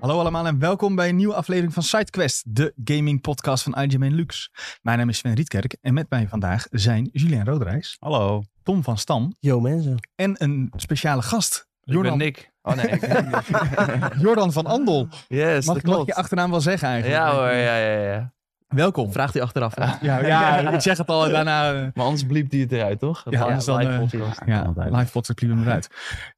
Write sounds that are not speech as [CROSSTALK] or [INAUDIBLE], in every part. Hallo allemaal en welkom bij een nieuwe aflevering van SideQuest, de gaming podcast van IGMN Lux. Mijn naam is Sven Rietkerk en met mij vandaag zijn Julien Roodrijs, Hallo. Tom van Stam Yo mensen. en een speciale gast, Ik ben Jordan, Nick. Oh nee. [LAUGHS] Jordan van Andel. yes, Mag dat ik mag ik klopt. je achternaam wel zeggen eigenlijk? ja hoor, ja, ja, ja. Welkom. Vraagt hij achteraf. hè? Ja, [LAUGHS] ja, ik zeg het al en daarna... eh, Maar anders bliept hij het eruit, toch? Ja, anders dan, eh, Ja, live podcast liever hem eruit.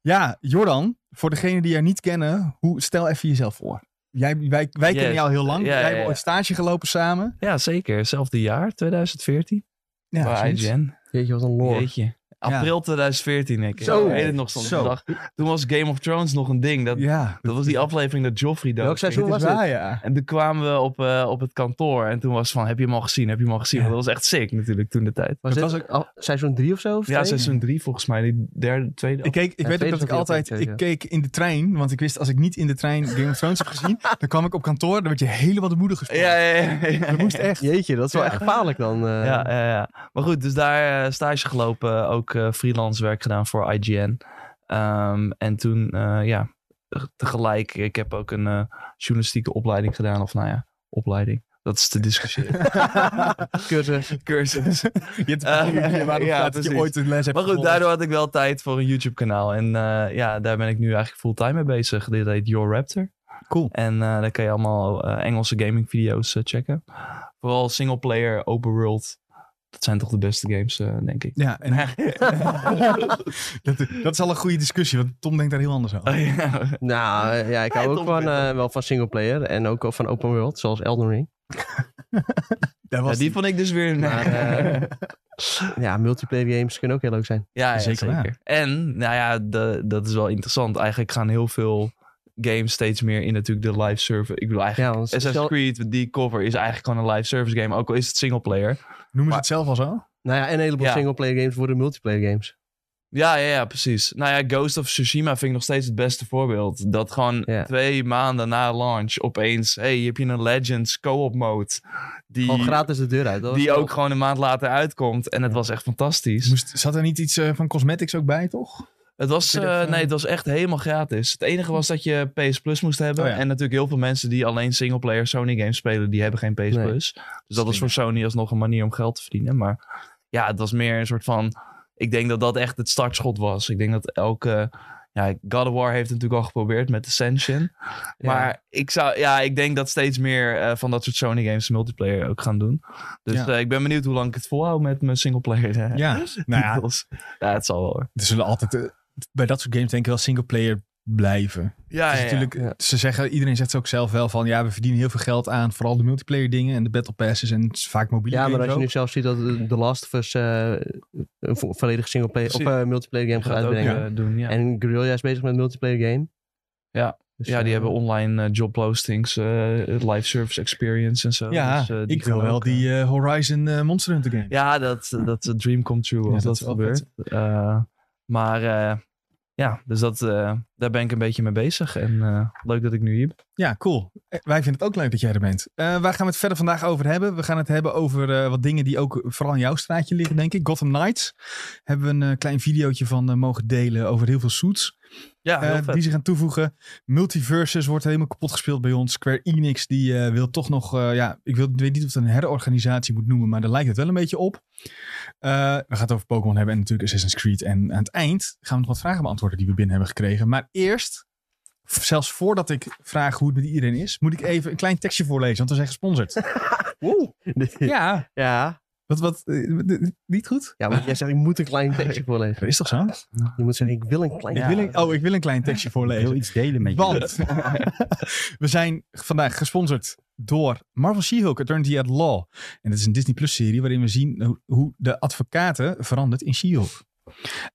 Ja, Jordan, voor degenen die jou niet kennen, hoe, stel even jezelf voor. Jij, wij wij Yes. kennen jou heel lang. Ja, Jij ja, hebt ja. ooit stage gelopen samen. ja, zeker. Hetzelfde jaar, 2014. Ja, bij zoiets. IGN. Jeetje, wat een lore. Jeetje. April 2014, denk ik. Zo. Ik weet het nog soms. Zo. Dag. Toen was Game of Thrones nog een ding. Dat, Ja, dat was die aflevering dat Joffrey dood Welk ging. seizoen? dit was is waar, ja. En toen kwamen we op, eh, op het kantoor. En toen was het van, heb je hem al gezien? Heb je hem al gezien? Ja. Want dat was echt sick natuurlijk, toen de tijd. Dat Was dit was ook- al- seizoen 3 of zo? Of Ja, twee? seizoen 3 volgens mij. Die derde, tweede. Ik, keek, ik Ja, weet ook tweede dat ik of derde altijd, keer, ja. ik keek in de trein, want ik wist als ik niet in de trein Game of Thrones heb [LAUGHS] gezien, dan kwam ik op kantoor, dan werd je helemaal de moeder gesproken. ja, ja, ja, ja, ja. Dat moest [LAUGHS] echt. Jeetje, dat is wel Ja. echt gevaarlijk dan. eh. Ja, [LAUGHS] ja, ja. Maar goed, dus daar eh, stage gelopen. ook eh, freelance werk gedaan voor IGN. Ehm, en toen, eh, ja, tegelijk. Ik heb ook een eh, journalistieke opleiding gedaan. Of nou ja, opleiding. Dat [LAUGHS] is te discussiëren. Cursus. Cursus. [LAUGHS] Je hebt Eh, uh, waarop ja, staat dat je precies. ooit een les hebt Maar goed, gevolgd. daardoor had ik wel tijd voor een YouTube kanaal. En eh, ja, daar ben ik nu eigenlijk fulltime mee bezig. Dit heet Your Raptor. Cool. En eh, daar kan je allemaal eh, Engelse gaming video's eh, checken. Vooral singleplayer, open world. Dat zijn toch de beste games, eh, denk ik. Ja, en dat, [LAUGHS] dat is al een goede discussie, want Tom denkt daar heel anders over. Oh, [LAUGHS] ja. Nou eh, ja, ik hou Hij ook dom van, vindt eh, wel van singleplayer en ook wel van open world, zoals Elden Ring. Daar Ja, was die vond ik dus weer... Maar, eh, ja, multiplayer games kunnen ook heel leuk zijn. ja, ja, zeker zeker. waar. En, nou ja, de, dat is wel interessant. Eigenlijk gaan heel veel games steeds meer in natuurlijk de live service. Ik bedoel eigenlijk... Ja, want Assassin's stel- Creed, die cover is eigenlijk gewoon een live service game. Ook al is het singleplayer. Noemen ze maar- het zelf al zo? nou ja, en een heleboel Ja. singleplayer games worden multiplayer games. Ja, ja, ja, precies. Nou ja, Ghost of Tsushima vind ik nog steeds het beste voorbeeld. Dat gewoon Ja. twee maanden na launch opeens... Hé, hey, hier heb je een Legends co-op mode. Die, Gewoon gratis de deur uit. dat was die wel- ook gewoon een maand later uitkomt. En het was echt fantastisch. Moest, zat er niet iets eh, van cosmetics ook bij, toch? Het was, Kun je eh, dat, eh, nee, het was echt helemaal gratis. Het enige was dat je PS Plus moest hebben. Oh ja. En natuurlijk heel veel mensen die alleen singleplayer Sony games spelen, die hebben geen PS Nee. Plus. Dus dat was voor Sony alsnog een manier om geld te verdienen. Maar ja, het was meer een soort van... Ik denk dat dat echt het startschot was. Ik denk dat elke... Ja, God of War heeft het natuurlijk al geprobeerd met Ascension. Ja. Maar ik, zou, ja, ik denk dat steeds meer eh, van dat soort Sony games multiplayer ook gaan doen. Dus Ja. eh, ik ben benieuwd hoe lang ik het volhoud met mijn singleplayer. eh, Ja. Nou ja, titels. ja, het zal wel hoor. er zullen altijd eh, bij dat soort games denk ik wel singleplayer blijven. Ja, Het is Ah, ja, ja. Dus natuurlijk, ja. Ze zeggen, iedereen zegt het ook zelf wel van ja, we verdienen heel veel geld aan vooral de multiplayer dingen en de battle passes en vaak mobiele Ja, games maar als je ook. nu zelf ziet dat eh, The Last of Us eh, een vo- volledig singleplayer of Precies. eh, multiplayer game gaat Gaat ook, uitbrengen. eh, doen, ja. En Guerrilla is bezig met een multiplayer game. Ja. Dus, ja, eh, die hebben [LAUGHS] online eh, job postings, eh, live service experience en zo. ja, Dus, eh, die ik gaan wil wel ook, eh, die eh, Horizon eh, Monster Hunter game. ja, dat eh, dat eh, dream come true Ja, als dat dat, is wel gebeurt. Eh, maar eh, ja, dus dat, eh, daar ben ik een beetje mee bezig. En eh, leuk dat ik nu hier ben. Ja, cool. Eh, Wij vinden het ook leuk dat jij er bent. Eh, waar gaan we het verder vandaag over hebben? We gaan het hebben over eh, wat dingen die ook vooral in jouw straatje liggen, denk ik. Gotham Knights. Hebben we een eh, klein videootje van eh, mogen delen over heel veel suits. Ja, Ah, heel Eh, vet. die ze gaan toevoegen. Multiverses wordt helemaal kapot gespeeld bij ons. Square Enix die eh, wil toch nog, eh, ja, ik wil, weet niet of het een herorganisatie moet noemen, maar daar lijkt het wel een beetje op. Eh, we gaan het over Pokémon hebben en natuurlijk Assassin's Creed. En aan het eind gaan we nog wat vragen beantwoorden die we binnen hebben gekregen. Maar eerst, f- zelfs voordat ik vraag hoe het met iedereen is, moet ik even een klein tekstje voorlezen, want we zijn [LAUGHS] gesponsord. ja, ja. wat, wat, eh, d- d- niet goed? ja, want jij zegt ik moet een klein tekstje voorlezen. Dat is toch zo? Je moet zeggen ik wil een klein Ik wil een, oh, ik wil een klein [LAUGHS] tekstje voorlezen. Ik wil iets delen met je. Want [LAUGHS] we zijn vandaag gesponsord door Marvel She-Hulk Eternity at Law. En dat is een Disney Plus serie waarin we zien ho- hoe de advocaten verandert in She-Hulk.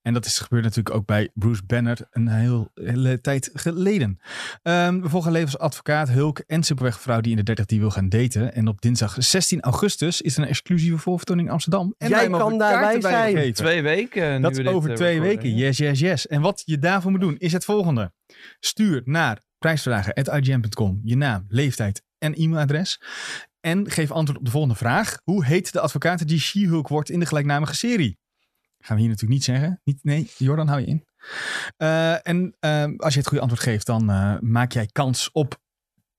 En dat is gebeurd natuurlijk ook bij Bruce Banner een heel, hele tijd geleden. Ehm, we volgen levens advocaat Hulk en simpelweg vrouw die in de 30 die wil gaan daten. En op dinsdag 16 augustus is er een exclusieve voorvertoning in Amsterdam. En Jij wij mogen kan daarbij kaarten je zijn. geven. Twee weken. eh, nu Dat we is dit, over eh, twee recorden. weken. Yes, yes, yes. En wat je daarvoor moet doen is het volgende. Stuur naar prijsvragen.igm.com je naam, leeftijd en e-mailadres. En geef antwoord op de volgende vraag. Hoe heet de advocaat die She-Hulk wordt in de gelijknamige serie? Gaan we hier natuurlijk niet zeggen. Niet, nee, Jordan, hou je in. Eh, en eh, als je het goede antwoord geeft, dan eh, maak jij kans op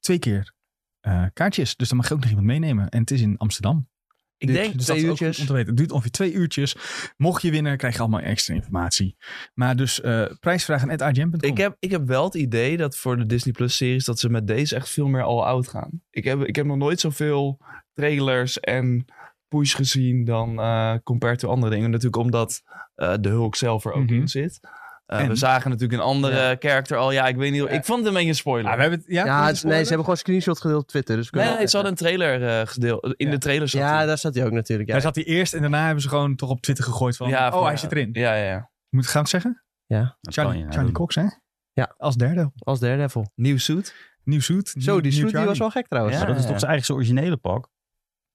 twee keer eh, kaartjes. Dus dan mag je ook nog iemand meenemen. En het is in Amsterdam. Ik Dus- denk dus dat twee is ook goed uurtjes. Om te weten. Het duurt ongeveer twee uurtjes. Mocht je winnen, krijg je allemaal extra informatie. Maar dus eh prijsvragen at IGN.com. Ik heb, ik heb wel het idee dat voor de Disney Plus series dat ze met deze echt veel meer al out gaan. Ik heb, ik heb nog nooit zoveel trailers en push gezien dan eh compared to andere dingen. Natuurlijk omdat eh, de Hulk zelf er ook Mhm. in zit. Eh, En? we zagen natuurlijk een andere Ja. character al. Ja, ik weet niet. of- Ik vond het een beetje een spoiler. Ah, we hebben het- ja, Ja, vond je het- het nee, spoiler? ze hebben gewoon screenshot gedeeld op Twitter. Dus we nee, kunnen- nee, ze hadden een trailer eh, gedeeld. In Ja. de trailer zat ja, hij. daar zat hij ook natuurlijk. Ja. Daar zat hij eerst en daarna hebben ze gewoon toch op Twitter gegooid van... Ja, oh, van- hij zit erin. ja, ja, ja. Moet, gaan we het zeggen? Dat kan Charlie, je, hè, Charlie doen. Cox, hè? Ja. Als derde. Als Daredevil. Nieuw suit. Nieuw suit. Zo, nieuw- die nieuw shoot die Charlie. was wel gek trouwens. Maar Ja. Oh, dat is toch zijn eigen originele pak?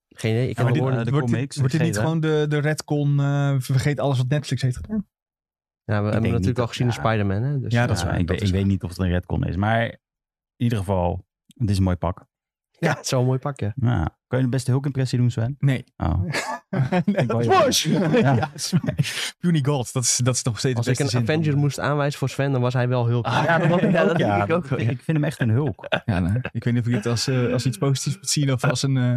Geen idee, ik heb Ja, maar de dit- woorden. de wordt dit, comics, wordt dit het niet gele. gewoon de, de redcon, eh, vergeet alles wat Netflix heeft gedaan? Ja, we denk hebben niet natuurlijk dat- al gezien in ja. Spider-Man. Hè? Dus, Ja, eh, dat is waar. ik dat weet- is ik waar. weet niet of het een redcon is, maar in ieder geval, het is een mooi pak. ja, het is wel een mooi pakje. Ja. Kan je de beste Hulk-impressie doen, Sven? Nee. Oh. nee wou je- Smash! ja, Ja. Smash. Puny God, dat is, dat is nog steeds Als de ik beste zin een van Avenger me. moest aanwijzen voor Sven, dan was hij wel Hulk. ja, dat, Ja, denk ik ook. wel, ik ja. vind hem echt een Hulk. Ja, nou, ik weet niet of je het als, eh, als iets positiefs moet zien of als een... eh,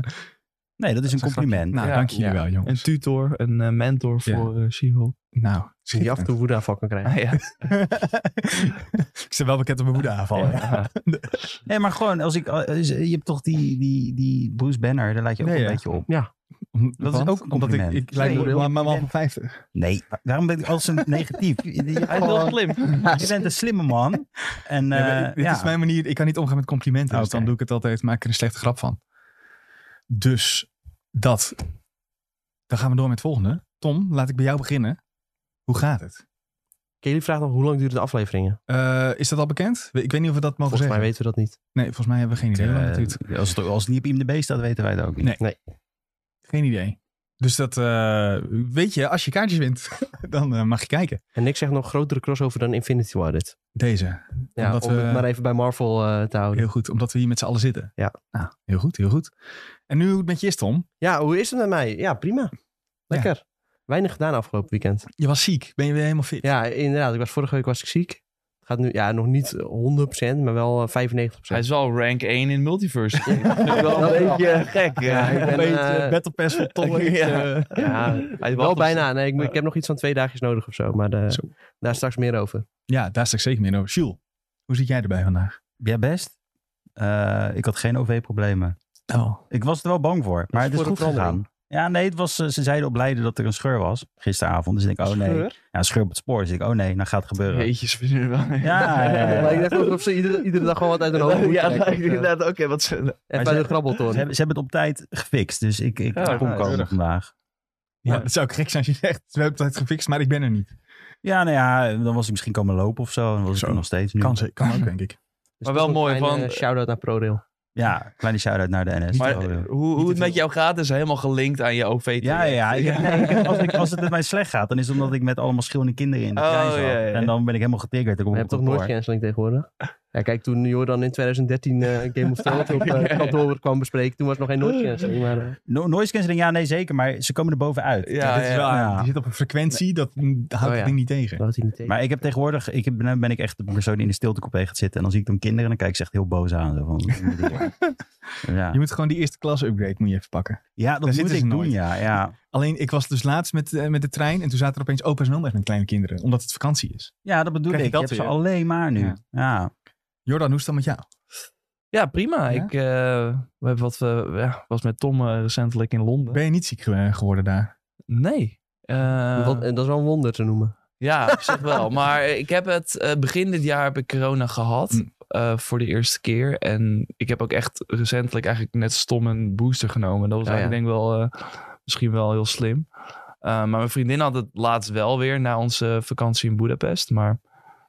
Nee, dat is een als compliment. grapje. Nou, Ja. dank jullie Ja. wel, jongens. Een tutor, een eh, mentor Ja. voor eh She-Hulk. nou, die af en toe woede aanval kan krijgen. Ah, ja. [LAUGHS] ik sta wel bekend op mijn woede aanvallen. Ja. Nee, maar gewoon, als ik, eh, is- je hebt toch die, die, die Bruce Banner, daar lijkt je ook Nee, een ja. beetje op. Om- Dat is want- ook een Omdat ik, compliment. ik lijk Nee, me- maar maar wel van 50. Nee, waarom ben ik als een negatief? Je, je- Hij is wel gewoon- slim. je bent een slimme man. En Ja, maar eh, ik- dit ja. is mijn manier. Ik kan niet omgaan met complimenten. Dus Oké. dan doe ik het altijd. Maak er een slechte grap van. Dus dat. Dan gaan we door met het volgende. Tom, laat ik bij jou beginnen. Hoe gaat het? Kelly vraagt nog hoe lang duren de afleveringen. Eh, is dat al bekend? We- Ik weet niet of we dat mogen Volgens mij zeggen. weten we dat niet. Nee, volgens mij hebben we geen idee. hoe lang het duurt. Eh, als, het, als het niet op IMDb staat, weten wij het ook niet. Nee. Geen idee. Dus dat, eh, weet je, als je kaartjes wint, [LAUGHS] dan eh, mag je kijken. En ik zeg nog grotere crossover dan Infinity War dit. Deze. Ja, Omdat om we- het maar even bij Marvel eh, te houden. Heel goed, omdat we hier met z'n allen zitten. Ja. Nou, heel goed, heel goed. En nu hoe het met je is, Tom. Ja, hoe is het met mij? Ja, prima. Lekker. Weinig gedaan afgelopen weekend. Je was ziek. Ben je weer helemaal fit? Ja, inderdaad. Ik was, vorige week was ik ziek. Het gaat nu, ja, nog niet 100%, maar wel eh, 95%. Hij is wel rank 1 in [LAUGHS] multiverse. [LAUGHS] wel een beetje gek. Ja, ik ben, eh, Battle Pass [LAUGHS] voor Tom. Ja. eh, ja, Hij wel wacht op- bijna. Nee, ik, moet- ik heb nog iets van twee dagjes nodig of zo, maar eh, Zo. daar straks meer over. Ja, daar sta ik zeker meer over. Jules, hoe zit jij erbij vandaag? Ja, best. Eh, ik had geen OV-problemen. Oh. Ik was er wel bang voor, maar is het is voor een goed gegaan. verandering. Ja, nee, het was, eh, ze zeiden op Leiden dat er een scheur was gisteravond. Dus ik denk, oh nee. Scheur? Ja, een scheur op het spoor. Dus ik denk, oh nee, nou gaat het gebeuren. Jeetje, ze vinden het [LAUGHS] wel. Ja, ja, ja, ja. Maar ik dacht alsof ze iedere, iedere dag wel wat uit hun hoofd moeten [LAUGHS] ja, trekken. lijkt inderdaad. Oké, wat ze... Even ze- uit de Ze, grabbeltoren. hebben, ze hebben het op tijd gefixt, dus ik, ik Ja, kom nou, komen keurig. vandaag. Ja, Ja. dat zou ook gek zijn als je zegt, we hebben het altijd gefixt, maar ik ben er niet. Ja, nou ja, dan was ik misschien komen lopen of zo. Dan was Zo. ik er nog steeds nu. Kan, ze, kan ook, denk [LAUGHS] ik. Dus Maar het wel is een mooi, kleine van- shout-out naar ProRail. Ja, kleine shout-out naar de NS. Maar Oh, eh, ja. hoe, hoe te het met veel. jou gaat is helemaal gelinkt aan je ov Ja, ja, ja. Ik, nee, ik heb- als, ik, als het met mij slecht gaat, dan is het omdat ik met allemaal verschillende kinderen in de Oh, trein zat. ja, ja, ja. En dan ben ik helemaal getriggerd. Dan kom Je ik hebt op toch het nooit spoor. canceling tegenwoordig? Ja, kijk, toen Jordan in 2013 eh, Game of Thrones op eh, het kantoor kwam bespreken, toen was nog geen nooit canceling. Maar, eh, No- noise cancelling, ja, nee, zeker. Maar ze komen er bovenuit. Ja, Ja, dit is wel, ja. Je zit op een frequentie, dat mm, dat houdt Oh, het ja. ding niet tegen. dat had hij niet tegen. Maar ik heb tegenwoordig, ik heb, nou ben ik echt de persoon die in de stiltecoupé gaat zitten. En dan zie ik dan kinderen en dan kijk ik ze echt heel boos aan. Zo van, wat moet ik hier? ja. [LAUGHS] Je moet gewoon die eerste klas upgrade moet je even pakken. ja, dat zitten moet ze ik doen, nooit. ja. ja. Alleen, ik was dus laatst met, eh, met de trein en toen zaten er opeens opa's en oma's met kleine kinderen. Omdat het vakantie is. Ja, dat bedoel Krijg je ik. Je dat hebt ze weer? alleen maar nu. Ja. Ja. Jordan, hoe is het dan met jou? Ja, prima. Ja? Ik eh, we hebben wat, eh, ja, was met Tom eh, recentelijk in Londen. Ben je niet ziek eh, geworden daar? Nee. Eh, dat, dat is wel een wonder te noemen. Ja, op zich [LAUGHS] wel. Maar ik heb het eh, begin dit jaar heb ik corona gehad. Hm. Mm. eh, voor de eerste keer. En ik heb ook echt recentelijk eigenlijk net stom een booster genomen. Dat was Ah, ja. eigenlijk denk ik wel eh, misschien wel heel slim. Eh, maar mijn vriendin had het laatst wel weer na onze vakantie in Budapest. Maar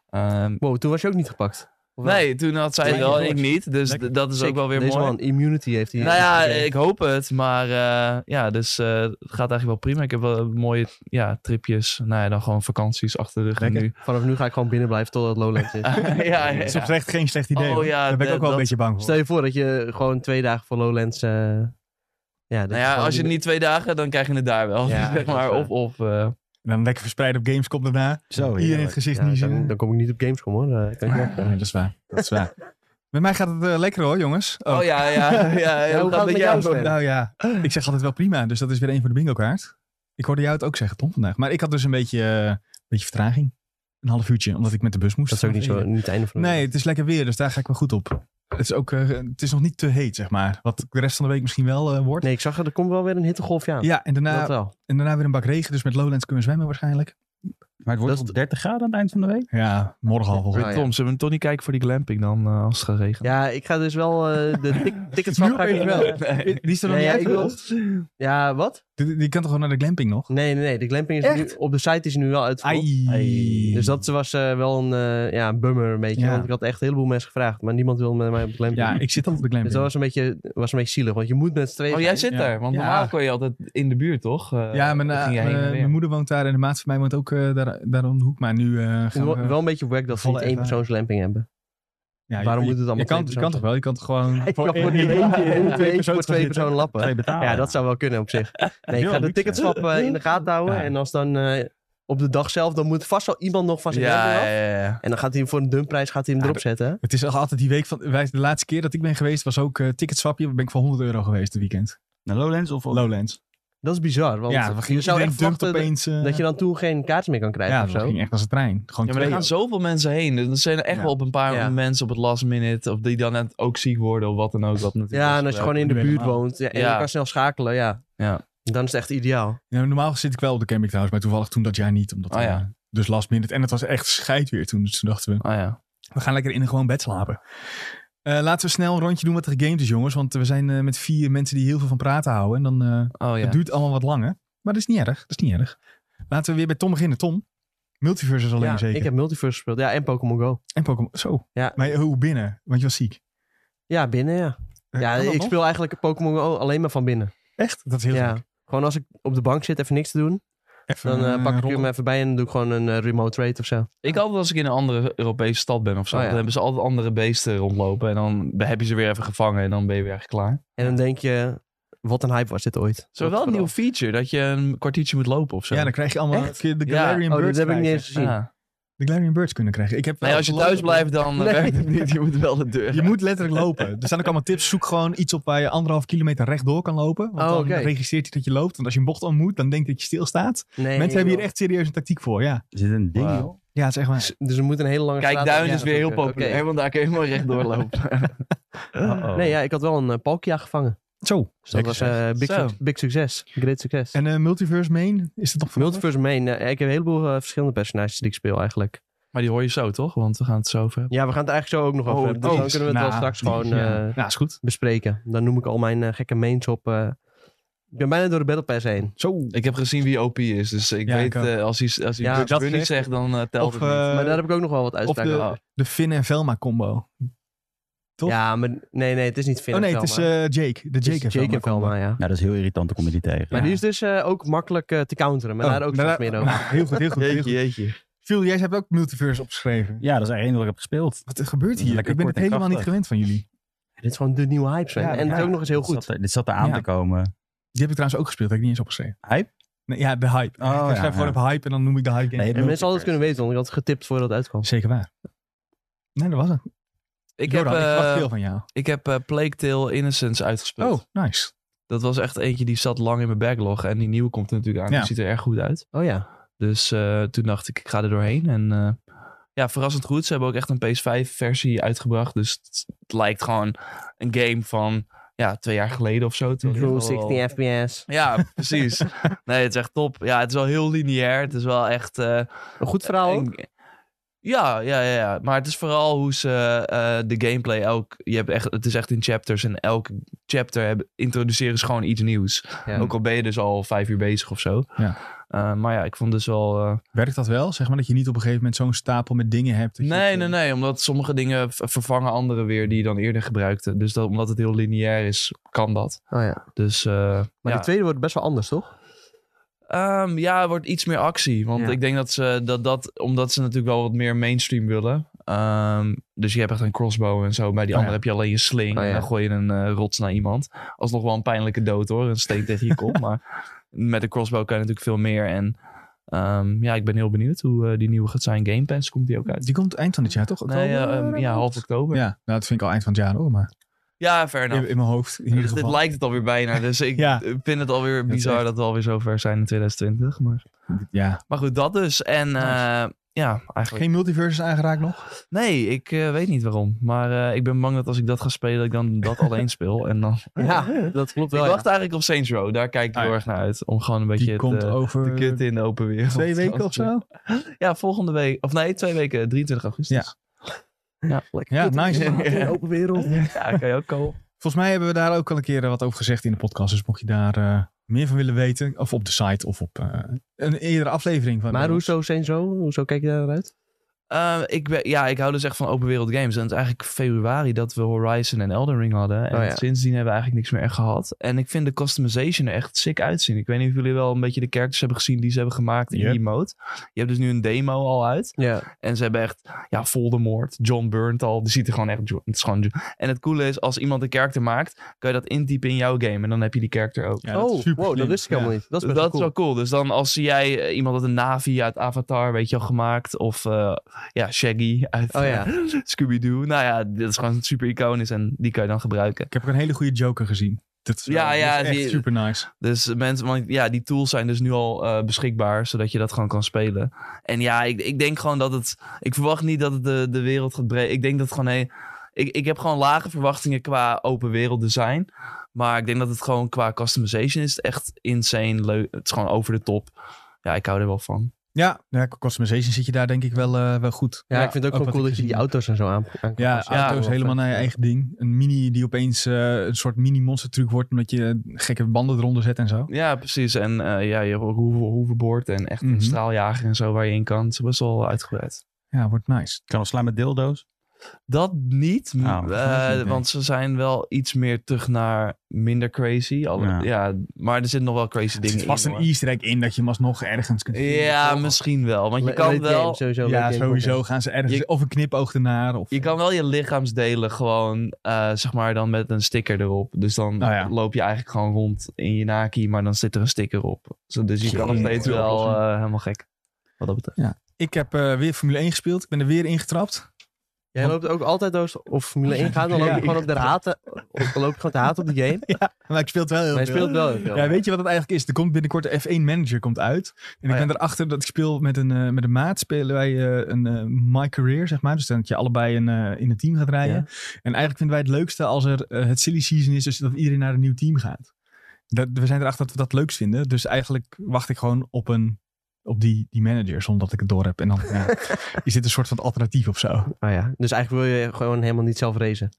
ehm, Wow, toen was je ook niet gepakt. Of wel? nee, toen had zij het Lekker wel en ik jongens. niet. Dus Lekker. d- dat is Sick. ook wel weer Deze mooi. man, immunity heeft hij. Nou ja, ik hoop het. Maar eh, ja, dus eh, het gaat eigenlijk wel prima. Ik heb wel mooie ja, tripjes. Nou ja, dan gewoon vakanties achter de rug. En Lekker. nu Vanaf nu ga ik gewoon binnen blijven totdat Lowlands [LAUGHS] is. ja, ja, ja. Dat is oprecht geen slecht idee. Oh hoor. ja, daar ben ik de- ook wel een dat- beetje bang voor. Stel je voor dat je gewoon twee dagen voor Lowlands... eh, ja, dat Nou ja, gewoon- als je het niet twee dagen, dan krijg je het daar wel. Ja, [LAUGHS] zeg maar. dat is Of, of eh, En dan lekker verspreid op Gamescom Oh, daarna. Zo, Iedereen in heerlijk. het gezicht Ja, niet [LAUGHS] dan, dan kom ik niet op Gamescom hoor. Eh, kan ik niet dat is waar. [LAUGHS] Dat is waar. Met mij gaat het eh, lekker hoor, jongens. Oh, ja, ja, [LAUGHS] ja. ja, hoe gaat het met jou, Sven? Nou ja, ik zeg altijd wel prima. Dus dat is weer een van de bingo kaart. Ik hoorde jou het ook zeggen, Tom, vandaag. Maar ik had dus een beetje, eh, een beetje vertraging. Een half uurtje, omdat ik met de bus moest. Dat is ook niet, zo, niet het einde van de Nee, het is lekker weer, dus daar ga ik wel goed op. Het is, ook, eh, het is nog niet te heet, zeg maar. Wat de rest van de week misschien wel eh, wordt. Nee, ik zag er, er komt wel weer een hittegolfje aan. Ja, en daarna, nou- dat wel. en daarna weer een bak regen. Dus met Lowlands kunnen we zwemmen waarschijnlijk. Maar het wordt Dat- tot 30 graden aan het eind van de week? Ja, morgen al volgens Ah, ja. Tom, zullen we toch niet kijken voor die glamping dan eh, als het gaat regenen? Ja, ik ga dus wel eh, [LAUGHS] de tik- tickets van Nu ga ik dus opeens wel. Die die is er nog niet Nee, ja, uit, ik wil- toch? Ja, wat? Die, die kan toch gewoon naar de glamping nog? Nee, nee, nee. De glamping is Echt? nu, op de site is hij nu wel uitverkocht. Ai. Dus dat was eh, wel een, eh, ja, een bummer een beetje. Ja. Want ik had echt een heleboel mensen gevraagd. Maar niemand wilde met mij op de glamping. Ja, ik zit al op de glamping. dus dat was een, beetje, was een beetje zielig. Want je moet met z'n tweeën Oh, jij zijn. zit Ja. daar. Want Ja. normaal kon je altijd in de buurt, toch? Eh, Ja, mijn, dan eh, ging je heen en mijn- weer. mijn moeder woont daar en de maat van mij woont ook eh, daar, daar om de hoek. Maar nu eh, Ik gaan vind we... het wel een beetje wack dat ze Volle niet één ervaring. persoons glamping [LAUGHS] hebben. Ja, je- waarom je- moet het allemaal Je kan, twee je kan toch wel? Je kan toch gewoon... Ik kan één- voor [LAUGHS] die één- eentje één- en twee persoons voor gaan twee zitten. personen lappen. Twee betalen. Ja, dat zou wel kunnen op zich. Nee, ik Heel ga de luxe. ticketswap eh, in de gaten houden. Ja. En als dan eh, op de dag zelf, dan moet vast wel iemand nog van zijn ja, glamping af. ja, ja, ja. En dan gaat hij hem voor een dumpprijs gaat hij hem Ja, erop zetten. Het is al altijd die week van... wij- De laatste keer dat ik ben geweest was ook eh ticketswapje. Daar ben ik voor 100 euro geweest het weekend. Naar Lowlands of... of- Lowlands. Dat is bizar. Want ja, we je gingen zou iedereen echt dumpt verwachten dat, opeens... eh, dat je dan toen geen kaarten meer kan krijgen ja, of dat zo. ging echt als een trein. Gewoon Ja, maar er twee gaan zoveel mensen heen. Er zijn er echt Ja. wel op een paar Ja. mensen op het last minute. Of die dan net ook ziek worden of wat dan ook. Wat natuurlijk Ja, is en als je gebruikt. gewoon in de Nu buurt helemaal. woont ja, en Ja. je kan snel schakelen, ja. Ja. Dan is het echt ideaal. Ja, normaal zit ik wel op de camping trouwens, maar toevallig toen dat jaar niet. Omdat Oh ja. eh, dus last minute. En het was echt scheid weer toen. Dus toen dachten we, Ah ja. we gaan lekker in een gewoon bed slapen. Eh, laten we snel een rondje doen wat er gegamed is, jongens. Want we zijn eh, met vier mensen die heel veel van praten houden. En dan eh, Oh ja. het duurt allemaal wat langer. Maar dat is niet erg. Dat is niet erg. Laten we weer bij Tom beginnen. Tom, Multiverse is alleen Ja, zeker. ik heb Multiverse gespeeld. Ja, en Pokémon Go. En Pokémon. Zo. Ja. Maar hoe binnen? Want je was ziek. Ja, binnen ja. Eh, Ja, kan dat ik nog? speel eigenlijk Pokémon Go alleen maar van binnen. Echt? Dat is heel Ja. gek. Gewoon als ik op de bank zit, even niks te doen. Even, Dan eh, eh, pak ik rollen. hem even bij en dan doe ik gewoon een eh, remote trade of zo. Ik altijd als ik in een andere Europese stad ben of zo. Oh ja. Dan hebben ze altijd andere beesten rondlopen. En dan heb je ze weer even gevangen en dan ben je weer echt klaar. En dan denk je, wat een hype was dit ooit. Zo wel een nieuw feature dat je een kwartiertje moet lopen of zo. Ja, dan krijg je allemaal Echt? kun je de Ja. Galarian Oh, dat Birds heb ik niet krijgen. eens gezien. Ja. De Galarian Birds kunnen krijgen. Ik heb wel Ah. Nee, als je gelopen. thuis blijft dan eh, Nee. werkt het niet. Je moet wel de [LAUGHS] deur. Je moet letterlijk lopen. Er staan ook allemaal tips. Zoek gewoon iets op waar je anderhalf kilometer rechtdoor kan lopen. Want Oh, dan oké. registreert hij dat je loopt. Want als je een bocht om moet, dan denkt hij dat je stilstaat. Nee, Mensen hebben hier joh. echt serieus een tactiek voor, ja. Er zit een ding, Wauw. joh. Ja, het is echt waar. Dus- Dus we moeten een hele lange Kijk, straat Duin over- is weer heel eh, Oké. populair, want daar kun je mooi rechtdoor [LAUGHS] lopen. Uh-oh. Nee, ja, ik had wel een eh, Palkia gevangen. Zo. Dus dat was eh, big, Zo. suc- big succes. Great succes. En eh, Multiverse Main, is dat nog van- Multiverse main. eh, ik heb een heleboel eh, verschillende personages die ik speel eigenlijk. maar die hoor je zo, toch? Want we gaan het zo over hebben. Ja, we gaan het eigenlijk zo ook nog Oh, over hebben. Dus oh, dan kunnen we het nou, wel straks gewoon Ja. eh, ja, is goed. bespreken. Dan noem ik al mijn eh, gekke mains op. eh. ik ben bijna door de Battle Pass heen. Zo. Ik heb gezien wie OP is, dus ik Ja, weet ik ook. eh, als hij, als hij Ja, Bugs dat Bunny zegt- zegt, dan eh, telt Of, het niet. eh, maar daar heb ik ook nog wel wat of uitspraken de, over. de Finn en Velma combo. toch? Ja, maar nee, nee, het is niet Finn oh en nee, het is Velma. eh, Jake. De Het is Jake, en Jake Velma. en Velma, ja. Nou, dat is heel irritant, dan kom je die tegen. Maar Ja. die is dus eh, ook makkelijk eh, te counteren. Maar Oh, daar ook straks meer [LAUGHS] over. Nou, heel goed, heel goed. Heel jeetje, goed. jeetje. Phil, jij hebt ook Multiverse opgeschreven. Ja, dat is eigenlijk één wat ik heb gespeeld. Wat er gebeurt hier? Lekker ik ben kort het en helemaal niet krachtig. gewend van jullie. Dit is gewoon de nieuwe hype, Sven. Ja, en het ja. is ook nog eens heel Dit goed. zat er- dit zat er aan Ja. te komen. Die heb ik trouwens ook gespeeld, heb ik niet eens opgeschreven. Hype? Nee, ja, de hype. Oh, ik ja, schrijf gewoon ja. op hype en dan noem ik de hype game. Nee, En mensen hadden het kunnen weten, want ik had het getipt voordat het uitkwam. Zeker waar. Nee, dat was het. Ik heb, Jordan, ik eh, verwacht veel van jou. ik heb eh, Plague Tale Innocence uitgespeeld. Oh, nice. Dat was echt eentje die zat lang in mijn backlog. En die nieuwe komt er natuurlijk aan. Ja. Die ziet er erg goed uit. Oh ja. Dus eh, toen dacht ik, ik ga er doorheen. En eh, ja, verrassend goed. Ze hebben ook echt een PS5-versie uitgebracht. Dus het, het lijkt gewoon een game van ja, twee jaar geleden of zo. Terwijl oh. True het wel- 60 FPS. Ja, [LAUGHS] precies. nee, het is echt top. Ja, het is wel heel lineair. Het is wel echt... eh, Een goed verhaal ook. en- Ja, ja, ja, ja. Maar het is vooral hoe ze eh, de gameplay elk... Je hebt echt, het is echt in chapters. En elk chapter heb, introduceren ze gewoon iets nieuws. Ja. Ook al ben je dus al vijf uur bezig of zo. Ja. Eh, maar ja, ik vond dus wel... eh, Werkt dat wel? Zeg maar dat je niet op een gegeven moment zo'n stapel met dingen hebt. dat je Nee, het, nee, eh, nee. Omdat sommige dingen v- vervangen andere weer die je dan eerder gebruikte. Dus dat, omdat het heel lineair is, kan dat. Oh ja. Dus eh, Maar ja. de tweede wordt best wel anders, toch? Ehm, ja, er wordt iets meer actie. Want Ja. ik denk dat ze dat, dat, omdat ze natuurlijk wel wat meer mainstream willen. ehm, dus je hebt echt een crossbow en zo. Bij die Oh, andere ja. heb je alleen je sling. Oh, ja. En dan gooi je een eh, rots naar iemand. [LAUGHS] Alsnog wel een pijnlijke dood hoor. Een steek tegen je kop. Maar met de crossbow kan je natuurlijk veel meer. En Ehm, ja, ik ben heel benieuwd hoe eh, die nieuwe gaat zijn. Game Pass komt die ook uit. Die komt eind van dit jaar toch? Nee, Oktober? eh, ehm, ja, half oktober. Ja, Ja, nou, dat vind ik al eind van het jaar hoor, maar fair enough. in, in mijn hoofd in ieder Dus dit geval. lijkt het alweer bijna. Dus [LAUGHS] ik Ja. vind het alweer is bizar echt- dat we alweer zover zijn in 2020. Maar, Ja, maar goed, dat dus. En Nice. eh, ja, eigenlijk. geen multiverses aangeraakt nog? Nee, ik eh, weet niet waarom. Maar eh, ik ben bang dat als ik dat ga spelen, dat ik dan [LAUGHS] dat alleen speel. En dan... Oh Ja, dat klopt Ik wel. ja. wacht eigenlijk op Saints Row. Daar kijk ik Ah, heel ja. erg naar uit. Om gewoon een beetje Die het, komt eh, over de kut in de open wereld. [LAUGHS] twee weken of zo? Ja, volgende week. Of nee, twee weken. 23 augustus. Ja, lekker. Ja, kut, hè? nice. In de open wereld. [LAUGHS] ja, kan je ook al. Volgens mij hebben we daar ook al een keer eh, wat over gezegd in de podcast. Dus mocht je daar eh, meer van willen weten, of op de site of op eh, een eerdere aflevering van. Maar hoezo zijn zo? Hoezo kijk je daar naar uit? Eh, ik ben, ja, ik hou dus echt van open wereld games. En het is eigenlijk februari dat we Horizon en Elden Ring hadden. En Oh ja. sindsdien hebben we eigenlijk niks meer echt gehad. En ik vind de customization er echt sick uitzien. Ik weet niet of jullie wel een beetje de characters hebben gezien die ze hebben gemaakt in Yep. die mode. Je hebt dus nu een demo al uit. Ja. En ze hebben echt, ja, Voldemort, John Burnt al. Die ziet er gewoon echt, het is gewoon... En het coole is, als iemand een character maakt, kan je dat intypen in jouw game. En dan heb je die character ook. Ja, dat is oh, super wow, dat slim. wist ik Ja. helemaal niet. Dat is Dat, best wel is cool. wel cool. Dus dan als jij eh, iemand uit een Navi uit Avatar, weet je al, gemaakt. Of eh, ja, Shaggy uit Oh ja. eh, Scooby-Doo. Nou ja, dit is gewoon super iconisch en die kan je dan gebruiken. Ik heb ook een hele goede Joker gezien. Dat is, Ja, ja, ja, echt die- super nice. Dus mensen, want ja, die tools zijn dus nu al eh, beschikbaar, zodat je dat gewoon kan spelen. En ja, ik, ik denk gewoon dat het... Ik verwacht niet dat het de, de wereld gaat breken. Ik denk dat het gewoon... Hey, ik, ik heb gewoon lage verwachtingen qua open wereld design. Maar ik denk dat het gewoon qua customization is echt insane leuk. Het is gewoon over de top. Ja, ik hou er wel van. Ja, ja, qua customization zit je daar denk ik wel, eh, wel goed. Ja, ik vind het ook, wel wat cool ik dat je die gezien auto's en zo aan aan kan heb. Ja, passen. auto's eh, helemaal naar je eigen ding. Een mini die opeens eh, een soort mini monster truc wordt omdat je gekke banden eronder zet en zo. Ja, precies. En eh, ja, je hebt ook hoeve- hoeverboord en echt Mhm. een straaljager en zo waar je in kan. Het is best wel uitgebreid. Ja, wordt nice. Kan al slaan met dildo's. Dat niet, m- Ah, dat eh, is niet, nee. want ze zijn wel iets meer terug naar minder crazy. Al, ja. Ja. maar er zit nog wel crazy Er dingen zit vast in. een hoor. easter egg in dat je hem alsnog ergens kunt vinden. Ja, Of- misschien wel. Want je Le- kan leuk game, wel, sowieso ja, leuk game. sowieso gaan ze ergens... Je- of een knipoog ernaar. Of, je kan wel je lichaamsdelen gewoon, eh, zeg maar, dan met een sticker erop. Dus dan Nou ja. loop je eigenlijk gewoon rond in je naki, maar dan zit er een sticker op. Zo, dus je kan nog Jee, steeds goeie wel oplossing. eh, helemaal gek. Wat dat betreft. Ik heb eh, weer Formule 1 gespeeld. Ik ben er weer ingetrapt. Jij loopt ook altijd als of Formule 1 gaat, dan loop je Ja. gewoon op de haten, op, loop je gewoon te haten op [LAUGHS] die game. Maar ik speel het wel heel Maar je veel. speelt wel heel veel. Ja, weet je wat het eigenlijk is? Er komt binnenkort de F1 Manager komt uit. En Oh ik ja. ben erachter dat ik speel met een, eh, met een maat. Spelen wij eh, een eh, My Career, zeg maar. Dus dat je allebei een, eh, in een team gaat rijden. Ja. En eigenlijk vinden wij het leukste als er eh, het silly season is. Dus dat iedereen naar een nieuw team gaat. Dat, we zijn erachter dat we dat leukst vinden. Dus eigenlijk wacht ik gewoon op, een, op die, die manager. Zonder dat ik het door heb. En dan [LAUGHS] ja, is dit een soort van alternatief of zo. Oh ja. Dus eigenlijk wil je gewoon helemaal niet zelf racen.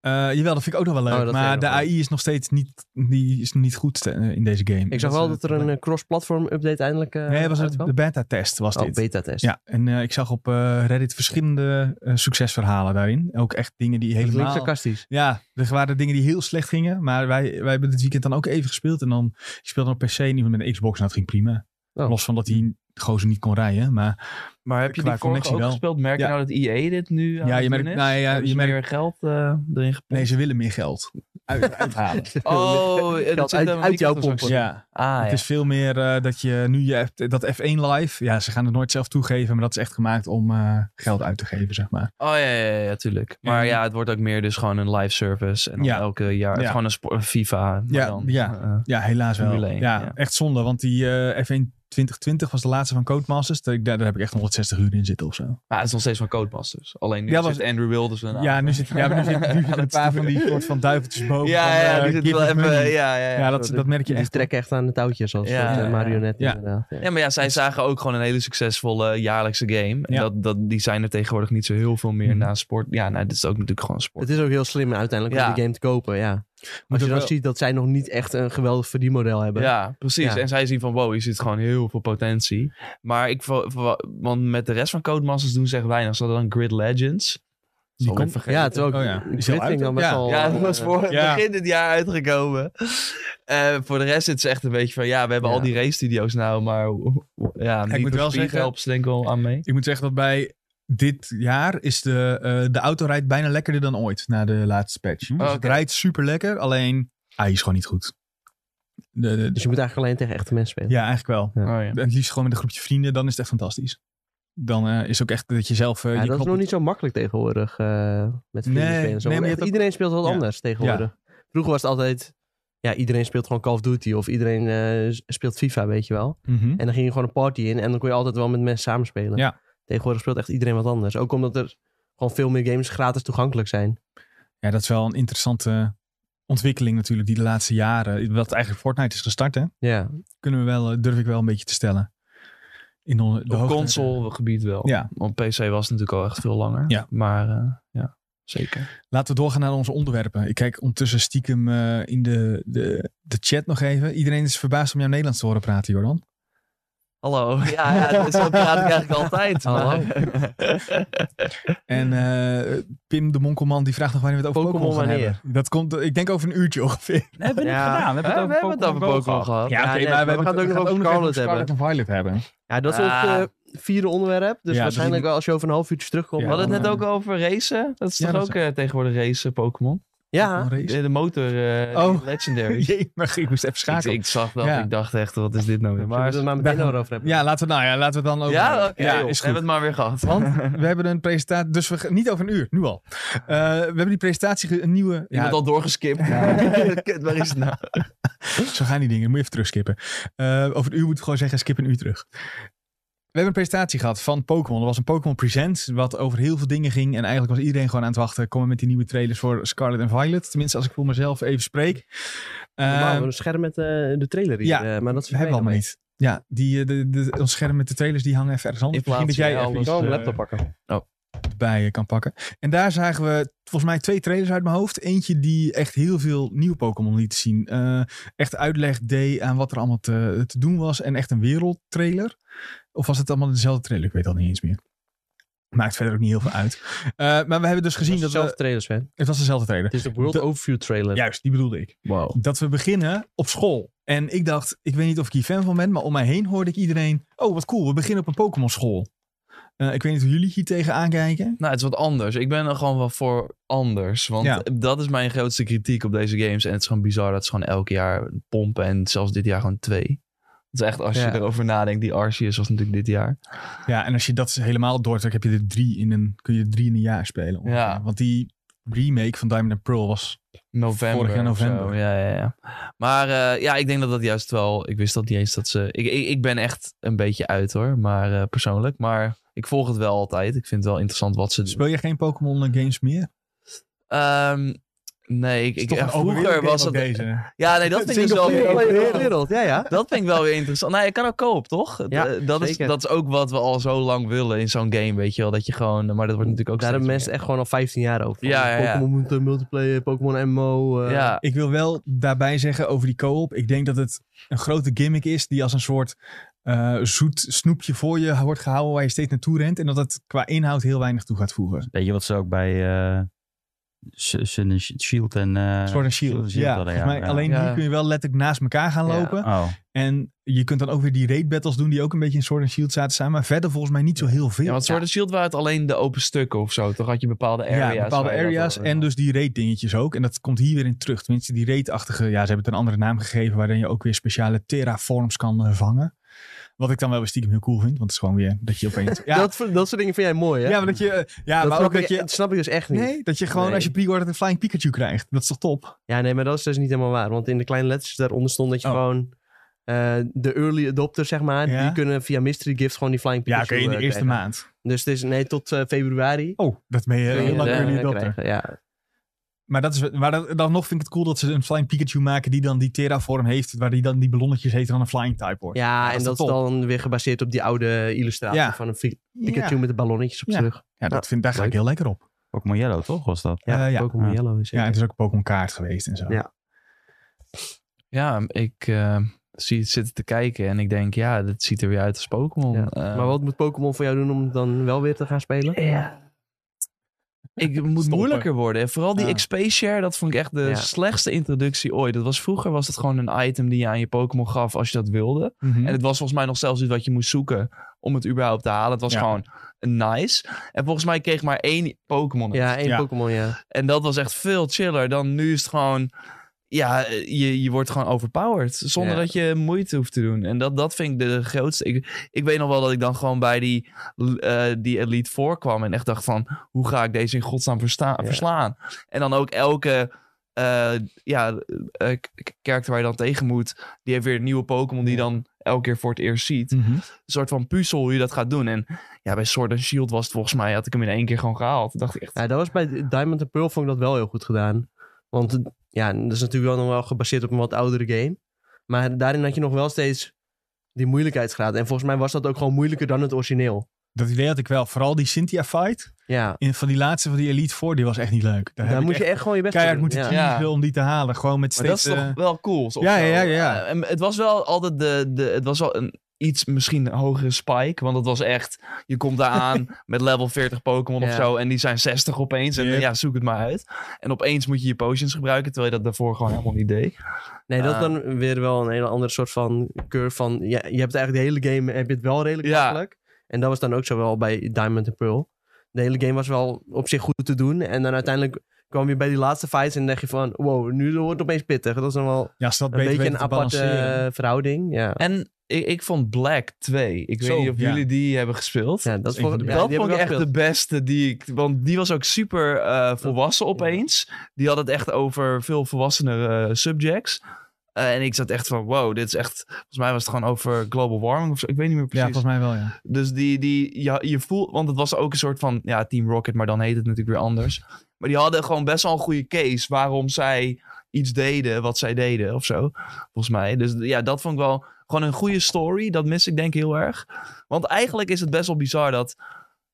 Eh, jawel, dat vind ik ook nog wel Oh, leuk. dat vind maar ik de nog wel. AI is nog steeds niet, die is nog niet goed eh, in deze game. Ik zag is wel het dat er een eh, cross-platform update eindelijk eh Nee, het was het, uitkwam. de beta-test was Oh, dit. beta-test. Ja, en eh, ik zag op eh, Reddit verschillende eh, succesverhalen daarin. Ook echt dingen die Dat klinkt helemaal... sarcastisch. Ja, er waren dingen die heel slecht gingen. Maar wij, wij hebben dit weekend dan ook even gespeeld. En dan, ik speelde dan op PC en iemand met een Xbox. En dat ging prima. Oh. Los van dat die gozer niet kon rijden. Maar Maar heb je Qua die vorige connectie ook wel. gespeeld? Merk Ja. je nou dat IE dit nu eh, aan ja, het je doen merkt... is? Nou ja, Hebben je ze merkt... meer geld eh, erin gepompt? Nee, ze willen meer [LAUGHS] geld. Uit, uithalen. Oh, eh, dat Geld zit uit- hem uit niet jouw op zo'n pompen. actie. ja. Ah, Het ja. is veel meer eh, dat je nu je hebt, dat F1 live, ja, ze gaan het nooit zelf toegeven, maar dat is echt gemaakt om eh, geld uit te geven, zeg maar. Oh ja, ja, ja, ja, tuurlijk. Maar En- ja, het wordt ook meer dus gewoon een live service. En dan Ja. elke jaar Ja. gewoon een spo- een FIFA. maar Ja, dan, ja. eh, Ja, helaas wel. Formule één, ja, ja. echt zonde, want die eh, F1 2020 was de laatste van Codemasters. Daar, daar heb ik echt 160 uur in zitten of zo. maar het is nog steeds van Codemasters. Alleen nu Ja, zit Andrew Wilders ernaar. ja, nu zit, ja, nu zit, nu [LAUGHS] zitten een paar van die soort van duiveltjes boven. ja, van, ja, eh, die zit give wel us even... money. Ja, ja, ja. ja, dat, dat merk je Die echt. trekken echt aan de touwtjes als Ja, soort, eh, ja, ja. marionetten Ja. inderdaad. Ja. Ja, maar ja, zij zagen ook gewoon een hele succesvolle jaarlijkse game. En Ja. dat, dat, die zijn er tegenwoordig niet zo heel veel meer Mhm. na sport. Ja, nou, dit is ook natuurlijk gewoon sport. Het is ook heel slim uiteindelijk Ja. om die game te kopen, ja. Moet Als ook je dan wel- ziet dat zij nog niet echt een geweldig verdienmodel hebben. Ja, precies. Ja. En zij zien van, wow, hier zit gewoon heel veel potentie. Maar ik, vo- vo- want met de rest van Codemasters doen ze echt weinig. Ze hadden dan Grid Legends. Die Alweer komt- vergeten. Ja, terwijl Oh ik ja, die is Grid heel vind ik dan uit, best ja. wel... Ja, dat was eh, voor het Ja. begin dit jaar uitgekomen. Eh, voor de rest is het echt een beetje van, ja, we hebben Ja. al die race studio's nou, maar ja, moet Need for wel Speed zeggen- helpt ze denk ik wel aan mee. Ik moet zeggen dat bij dit jaar is de, eh de autorijd bijna lekkerder dan ooit na de laatste patch. Hm. Dus het Oké. ah, rijdt super lekker, alleen hij is gewoon niet goed. De, de- de- Dus je moet eigenlijk alleen tegen echte mensen spelen. ja, eigenlijk wel. Oh, ja. En het liefst gewoon met een groepje vrienden, dan is het echt fantastisch. Dan eh, is ook echt dat je zelf. eh, Ja, je dat is knop- nog niet zo makkelijk tegenwoordig eh, met vrienden Nee, spelen. en Zo. nee, maar je hebt ook- Want echt Iedereen speelt wat Ja. anders tegenwoordig. Vroeger was het altijd, ja, iedereen speelt gewoon Call of Duty of iedereen eh, s- speelt FIFA, weet je wel. Mhm. En dan ging je gewoon een party in en dan kon je altijd wel met mensen samenspelen. Ja. Tegenwoordig speelt echt iedereen wat anders. Ook omdat er gewoon veel meer games gratis toegankelijk zijn. Ja, dat is wel een interessante ontwikkeling natuurlijk die de laatste jaren, wat eigenlijk Fortnite is gestart, hè, Ja, kunnen we wel, eh, durf ik wel een beetje te stellen. In on- de Op hoogte- console-gebied wel. Ja. Op PC was het natuurlijk al echt veel langer. Ja. Maar eh, ja, zeker. Laten we doorgaan naar onze onderwerpen. Ik kijk ondertussen stiekem eh, in de, de, de chat nog even. Iedereen is verbaasd om jou Nederlands te horen praten, Jordan. Hallo. Ja, [LAUGHS] ja zo praat ik eigenlijk altijd. maar- Hallo. En eh, Pim de Monkelman die vraagt nog wanneer we het over Pokémon Pokémon gaan wanneer? hebben. Dat komt, eh, ik denk over een uurtje ongeveer. Dat hebben we Ja. Eh, niet gedaan. We Hè, hebben het over Pokémon Go gehad. gehad. Ja, nee, maar we hebben gaan het ook nog over Scarlet en Violet hebben. ja dat is Ah. ons eh, vierde onderwerp. Dus Ja, waarschijnlijk dus- wel als je over een half uurtje terugkomt. Ja, We hadden het net dan, ook over racen. Dat is Ja, toch dat ook eh, tegenwoordig racen, Pokémon? eh, Ja, Een race. De, de motor, eh, Oh. die Legendary. [LAUGHS] Jee, maar ik moest even ik, schakelen. ik zag dat, Ja. ik dacht echt, wat is dit nou weer? maar, we Maar, het maar Daar meteen gaan we- over hebben. Ja, laten we, nou ja, laten we het dan over. ja, oké, joh. is hebben we goed. het maar weer gehad. Want we hebben een presentatie, dus we, gaan- niet over een uur, nu al. Eh, we hebben die presentatie, ge- een nieuwe. Iemand ja, al doorgeskipt. [LAUGHS] Kut, waar is het nou? Zo gaan die dingen. Dan moet je even terugskippen. Eh, over een uur moet ik gewoon zeggen, skip een uur terug. We hebben een presentatie gehad van Pokémon. Er was een Pokémon Presents, wat over heel veel dingen ging. En eigenlijk was iedereen gewoon aan het wachten. Komen met die nieuwe trailers voor Scarlet en Violet. Tenminste, als ik voor mezelf even spreek. Eh, Normaal, we hebben een scherm met eh, de trailer hier. ja, eh, maar dat is we hebben we allemaal niet. Ja, die, eh, de, de, ons scherm met de trailers die hangen even ergens anders. In plaats Misschien dat jij van even alles, iets, Oh, mijn eh, laptop pakken. bij eh, kan pakken. En daar zagen we volgens mij twee trailers uit mijn hoofd. Eentje die echt heel veel nieuwe Pokémon liet zien. Eh, echt uitleg deed aan wat er allemaal te, te doen was. En echt een wereldtrailer. Of was het allemaal dezelfde trailer? Ik weet al niet eens meer. Maakt verder ook niet heel veel uit. Eh, maar we hebben dus gezien dat, zelf we... trailers, hè? Het was dezelfde trailer. Het is de World De- Overview trailer. Juist, die bedoelde ik. Wow. Dat we beginnen op school. En ik dacht, ik weet niet of ik hier fan van ben, maar om mij heen hoorde ik iedereen... Oh, wat cool, we beginnen op een Pokémon school. Eh, ik weet niet hoe jullie hier tegenaan kijken. Nou, het is wat anders. Ik ben er gewoon wel voor anders. Want Ja. dat is mijn grootste kritiek op deze games. En het is gewoon bizar dat ze gewoon elk jaar pompen. En zelfs dit jaar gewoon twee. Dat is echt, als Ja. je erover nadenkt, die Arceus was natuurlijk dit jaar. Ja, en als je dat helemaal doortrekt, heb je er drie in een, kun je er drie in een jaar spelen. ongeveer. Ja. Want die remake van Diamond and Pearl was... November. Vorig jaar of zo. november. Ja, ja, ja. Maar eh, ja, ik denk dat dat juist wel. Ik wist dat niet eens dat ze. Ik, ik, ik ben echt een beetje uit hoor, maar eh, persoonlijk. Maar ik volg het wel altijd. Ik vind het wel interessant wat ze doen. Speel je geen Pokémon eh, games meer? Ehm, nee, ik, Is ik, toch een eh, open vroeger wereld was game het. ook deze. Ja, nee, dat vind ik dus wel Single weer. player. wereld. Ja, ja. Dat vind ik wel weer interessant. Nou, je kan ook koop, toch? Ja, Eh, dat, is, zeker. dat is ook wat we al zo lang willen in zo'n game, weet je wel. Dat je gewoon. Maar dat wordt natuurlijk ook. Daar hebben steeds mensen echt gewoon al 15 jaar over. Van Ja, ja, ja. Pokémon moet, eh, multiplayer, Pokémon MMO. meer. eh, Ja, Ik wil wel daarbij zeggen over die co-op. Ik denk dat het een grote gimmick is die als een soort eh, zoet snoepje voor je wordt gehouden waar je steeds naartoe rent. En dat het qua inhoud heel weinig toe gaat voegen. Weet je wat ze ook bij eh, S- Sun and Sh- Shield en... eh, Sword and Shield. Shield ja, hadden, volgens mij ja. alleen Ja. die kun je wel letterlijk naast elkaar gaan Ja. lopen. Oh, En je kunt dan ook weer die raid battles doen die ook een beetje in Sword and Shield zaten samen. Maar verder volgens mij niet zo heel veel. Ja, want Sword and Shield waren het alleen de open stukken of zo. Toch had je bepaalde area's. ja, bepaalde waar je dat area's over- en dus die raid dingetjes ook. En dat komt hier weer in terug. Tenminste, die raid-achtige, ja, ze hebben het een andere naam gegeven, waarin je ook weer speciale terraforms kan eh, vangen. Wat ik dan wel weer stiekem heel cool vind, want het is gewoon weer dat je [LAUGHS] opeens... Ja, Dat, dat soort dingen vind jij mooi, hè? ja maar dat je... eh, Ja, dat maar snap ook dat ik- je... dat snap ik dus echt niet. Nee, dat je gewoon Nee. als je pre-order een Flying Pikachu krijgt. Dat is toch top? Ja, nee, maar dat is dus niet helemaal waar. Want in de kleine letters daaronder stond dat je Oh. gewoon... eh, de early adopters, zeg maar, Ja. die kunnen via Mystery Gift gewoon die Flying Ja, Pikachu oké, in de eh, eerste krijgen. maand. Dus het is, nee, tot eh, februari. Oh, dat ben je kun je heel lang het, eh, early adopter. krijgen, Ja, Maar, dat is, maar dat- dan nog vind ik het cool dat ze een Flying Pikachu maken die dan die terraform heeft, waar die dan die ballonnetjes heet en dan een Flying type wordt. ja dat en is dat is toch top? dan weer gebaseerd op die oude illustratie Ja. van een fi- Ja. Pikachu met de ballonnetjes op Ja. terug. Ja, dat vind, daar ga ik heel lekker op. Pokémon Yellow toch was dat? Eh, ja. Pokémon Ja. Yellow is Ja, en het. het is ook Pokémon kaart geweest en zo. Ja. Ja, ik eh, zie het zitten te kijken en ik denk, ja, dat ziet er weer uit als Pokémon. Ja. Eh, Maar wat moet Pokémon voor jou doen om dan wel weer te gaan spelen? Ik het moet Stoppen. moeilijker worden. En Vooral die Ja. XP share, dat vond ik echt de Ja. slechtste introductie ooit. Dat was, vroeger was het gewoon een item die je aan je Pokémon gaf als je dat wilde. Mhm. Hm. En het was volgens mij nog zelfs iets wat je moest zoeken om het überhaupt te halen. Het was Ja. gewoon nice. En volgens mij kreeg maar één Pokémon. het. Ja, één Ja. Pokémon, ja. En dat was echt veel chiller dan nu is het gewoon... ja, eh, je, je wordt gewoon overpowered. Zonder Ja. dat je moeite hoeft te doen. En dat, dat vind ik de grootste. Ik, ik weet nog wel dat ik dan gewoon bij die, eh, die elite voorkwam. En echt dacht van, hoe ga ik deze in godsnaam versta- Ja. verslaan? En dan ook elke eh, ja, eh, k- k- character waar je dan tegen moet. Die heeft weer een nieuwe Pokémon die je dan elke keer voor het eerst ziet. Hm. Mhm. Een soort van puzzel hoe je dat gaat doen. En ja, bij Sword and Shield was het volgens mij, had ik hem in één keer gewoon gehaald. Toen dacht ik echt, Ja, dat was bij Diamond and Pearl vond ik dat wel heel goed gedaan. Want eh, ja, dat is natuurlijk wel nog wel gebaseerd op een wat oudere game. Maar daarin had je nog wel steeds die moeilijkheidsgraad. En volgens mij was dat ook gewoon moeilijker dan het origineel. Dat idee had ik wel. Vooral die Cynthia fight Ja, in, van die laatste van die Elite Four, die was echt niet leuk. Daar, daar heb moet ik je echt echt gewoon je best voor keihard doen. moeten Ja. Ja. kiezen om die te halen. Gewoon met Maar steeds... dat is toch eh, wel cool. zo- ja, zo. ja, ja. Eh, en het was wel altijd de, de het was wel een iets misschien hogere spike, want het was echt, je komt daar [LAUGHS] aan met level 40 Pokémon of Ja. zo en die zijn 60 opeens en Yep. ja, zoek het maar uit. En opeens moet je je potions gebruiken, terwijl je dat daarvoor gewoon helemaal niet deed. Nee, dat is Ah. dan weer wel een hele andere soort van curve van... Ja, je hebt eigenlijk de hele game, heb je het wel redelijk Ja. makkelijk. En dat was dan ook zo wel bij Diamond and Pearl. De hele game was wel op zich goed te doen. En dan uiteindelijk kwam je bij die laatste fights en dacht je van... Wow, nu wordt het opeens pittig. Dat is dan wel Ja, als ze dat een beter beetje weten een te aparte balanceren. eh, verhouding. Ja, En ik, ik vond Black 2, ik Zo, weet niet of ja. jullie die hebben gespeeld. ja dat is een voor, van de ja, dat die heb vond ik ik wel echt de gespeeld. beste die ik. Want die was ook super eh, volwassen opeens. Die had het echt over veel volwassenere eh, subjects. Eh, en ik zat echt van: wow, dit is echt. Volgens mij was het gewoon over global warming of zo. Ik weet niet meer Ja, precies. volgens mij wel, ja. Dus die, die ja, je voelt. Want het was ook een soort van. Ja, Team Rocket, maar dan heet het natuurlijk weer anders. Maar die hadden gewoon best wel een goede case waarom zij iets deden wat zij deden of zo. Volgens mij. Dus ja, dat vond ik wel gewoon een goede story. Dat mis ik denk ik heel erg. Want eigenlijk is het best wel bizar dat.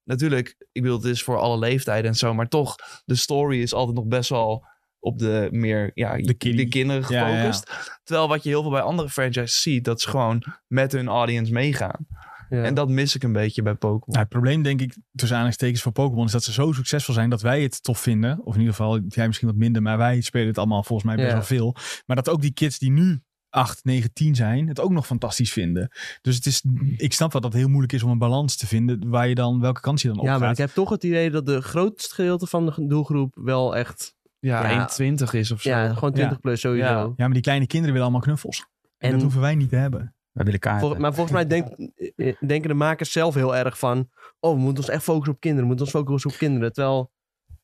Natuurlijk, ik bedoel, het is voor alle leeftijden en zo. Maar toch, de story is altijd nog best wel op de meer ja, De kiddie. kinderen Ja, ja, ja. gefocust. Terwijl wat je heel veel bij andere franchises ziet, dat ze gewoon met hun audience meegaan. Ja. En dat mis ik een beetje bij Pokémon. Nou, het probleem, denk ik, tussen aanhalingstekens voor Pokémon, is dat ze zo succesvol zijn dat wij het tof vinden. Of in ieder geval, jij misschien wat minder, maar wij spelen het allemaal volgens mij best Ja. wel veel. Maar dat ook die kids die nu 8, 9, 10 zijn, het ook nog fantastisch vinden. Dus het is, ik snap wel dat het heel moeilijk is om een balans te vinden waar je dan, welke kant je dan op ja, maar ik gaat. heb toch het idee dat de grootste gedeelte van de doelgroep wel echt... ja, ja. 21 is of zo. Ja, gewoon 20 plus sowieso. Ja. Ja, maar die kleine kinderen willen allemaal knuffels. En, En- dat hoeven wij niet te hebben. Wij willen kaarten. Vol- maar volgens mij [LAUGHS] denk- eh, denken de makers zelf heel erg van... Oh, we moeten ons echt focussen op kinderen. We moeten ons focussen op kinderen. Terwijl,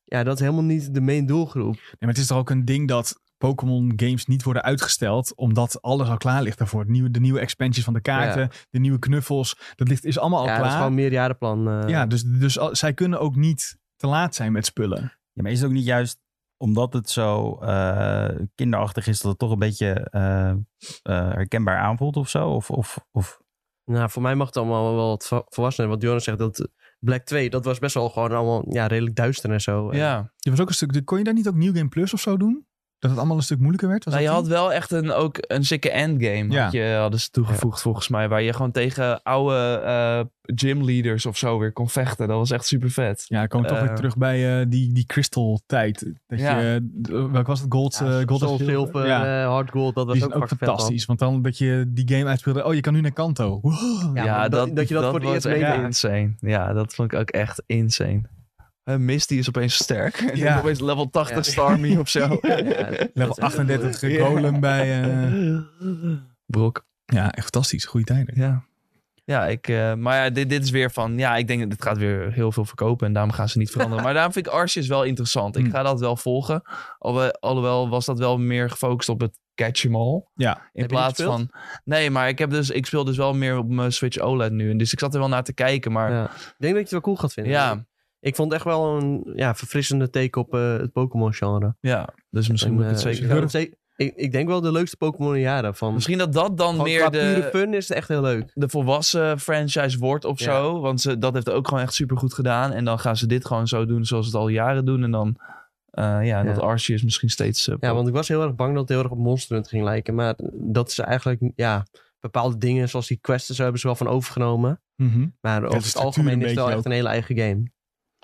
ja, dat is helemaal niet de main doelgroep. Nee, maar het is toch ook een ding dat Pokémon games niet worden uitgesteld, omdat alles al klaar ligt daarvoor. De nieuwe, de nieuwe expansies van de kaarten, de nieuwe knuffels, dat ligt, is allemaal al ja, dat klaar. is gewoon een meerjarenplan. eh. Ja, dus, dus al- zij kunnen ook niet te laat zijn met spullen. Ja, maar is het ook niet juist omdat het zo eh, kinderachtig is, dat het toch een beetje eh, eh, herkenbaar aanvoelt of zo? Of, of, of... Nou, voor mij mag het allemaal wel wat va- volwassener. Want Jonas zegt dat eh, Black 2, dat was best wel gewoon allemaal ja, redelijk duister en zo. En- Ja. Je was ook een stuk, kon je daar niet ook New Game Plus of zo doen? Dat het allemaal een stuk moeilijker werd? Was Nou, je dat had wel echt een, ook een sikke endgame. Ja. Had je, hadden ze toegevoegd volgens mij. Waar je gewoon tegen oude eh gymleaders of zo weer kon vechten. Dat was echt super vet. die? Ja, dan komen we toch Eh, Ehm. weer terug bij eh, die, die crystal tijd. Dat Ja. je, d- welk was het? Gold, Ja, eh, gold Soul of Silver? Silver, Ja, eh, Hard Gold, dat was die ook, zijn ook fucking vet fantastisch. Want dan dat je die game uitspeelde. Oh, je kan nu naar Kanto. Wow. Ja, Ja, maar dat- dat, dat je dat voor het was eerst echt meedeed. insane. Ja, dat vond ik ook echt insane. Eh, Misty is opeens sterk. En Ja. [LAUGHS] opeens level 80 Ja. Starmie of [LAUGHS] zo. dan. Ja, dat- [LAUGHS] Level dat is echt heel 38 leuk. Ja. golem bij... eh, Brok. ja, echt fantastisch. Goede tijden. Ja. Ja, ik, eh, maar ja, dit, dit is weer van... Ja, ik denk dat dit gaat weer heel veel verkopen en daarom gaan ze niet veranderen. maar daarom vind ik Arceus wel interessant. Ik Hmm. ga dat wel volgen. Alwe- Alhoewel was dat wel meer gefocust op het catch em all. Ja. In Heb je plaats die gespeeld? van... Nee, maar ik, heb dus, ik speel dus wel meer op mijn Switch OLED nu. En Dus ik zat er wel naar te kijken, maar... Ja, Ja. Ik denk dat je het wel cool gaat vinden. ja, Ik vond het echt wel een ja, verfrissende take op eh, het Pokémon-genre. dus misschien En, moet ik eh, het zeker... ik zou het zeker- Ik, ik denk wel de leukste Pokémon in jaren. Van, Misschien eh, dat dat dan gewoon meer qua de... pure fun is het echt heel leuk. de volwassen franchise wordt of Ja. zo. Want ze, dat heeft ook gewoon echt super goed gedaan. En dan gaan ze dit gewoon zo doen zoals ze het al jaren doen. En dan, eh, ja, dat Arceus misschien steeds... eh, Ja, want ik was heel erg bang dat het heel erg op Monster Hunter ging lijken. Maar dat is eigenlijk, ja, bepaalde dingen zoals die quests en zo hebben ze wel van overgenomen. Mhm. Maar over het structuur een algemeen is het wel beetje echt een hele eigen game.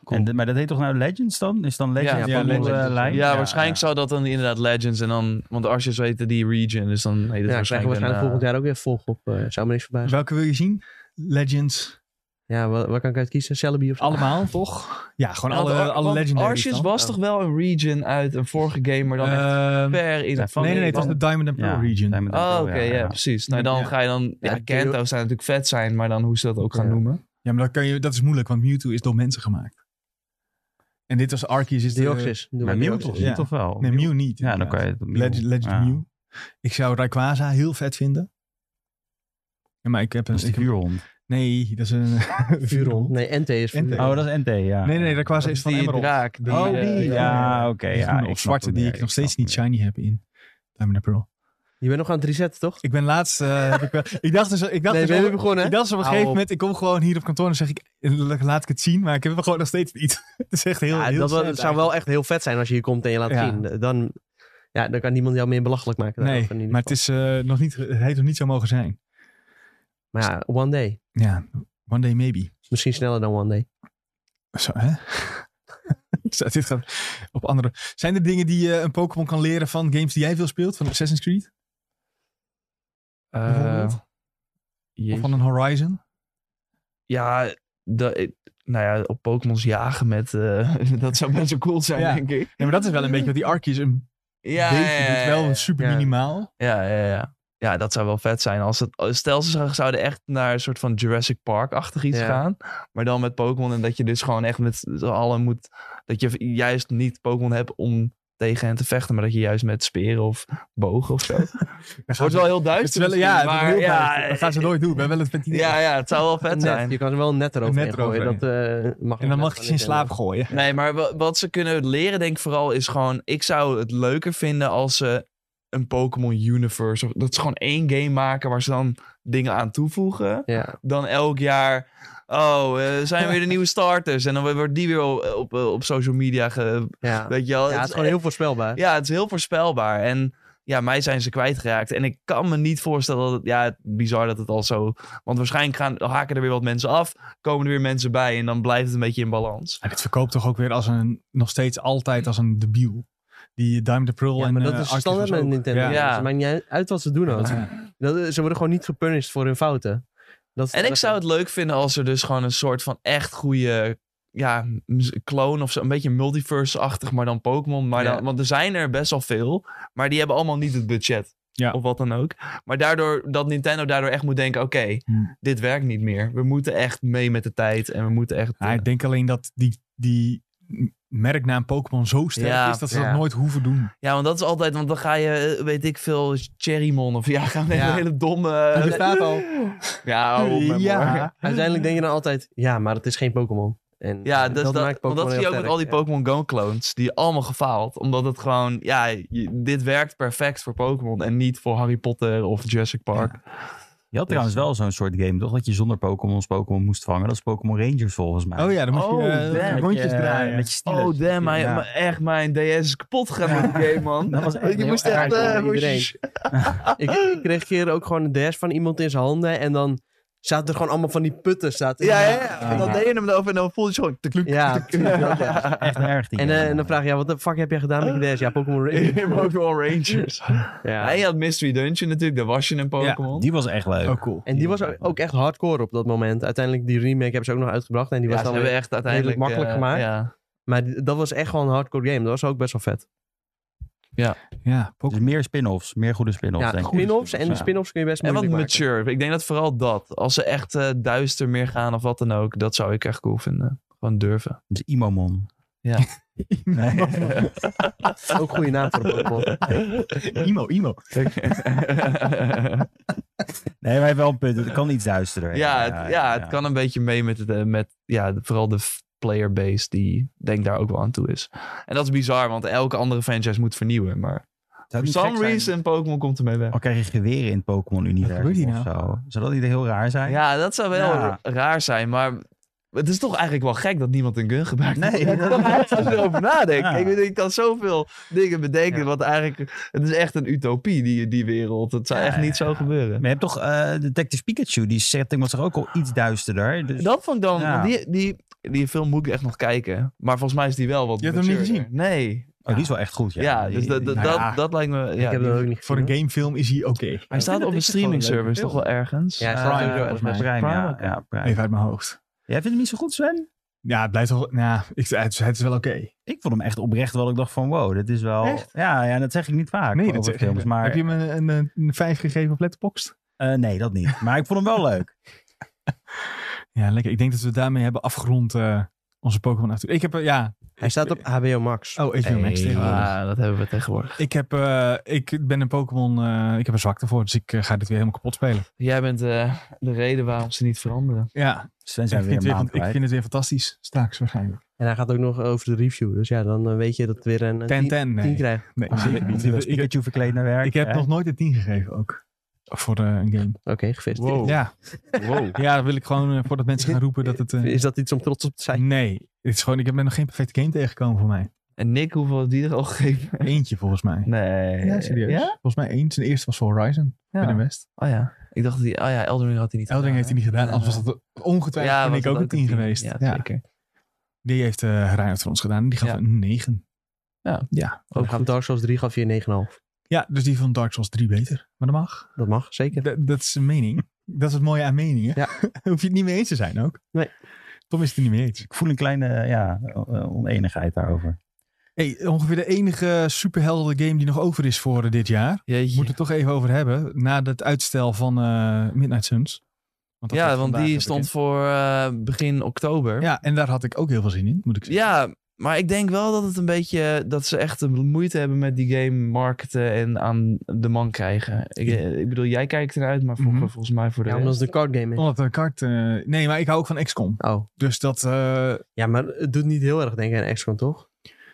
Cool. En, de- maar dat heet toch nou Legends dan? Is dan Legends? Ja, ja, van Legends. onze lijn? Ja, waarschijnlijk zou dat dan inderdaad Legends en dan... Want Arceus heette die region, dus dan heet het Ja, krijgen we waarschijnlijk... waarschijnlijk een, volgend Dus eh, jaar ook weer volg op. eh, zou me niks verbazen. Welke wil je zien? Legends? Ja, waar, waar kan ik uit kiezen? Celebi of zo? Allemaal, toch? Ja, gewoon eh, Nou, Want Ar- alle, alle want legendaries Arceus dan. was toch wel een region uit een vorige game, maar dan echt Ehm, per in nee, van. nee, nee, nee, het was de Diamond and Pearl Ja, region. zijn we dan Oh, wel, oké, ja, precies. Nou, dan Ja. ga je dan... Ja, Ja, Kanto zou natuurlijk vet zijn, maar dan hoe ze dat ook gaan Ja. noemen. Ja, maar dat, kan je, dat is moeilijk, want Mewtwo is door mensen gemaakt. En dit was Arceus is de... Deoxys. Doe Maar Mew toch, Ja. toch wel? Nee, Mew niet. Ja, dan inderdaad. kan je het Mew. Legend, Legend Ja. Mew. Ik zou Rayquaza heel vet vinden. Ja, maar ik heb een... Dat is die ik heb- vuurhond. nee, dat is [LAUGHS] een... Vuurrol. Nee, NT is NT. vuur. Oh, dat is NT, ja. Nee, nee, Rayquaza is van die Emerald. draak. Die, Oh, eh, die, Ja, Ja, oké. Die ja, groene ik of snap zwarte hem die weer, ik nog snap steeds hem niet weer. shiny heb in Diamond and Pearl. Je bent nog aan het resetten, toch? Ik ben laatst... eh, heb ik, wel, ik dacht dus... Ik dacht nee, dus we al- hebben begonnen. Ik dacht dus op een Hou gegeven op. moment, ik kom gewoon hier op kantoor en zeg ik, laat ik het zien, maar ik heb hem gewoon nog steeds niet. [LAUGHS] het is echt heel, Ja, heel dat wel- sad het zou wel echt heel vet zijn als je hier komt en je laat Ja. zien. Dan, ja, dan kan niemand jou meer belachelijk maken. Nee, daarover in ieder maar het, is, eh, nog niet, het heeft nog niet zo mogen zijn. geval. maar ja, one day. Ja, one day maybe. Misschien sneller dan one day. Zo, hè? [LAUGHS] Zo, dit gaat op andere... Zijn er dingen die je een Pokémon kan leren van games die jij veel speelt? Van Assassin's Creed? eh, Bijvoorbeeld? Of jeetje. van een Horizon? Ja, dat, ik- nou ja, op Pokémon's jagen met... eh, [LAUGHS] dat zou best wel cool zijn, Ja. denk ik. Nee, maar dat is wel een beetje wat die Arceus een Ja, beetje ja, ja, doet. Wel ja. super Ja. minimaal. Ja, ja, ja. Ja, dat zou wel vet zijn. Als het, stel, ze zou- zouden echt naar een soort van Jurassic Park-achtig iets Ja. gaan. Maar dan met Pokémon. En dat je dus gewoon echt met z'n allen moet... Dat je juist niet Pokémon hebt om tegen hen te vechten. Maar dat je juist met speren of bogen of zo. Het wordt wel heel Het duister is wel, ja, misschien, het is maar heel ja, duister. dat gaan ze nooit doen. We hebben wel het met die Ja, ja, het zou wel vet Net, zijn. je kan er wel een net erover Net gooien. eroverheen. Dat, eh, mag En dan mag je ze in slaap gooien. Nee, maar wa- wat ze kunnen leren, denk ik vooral, is gewoon... Ik zou het leuker vinden als ze een Pokémon Universe... of- Dat ze gewoon één game maken waar ze dan dingen aan toevoegen. Ja. dan elk jaar. Oh, eh, zijn weer de nieuwe starters. En dan wordt die weer op, op, eh, op social media. Ge, Ja. weet je wel. e-, ja, het is gewoon heel voorspelbaar. ja, het is heel voorspelbaar. En ja, mij zijn ze kwijtgeraakt. En ik kan me niet voorstellen dat het. Ja, het- bizar dat het al zo. Want waarschijnlijk gaan, haken er weer wat mensen af. Komen er weer mensen bij. En dan blijft het een beetje in balans. Maar dit verkoopt toch ook weer als een, nog steeds altijd als een debiel. Die Diamond and Pearl Ja, en maar eh, dat is Arceus standaard was met ook. Nintendo. Ja. Ja. Dus het maakt niet uit wat ze doen. ook. Ja. Dat, ze worden gewoon niet gepunished voor hun fouten. Dat is- En ik dat- zou het leuk vinden als er dus gewoon een soort van echt goede ja, muz- clone of zo. Een beetje multiverse-achtig, maar dan Pokémon. Maar Ja. dan, want er zijn er best wel veel, maar die hebben allemaal niet het budget. Ja. Of wat dan ook. Maar daardoor, dat Nintendo daardoor echt moet denken, oké, Hmm. dit werkt niet meer. We moeten echt mee met de tijd en we moeten echt... Ja, eh, ik denk alleen dat die, die merknaam Pokémon zo sterk Ja, is dat ze ja. dat nooit hoeven doen. ja, want dat is altijd, want dan ga je, eh, weet ik veel, Cherrymon of ja, [LAUGHS] gaan we Ja. een hele domme... Hij bestaat al. Ja, hou op Oh, met me, hoor. ja. Uiteindelijk denk je dan altijd, ja, maar het is geen Pokémon. En Ja, eh, dus dat, maakt want Pokémon dat zie je heel ook met sterk, al die ja. Pokémon Go clones. Die allemaal gefaald. Omdat het gewoon, ja, je- dit werkt perfect voor Pokémon. En niet voor Harry Potter of Jurassic Park. Je had trouwens wel zo'n soort game, toch? Dat je zonder Pokémon's Pokémon moest vangen. Dat is Pokémon Rangers volgens mij. Oh ja, dan moet je Oh, eh, damn. rondjes Met je- draaien. Met je stiletto. Oh damn, mijn, Ja. mijn- echt, mijn DS is kapot gegaan met die game, man. [LAUGHS] Dat was echt je heel moest erg echt... voor eh, moest je- iedereen. Ik, [LAUGHS] ik kreeg een keer ook gewoon een DS van iemand in zijn handen. En dan zaten er gewoon allemaal van die putten. Zaten Ja, ja, ja. En dan Ja. deed je hem erover en dan voelde je gewoon... tuk, tuk, Ja, [LAUGHS] tuk, tuk. dat, ja. Echt erg die En, game. eh, en dan vraag je, ja, wat de fuck heb jij gedaan met je DS? Ja, Pokémon Rangers. In Pokémon Rangers. Ja. Hij had Mystery Dungeon natuurlijk, daar was je een Pokémon. Die was echt leuk. Oh, cool. En die was ook ook echt hardcore op dat moment. Uiteindelijk, die remake hebben ze ook nog uitgebracht. En die Ja, was ze dan hebben weer- echt uiteindelijk... makkelijk eh, gemaakt. Ja. Maar die- dat was echt gewoon een hardcore game. Dat was ook best wel vet. Ja, Dus Pokémon. meer spin-offs. Meer goede spin-offs, Ja, denk ik. spin-offs. En die Ja. spin-offs kun je best En wat moeilijk maken. mature. Ik denk dat vooral dat. Als ze echt eh, duister meer gaan of wat dan ook. Dat zou ik echt cool vinden. Gewoon durven. Dus Imomon. Ja. [LAUGHS] Nee. Ook goede naam voor een Pokémon. Imo, Imo. nee, maar hij heeft wel een punt. Het kan iets duisterder. ja, het, ja, het kan een beetje mee met, het, eh, met ja, de- vooral de f- playerbase die denk daar ook wel aan toe is. En dat is bizar, want elke andere franchise moet vernieuwen. Maar Zou for het niet gek some zijn? reason Pokémon komt ermee weg. Al krijg je geweren in het Wat nou? Pokémon-universum gebeurt of hier zo. Zou dat niet heel raar zijn? Ja, dat zou wel Ja. raar zijn, maar het is toch eigenlijk wel gek dat niemand een gun gebruikt. [LAUGHS] Nee, ik kan dat- er eigenlijk over nadenken. Ja. Ik, bedoel, je kan zoveel dingen bedenken, Ja. wat eigenlijk... Het is echt een utopie, die, die wereld. Het zou Ja, echt niet zo gebeuren. Maar je hebt toch eh, Detective Pikachu, die setting was toch ook al iets duisterder. Dus Dat vond ik dan... Ja. want Die, die, die film moet ik echt nog kijken. Maar volgens mij is die wel wat Je hebt hem niet matureder. Nee. oh, die is wel echt goed. Ja, Ja, dus Die- dat, dat, die- dat, nou ja, dat lijkt me... Ik Ja, heb die- dat ook niet Voor gezien, een gamefilm is hij oké. hij staat vind op dat een dit gewoon een streaming service leuke toch wel ergens? Ja, eh, staat Prime, sowieso ergens volgens mij. Prime, Prime ja. ook. ja, Prime. Even uit mijn hoofd. Jij vindt hem niet zo goed, Sven? Ja, het blijft wel... Ja, ik, het, het is wel oké. Ik vond hem echt oprecht wel. Ik dacht van, wow, dit is wel... Echt? Ja, ja, dat zeg ik niet vaak Nee, over dat films. Maar, Heb je hem een, een, een, vijf gegeven op Letterboxd? eh, nee, dat niet. Maar ik vond hem wel leuk. Ja, lekker. Ik denk dat we daarmee hebben afgerond eh, onze Pokémon Avontuur. Ik heb... eh, ja. Hij staat op HBO Max. Oh, HBO Max Hey, tegenwoordig. ja, dat hebben we tegenwoordig. Ik heb... eh, ik ben een Pokémon... eh, ik heb er zwakte voor. Dus ik eh, ga dit weer helemaal kapot spelen. Jij bent eh, de reden waarom ze niet veranderen. Ja. Sven Ik zijn weer vind, een weer, maand ik kwijt. vind het weer fantastisch. Straks waarschijnlijk. En hij gaat ook nog over de review. Dus ja, dan eh, weet je dat het weer een eh, Ten tien, ten. tien Nee, krijgt. nee Ah, zeker niet. die was Ik, Pikachu verkleed naar werk. ik heb hè? nog nooit een 10 gegeven ook. Voor eh, een game. Oké, gevist. Wow. Ja. Ja, dan wil ik gewoon eh, voordat mensen gaan roepen dat het... eh, Is dat iets om trots op te zijn? Nee, het is gewoon, ik ben nog geen perfecte game tegengekomen voor mij. En Nick, hoeveel had die er al gegeven? Eentje volgens mij. [LAUGHS] Nee. Ja, serieus. Ja? Volgens mij één. Zijn eerste was voor Horizon. Ja. Binnen West. Oh ja. Ik dacht, die, oh ja, Elden Ring had hij niet Eldering heeft hij niet gedaan. Ja. Anders was dat ongetwijfeld Ja, ja, was ik dat ook een 10 tien? geweest. Ja, Ja, zeker. Die heeft eh Reinhard voor ons gedaan. Die gaf Ja. een 9. Ja. ja. Dan Ook gaat goed. Dark Souls 3 gaf je 9,5. Ja, dus die vond Dark Souls 3 beter. Maar dat mag. Dat mag, zeker. Dat- dat is zijn mening. Dat is het mooie aan meningen. Ja. [LAUGHS] Hoef je het niet mee eens te zijn ook. Nee. Tom is het er niet mee eens. Ik voel een kleine ja, eh, oneenigheid daarover. Hey, ongeveer de enige superhelden game die nog over is voor eh, dit jaar. Jeetje. Moeten we het toch even over hebben. Na het uitstel van eh, Midnight Suns. Want dat ja, werd want vandaag die bekend. stond voor eh, begin oktober. Ja, en daar had ik ook heel veel zin in, moet ik zeggen. Ja, maar ik denk wel dat het een beetje dat ze echt een moeite hebben met die game marketen en aan de man krijgen. Ik, eh, ik bedoel, jij kijkt eruit, maar vol- Mhm. volgens mij voor de Ja, rest- omdat het een card game is. Omdat de kart... eh, nee, maar ik hou ook van XCOM. Oh. Dus dat... eh, nee, Ja, maar het doet niet heel erg denken aan XCOM, toch?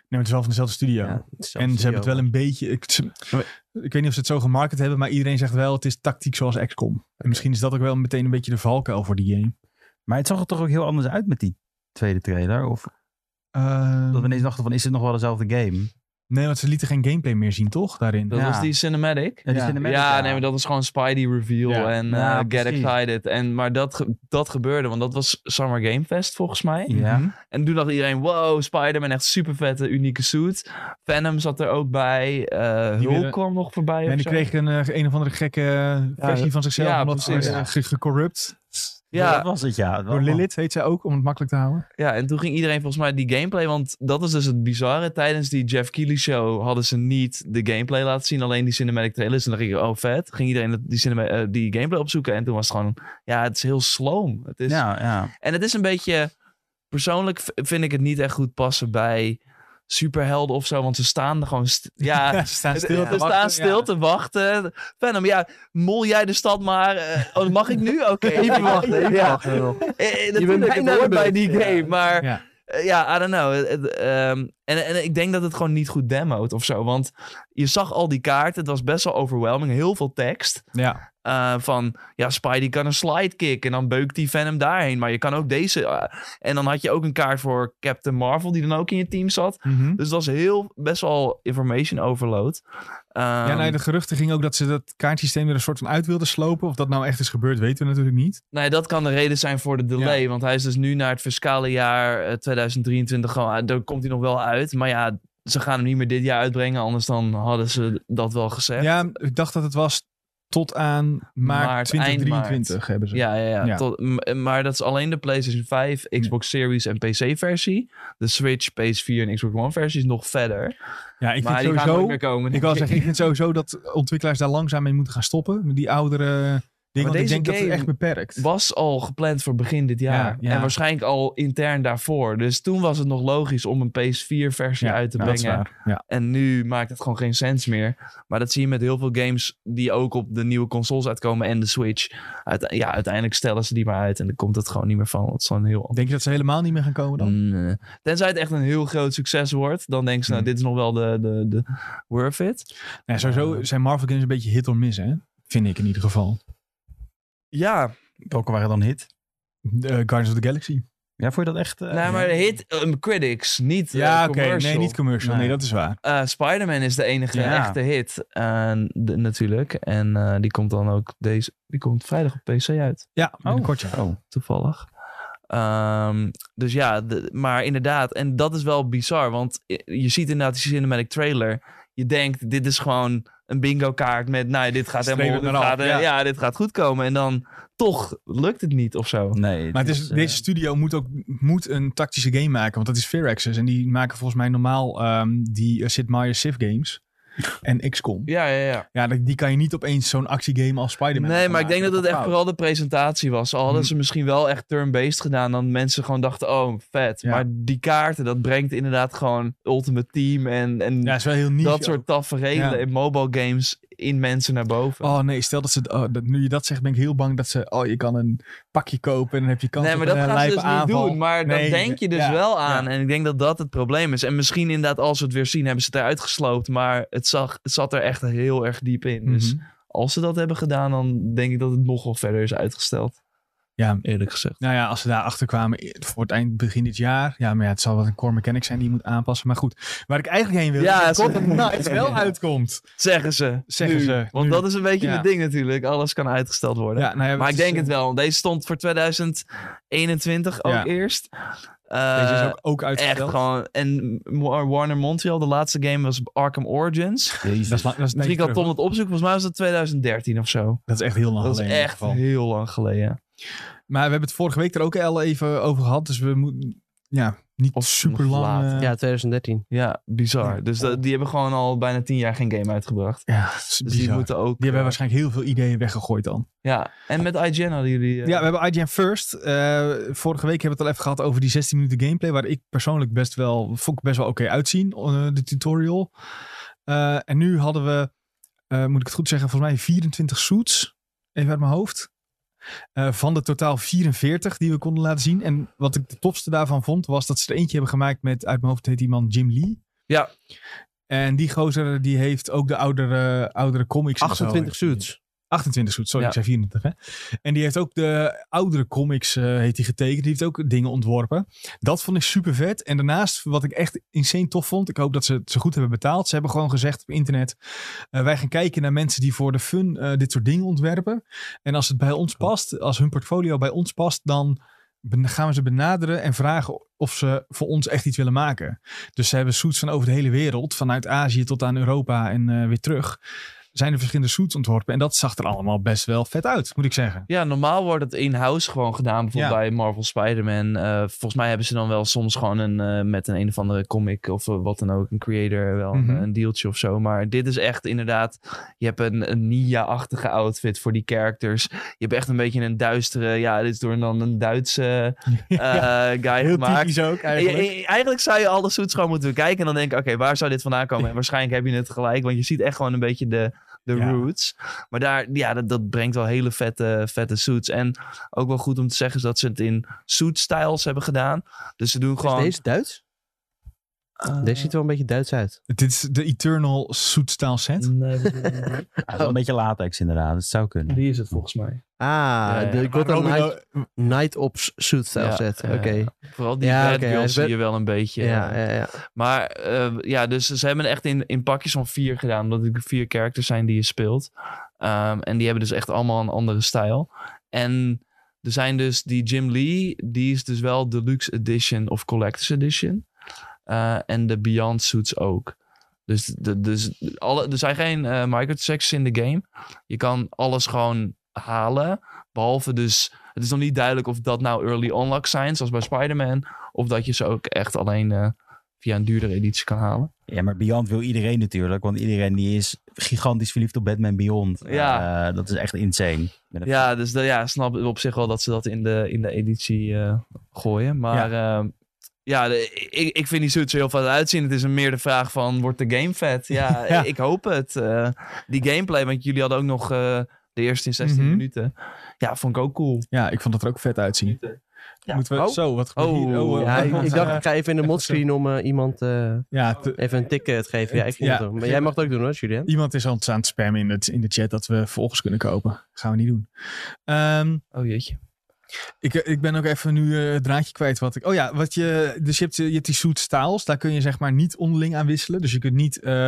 maar het is wel van dezelfde studio. Ja, en het is ze zelfs hebben het wel video. een beetje... Ik, ze- ik weet niet of ze het zo gemarket hebben, maar iedereen zegt wel... het is tactiek zoals XCOM. En misschien is dat ook wel meteen een beetje de valkuil voor die game. Maar het zag er toch ook heel anders uit met die tweede trailer? Of Ehm, Eh, dat we ineens dachten van, is het nog wel dezelfde game? nee, want ze lieten geen gameplay meer zien, toch? Daarin. Dat Ja. was die cinematic. Ja, die Ja. cinematic, Ja, nee, maar dat was gewoon Spidey reveal Ja. en eh, Ja, get precies. excited. En, maar dat, ge- dat gebeurde, want dat was Summer Game Fest volgens mij. Ja. Mhm. En toen dacht iedereen, wow, Spider-Man, echt super vette, unieke suit. Venom zat er ook bij. eh Die Hulk willen- kwam nog voorbij En of die zo. kreeg een, eh, een of andere gekke versie van zichzelf. ja, omdat ze precies. eh, ge- gecorrupt. Ja. Dat was het, ja. Het Door was- Lilith heet zij ook, om het makkelijk te houden. Ja, en toen ging iedereen volgens mij die gameplay, want dat is dus het bizarre. Tijdens die Jeff Keighley show hadden ze niet de gameplay laten zien, alleen die cinematic trailers. En dan ging ik, oh vet, ging iedereen dat- die, cinema, eh, die gameplay opzoeken. En toen was het gewoon, ja, het is heel sloom. Het is, Ja, ja. En het is een beetje, persoonlijk v- vind ik het niet echt goed passen bij superhelden of zo, want ze staan er gewoon, st- [LAUGHS] ja, ze staan Het- stil. te we staan wachten, stil ja. te wachten. Venom, ja, mol jij de stad maar. eh, oh, dat mag ik nu? [LAUGHS] Oké. Even wachten, even Ja. wachten nog. Eh, eh, bent natuurlijk, het bijna hoort de bij beurt. die Ja. game, maar Ja. ja. ja, I don't know. Het- het, ehm, en, en ik denk dat het gewoon niet goed demoot of zo, want je zag al die kaarten, het was best wel overwhelming, heel veel tekst. Ja. eh, van, ja, Spidey kan een slide kick en dan beukt die Venom daarheen, maar je kan ook deze. eh, en dan had je ook een kaart voor Captain Marvel, die dan ook in je team zat. Mhm. Dus dat is heel, best wel information overload. ja, Ehm, nee, nou, de geruchten gingen ook dat ze dat kaartsysteem er een soort van uit wilden slopen. Of dat nou echt is gebeurd, weten we natuurlijk niet. Nee, dat kan de reden zijn voor de delay. Want hij is dus nu naar het fiscale jaar eh, 2023 gewoon... uit- Daar komt hij nog wel uit. Maar ja, ze gaan hem niet meer dit jaar uitbrengen. Anders dan hadden ze dat wel gezegd. Ja, ik dacht dat het was tot aan maart, Maart, eind 2023 hebben ze. Ja, ja, ja. Ja. Tot- m- maar dat is alleen de PlayStation 5, Xbox Series en PC-versie. De Switch, PS4 en Xbox One-versie is nog verder. Ja, ik maar die vind gaan nooit sowieso... meer komen. Ik wil zeggen, ik vind sowieso dat ontwikkelaars daar langzaam mee moeten gaan stoppen. Met die oudere dingen. Want ik deze denk dat het game echt beperkt. was al gepland voor begin dit jaar. Ja, ja. En waarschijnlijk al intern daarvoor. Dus toen was het nog logisch om een PS4-versie Ja, uit te nou, dat is brengen. waar. Ja. En nu maakt het gewoon geen sens meer. Maar dat zie je met heel veel games die ook op de nieuwe consoles uitkomen en de Switch. Uite- ja, uiteindelijk stellen ze die maar uit en dan komt het gewoon niet meer van. Want het is gewoon heel ander- Denk je dat ze helemaal niet meer gaan komen dan? Nee. Mm, eh, Tenzij het echt een heel groot succes wordt, dan denken ze, nou, Hmm. dit is nog wel de, de, de worth it. Nee, sowieso zijn Marvel games een beetje hit or miss, hè? Vind ik in ieder geval. Ja, Welke waren dan hit? Eh, Guardians of the Galaxy. Ja, vond je dat echt... eh, nou, maar hit eh, critics, niet Ja, eh, oké. commercial. Nee, niet commercial. Nee. Nee, dat is waar. Eh, Spider-Man is de enige Ja. echte hit. eh, de- natuurlijk. En eh, die komt dan ook deze. Die komt vrijdag op PC uit, Ja, binnenkort ja. Oh. toevallig. Ehm, dus ja, de- maar inderdaad. En dat is wel bizar. Want i- je ziet inderdaad die cinematic trailer. Je denkt, dit is gewoon een bingo kaart met, nou ja, dit gaat Streep helemaal, het dit maar gaat, af, eh, ja. ja, dit gaat goed komen. En dan toch lukt het niet of zo. Nee. Maar het is, eh, deze studio moet ook moet een tactische game maken. Want dat is Fair Access. En die maken volgens mij normaal ehm, die eh, Sid Meier's Civ [LAUGHS] games. En XCOM. Ja, ja, ja. Ja, die, die kan je niet opeens zo'n actiegame als Spider-Man. Nee, gaan maar ik denk dat maken. het echt fout. vooral de presentatie was. Al hadden Hm. ze misschien wel echt turn-based gedaan, dan mensen gewoon dachten, oh, vet. Ja. Maar die kaarten, dat brengt inderdaad gewoon Ultimate Team en, en Ja, is wel heel niche. dat soort tafereelen Ja. in mobile games in mensen naar boven. Oh nee, stel dat ze. oh, dat, nu je dat zegt, ben ik heel bang dat ze. Oh, je kan een pakje kopen en dan heb je kans nee, op maar dat een eh, gaan ze lijpe dus aanval. niet doen. Maar Nee, dan denk je dus ja, wel aan. En ik denk dat dat het probleem is. En misschien inderdaad, als we het weer zien, hebben ze het eruit gesloopt. Maar het, zag, het zat er echt heel erg diep in. Dus Mhm. als ze dat hebben gedaan, dan denk ik dat het nog wel verder is uitgesteld. Ja. Eerlijk gezegd. Nou ja, als ze daar achter kwamen i- voor het eind begin dit jaar. Ja, maar ja, het zal wel een core mechanic zijn die je moet aanpassen. Maar goed, waar ik eigenlijk heen wil. Ja, is dat ze- het nou, het [LAUGHS] wel uitkomt. Zeggen ze. Zeggen Nu. ze, Want nu. dat is een beetje Ja. het ding natuurlijk. Alles kan uitgesteld worden. Ja, nou ja, maar ik is, denk eh, het wel. Deze stond voor 2021 ook Ja. eerst. Deze is Eh, ook, ook Echt uitgesteld. gewoon. En Warner Montreal, de laatste game was Arkham Origins. Dat is, lang- dat, is een Misschien tijdje kan Tom terug. dat opzoeken. Volgens mij was dat 2013 of zo. dat is echt heel lang dat is geleden Oh, in echt ieder geval. heel lang geleden. Maar we hebben het vorige week er ook al even over gehad. Dus we moeten. Ja, niet Of super lang. later. eh, Ja, 2013. Ja, bizar. Ja. Dus dat- die hebben gewoon al bijna tien jaar geen game uitgebracht. ja, dat is Dus die bizar. moeten ook... Die hebben eh, waarschijnlijk heel veel ideeën weggegooid dan. Ja, en met IGN hadden jullie... eh, Ja, we hebben IGN First. Eh, vorige week hebben we het al even gehad over die 16 minuten gameplay. Waar ik persoonlijk best wel, vond ik best wel oké uitzien. eh, de tutorial. Eh, en nu hadden we, eh, moet ik het goed zeggen, volgens mij 24 suits. Even uit mijn hoofd. Eh, van de totaal 44 die we konden laten zien. En wat ik de topste daarvan vond, was dat ze er eentje hebben gemaakt met, uit mijn hoofd heet die man Jim Lee. Ja. En die gozer die heeft ook de oudere, oudere comics. en zo. 28 suits. 28 goed, sorry, Ja. ik zei 24. Hè? En die heeft ook de oudere comics eh, heeft hij getekend. Die heeft ook dingen ontworpen. Dat vond ik super vet. En daarnaast, wat ik echt insane tof vond. Ik hoop dat ze het zo goed hebben betaald. Ze hebben gewoon gezegd op internet. eh, wij gaan kijken naar mensen die voor de fun eh, dit soort dingen ontwerpen. En als het bij ons past, als hun portfolio bij ons past, dan ben- gaan we ze benaderen en vragen of ze voor ons echt iets willen maken. Dus ze hebben suits van over de hele wereld, vanuit Azië tot aan Europa en eh, weer terug. Zijn er verschillende suits ontworpen en dat zag er allemaal best wel vet uit, moet ik [LAUGHS] zeggen. Ja, normaal wordt het in-house gewoon gedaan. Bijvoorbeeld bij Marvel Spider-Man. Eh, volgens mij hebben ze dan wel soms gewoon een, eh, met een een of andere comic of eh, wat dan ook, een creator, wel een- Mhm. een, dealtje of zo. Maar dit is echt inderdaad, je hebt een, een Nia-achtige outfit voor die characters. Je hebt echt een beetje een duistere, ja, dit is door dan een Duitse eh, guy gemaakt. ook Eigenlijk. eigenlijk zou je al de suits gewoon moeten bekijken en dan denken, oké, waar zou dit vandaan komen? En waarschijnlijk heb je het gelijk, want je ziet echt gewoon een beetje de, de Ja. roots. Maar daar, ja, dat, dat brengt wel hele vette, vette suits. En ook wel goed om te zeggen is dat ze het in suit-styles hebben gedaan. Dus ze doen gewoon... Is deze Duits? eh, Deze ziet er wel een beetje Duits uit. Dit is de Eternal suit style set. nee, wat- ja, wel een beetje latex inderdaad. Dat zou kunnen. die is het volgens mij. Ah, ja. de Gotham Robin, Night, Night Ops suit style Ja, set. ja, Oké. Vooral die Ja, ja, oké, hij is zie best- je wel een beetje. eh, Ja, ja, ja. Maar eh, ja, dus ze hebben echt in, in pakjes van vier gedaan. Omdat er vier characters zijn die je speelt. Ehm, en die hebben dus echt allemaal een andere stijl. En er zijn dus die Jim Lee. Die is dus wel deluxe edition of collector's edition. Eh, en de Beyond Suits ook. Dus, de, dus alle, er zijn geen eh microtransactions in de game. Je kan alles gewoon halen. Behalve dus... Het is nog niet duidelijk of dat nou early unlock zijn, zoals bij Spider-Man. Of dat je ze ook echt alleen eh, via een duurdere editie kan halen. Ja, maar Beyond wil iedereen natuurlijk. Want iedereen die is gigantisch verliefd op Batman Beyond. Ja. Eh, dat is echt insane. Ik ben even- Ja, dus de, ja, snap ik op zich wel dat ze dat in de, in de editie eh, gooien. Maar ja, ja de- ik, ik vind die suits er heel vet uitzien. Het is een meer de vraag van, wordt de game [LAUGHS] vet? Ja, Ja. ik hoop het. Eh, die gameplay, want jullie hadden ook nog eh, de eerste in 16 Mhm. minuten. Ja, vond ik ook cool. Ja, ik vond dat er ook vet uitzien. Ja. Moeten we, Oh. Zo, wat gebeurt Oh, hier? eh, Ja, wat ik, komt ik er? dacht, ik ga even in de modscreen om eh, iemand eh, [LAUGHS] ja, te- even een ticket te geven. Ja, ik ging Ja. dat doen. Maar jij mag het ook doen hoor, Julien. iemand is al aan het spammen in, het, in de chat dat we volgers kunnen kopen. Gaan we niet doen. Ehm, Oh jeetje. Ik, eh, ik ben ook even nu eh, het draadje kwijt. Wat ik, oh ja, wat je, dus je, hebt, eh, je hebt die suit styles. Daar kun je zeg maar niet onderling aan wisselen. Dus je kunt niet eh,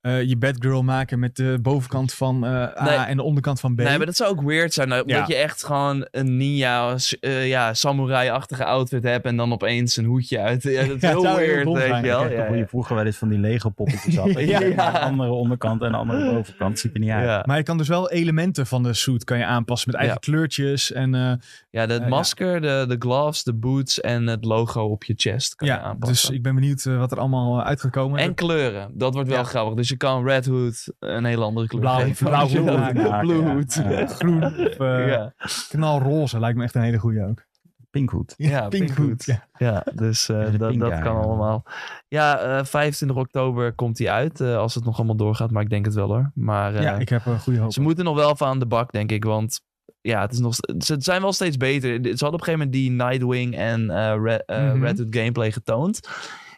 eh, je Batgirl maken met de bovenkant van eh, A Nee. en de onderkant van B. Nee, maar dat zou ook weird zijn. nou, Ja. Dat je echt gewoon een ninja, s- eh, ja, samurai-achtige outfit hebt en dan opeens een hoedje uit. Ja, dat is [LAUGHS] Ja, heel het zou heel weird, dom weet je zijn. wel. Kijk, Ja, hoe je vroeger wel eens van die Lego [LAUGHS] poppetjes had. Ja, ja, ja. Een andere onderkant en een andere bovenkant. Ziet er niet ja. uit. Ja. Maar je kan dus wel elementen van de suit kan je aanpassen met eigen kleurtjes. En, eh, Ja, de ja. masker, de, de gloves, de boots en het logo op je chest kan je ja, aanpassen. dus ik ben benieuwd eh, wat er allemaal eh, uit gaat komen. En kleuren, dat wordt wel Ja. grappig. Dus je kan Red Hood een hele andere kleur Blauw- geven. blauw Als je dat- maken. Ja, Blue ja, Hood. ja. groen of [LAUGHS] eh, Ja, knalroze lijkt me echt een hele goede ook. Pinkhood. Ja, pinkhoed. pinkhoed, ja. ja, dus eh, Ja, de dat, pink dat daar, kan ja. allemaal. Ja, eh, 25 oktober komt hij uit, eh, als het nog allemaal doorgaat. Maar ik denk het wel hoor. Maar eh, Ja, ik heb een goede hoop. Ze moeten nog wel van aan de bak, denk ik. Want ja, het is nog, st- ze zijn wel steeds beter. Ze hadden op een gegeven moment die Nightwing en eh Red, eh, Mhm. Red Hood gameplay getoond.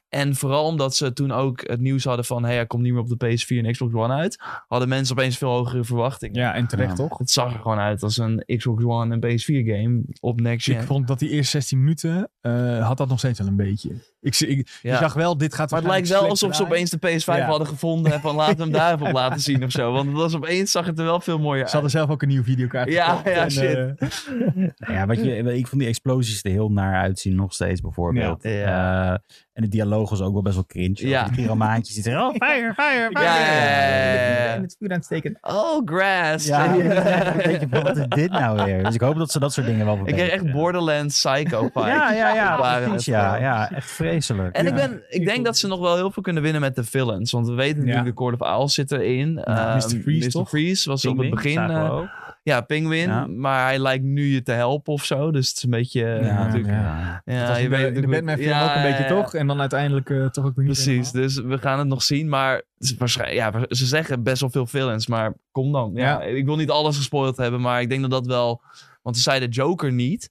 En vooral omdat ze toen ook het nieuws hadden van... hey, hij komt niet meer op de PS4 en Xbox One uit... hadden mensen opeens veel hogere verwachtingen. Ja, en terecht Ja. toch? Het zag er gewoon uit als een Xbox One en PS4 game op next Dus Ik gen. vond dat die eerste 16 minuten eh, had dat nog steeds wel een beetje. Ik, zie- ik, Ja. Je zag wel, dit gaat Maar het waarschijnlijk lijkt wel slecht alsof draaien. ze opeens de PS5 Ja. hadden gevonden... en van laten we hem daar even op laten zien of zo. Want het was opeens zag het er wel veel mooier Ze hadden zelf ook een nieuwe videokaart Ja, gekocht ja, en, shit. eh, Nou ja, wat je, ik vond die explosies er heel naar uitzien, nog steeds bijvoorbeeld. Ja. Ja. Eh, en de dialoog was ook wel best wel cringe. Ja. Ja. Die pyramaantjes die zeggen, oh, fire, fire, fire. Ja, ja, ja, ja. En het vuur aan het steken. uit. Oh, grass! [LAUGHS] Ja, dan denk je, van, wat is dit nou weer? Dus ik hoop dat ze dat soort dingen wel Ik kreeg verbeteren. echt [LAUGHS] Borderlands Psycho vibes. Ja, ja, ja. Waren precies, het ja, gewoon. ja, echt vreselijk. En ja. ik, ben, ik denk dat ze nog wel heel veel kunnen winnen met de villains. Want we weten natuurlijk, Ja. de Court of Owls zit erin. Ehm, Mr. Freeze, Mr. toch? Freeze was op Pingwing, het begin... zagen we eh, ook. ja, Penguin. Ja. Maar hij lijkt nu je te helpen of zo. Dus het is een beetje... eh, Ja, natuurlijk, ja. ja, dat was je in de- weet in de natuurlijk- Batman film ja, ook een beetje ja, ja. toch? En dan uiteindelijk eh, toch ook weer niet Precies, helemaal. dus we gaan het nog zien. Maar ze- waarschijnlijk, ja, ze zeggen best wel veel villains, maar kom dan. Ja, Ik wil niet alles gespoild hebben, maar ik denk dat dat wel... Want ze zeiden Joker niet.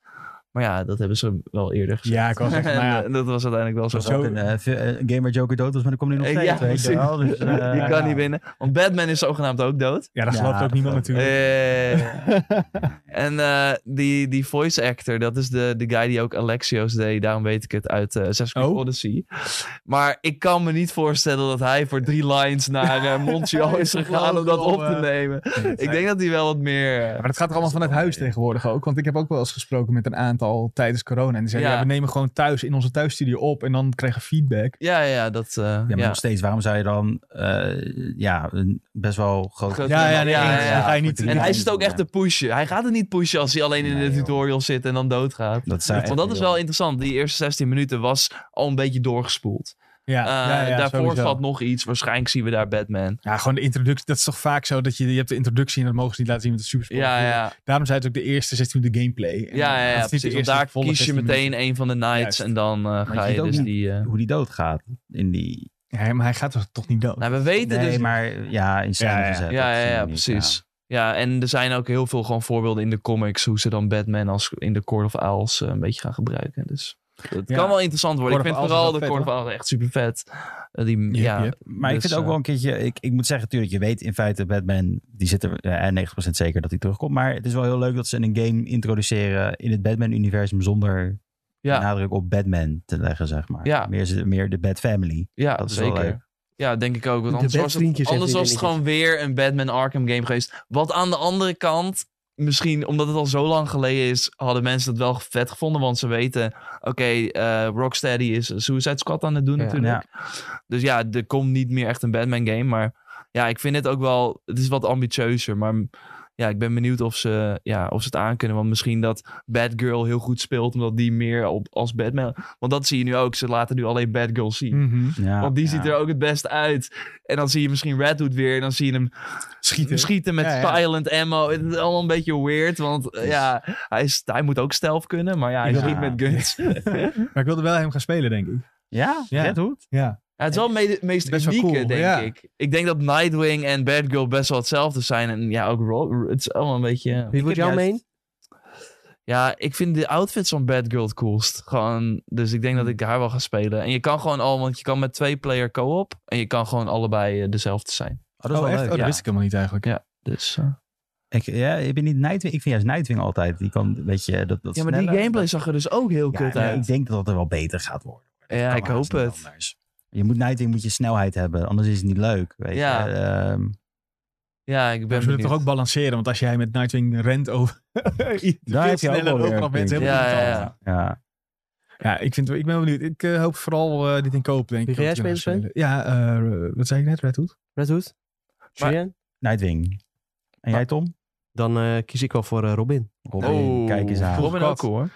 Maar ja, dat hebben ze wel eerder gezegd. Ja, ik [LAUGHS] was echt, En, maar ja. eh, dat was uiteindelijk wel zo. Dat was ook een eh, vi- eh, een game waar Joker dood was, maar dan komt hij nog Eh, steeds. ja, weet je precies. wel. Dus, eh, [LAUGHS] Je kan ja. niet winnen. Want Batman is zogenaamd ook dood. Ja, dat Ja, gelooft ook dat niemand geloof ik. natuurlijk. Eh, en eh, die, die voice actor, dat is de, de guy die ook Alexios deed. Daarom weet ik het uit eh Assassin's Creed Oh. Odyssey. Maar ik kan me niet voorstellen dat hij voor drie lines naar eh, Montreal is gegaan om dat op te nemen. Ik denk dat hij wel wat meer... eh, Ja, maar dat gaat er allemaal vanuit huis tegenwoordig ook. Want ik heb ook wel eens gesproken met een aantal tijdens corona. En die zeiden, Ja. ja. we nemen gewoon thuis in onze thuisstudio op. En dan krijgen we feedback. ja, ja, dat... eh, Ja, maar ja. nog steeds, waarom zou je dan eh, ja, een best wel groot... Groot- Ja, ja, nee, ja, ja. Dan ga je niet... En En hij Ja, zit ook echt te pushen. Hij gaat het niet pushen als hij alleen in Nee, de joh. tutorial zit en dan doodgaat. Dat zou echt Want dat is heel- wel interessant. Die eerste 16 minuten was al een beetje doorgespoeld. Ja, ja, Eh, ja, daarvoor sowieso. valt nog iets. Waarschijnlijk zien we daar Batman. Ja, gewoon de introductie. Dat is toch vaak zo dat je, je hebt de introductie en dat mogen ze niet laten zien met de super Ja, ja. Daarom zijn het ook de eerste 16 minuten gameplay. En Ja, ja, ja, dat is niet de precies. Want eerste daar volle kies je 16 meteen een van de knights Juist. en dan eh, je ga ziet je ook dus niet- die... eh, Hoe die doodgaat in die... Ja, maar hij gaat toch, toch niet dood? Nou, we weten Nee, dus... maar ja, in scène Ja, ja, ja. gezet. ja, dat ja, zie ja, je niet, precies. Ja. en er zijn ook heel veel gewoon voorbeelden in de comics... hoe ze dan Batman als in de Court of Owls eh, een beetje gaan gebruiken. Dus het Ja. kan wel interessant worden. Court ik of vind Owls is vooral de wel Court vet, of Owls echt super vet. die, Yep, ja, yep. Maar ik Dus, vind het ook eh, wel een keertje... Ik, ik moet zeggen, natuurlijk, je weet in feite Batman... Die zit er eh, 90% zeker dat hij terugkomt. Maar het is wel heel leuk dat ze een game introduceren... in het Batman-universum zonder Ja. nadruk op Batman te leggen, zeg maar. Ja. Meer, ze- meer de Bat Family. Ja, Dat is wel zeker. leuk. Ja, denk ik ook. Want De anders was het, bedvriendjes anders heeft was het iedereen gewoon weer een Batman Arkham game geweest. Wat aan de andere kant, misschien omdat het al zo lang geleden is, hadden mensen dat wel vet gevonden. Want ze weten, oké, eh, Rocksteady is Suicide Squad aan het doen Ja. natuurlijk. Dus ja, er komt niet meer echt een Batman game. Maar ja, ik vind het ook wel, het is wat ambitieuzer. Maar ja, ik ben benieuwd of ze, ja, of ze het aankunnen. Want misschien dat Batgirl heel goed speelt, omdat die meer op, als Batman... Want dat zie je nu ook, ze laten nu alleen Batgirl zien. Mhm. Ja, Want die ja. ziet er ook het best uit. En dan zie je misschien Red Hood weer. En dan zie je hem schieten, met Ja, ja. silent ammo. Het is allemaal een beetje weird. Want eh, ja, hij, is, hij moet ook stealth kunnen. Maar ja, hij Ja. schiet met [LAUGHS] guns. Maar ik wilde wel hem gaan spelen, denk ik. Ja, Ja. Red Hood? Ja. Ja, het is wel me- het meest Best wel unieke, cool, denk ja. ik. Ik denk dat Nightwing en Batgirl best wel hetzelfde zijn. En ja, ook Ro- het is allemaal een beetje... Wie wordt jouw heb juist- main? Ja, ik vind de outfits van Batgirl het coolst. Gewoon, dus ik denk dat ik haar wel ga spelen. En je kan gewoon al, want je kan met twee player co-op. En je kan gewoon allebei eh, dezelfde zijn. Oh, dat is oh, wel echt? leuk, oh, dat ja. wist ik helemaal niet eigenlijk. Ja. Dus... eh, Ik, ja, ik ben niet Nightwing. Ik vind juist Nightwing altijd. Die kan, weet je, dat, dat Ja, maar die snelle- gameplay zag er dus ook heel Ja, kut nee, uit. ik denk dat dat er wel beter gaat worden. Ja, Kan ik haast hoop niet het. anders. Je moet Nightwing moet je snelheid hebben, anders is het niet leuk. Weet Ja. je. Ehm, Ja, ik We ben zullen het benieuwd. toch ook balanceren, want als jij met Nightwing rent over... [LAUGHS] Daar heb je ook wel weer overal bent, een punt. helemaal Ja, irritant. ja, ja. ja. Ja, ik, vind, ik ben wel benieuwd. Ik eh, hoop vooral eh, dit in koop, denk ik. Wie ga jij om te gaan spelen, spelen. Ja, eh, wat zei ik net, Red Hood? Red Hood? Julian? Nightwing. En jij Tom? Dan eh, kies ik wel voor eh, Robin. Robin, kijk eens aan. Oh, Robin ook hoor.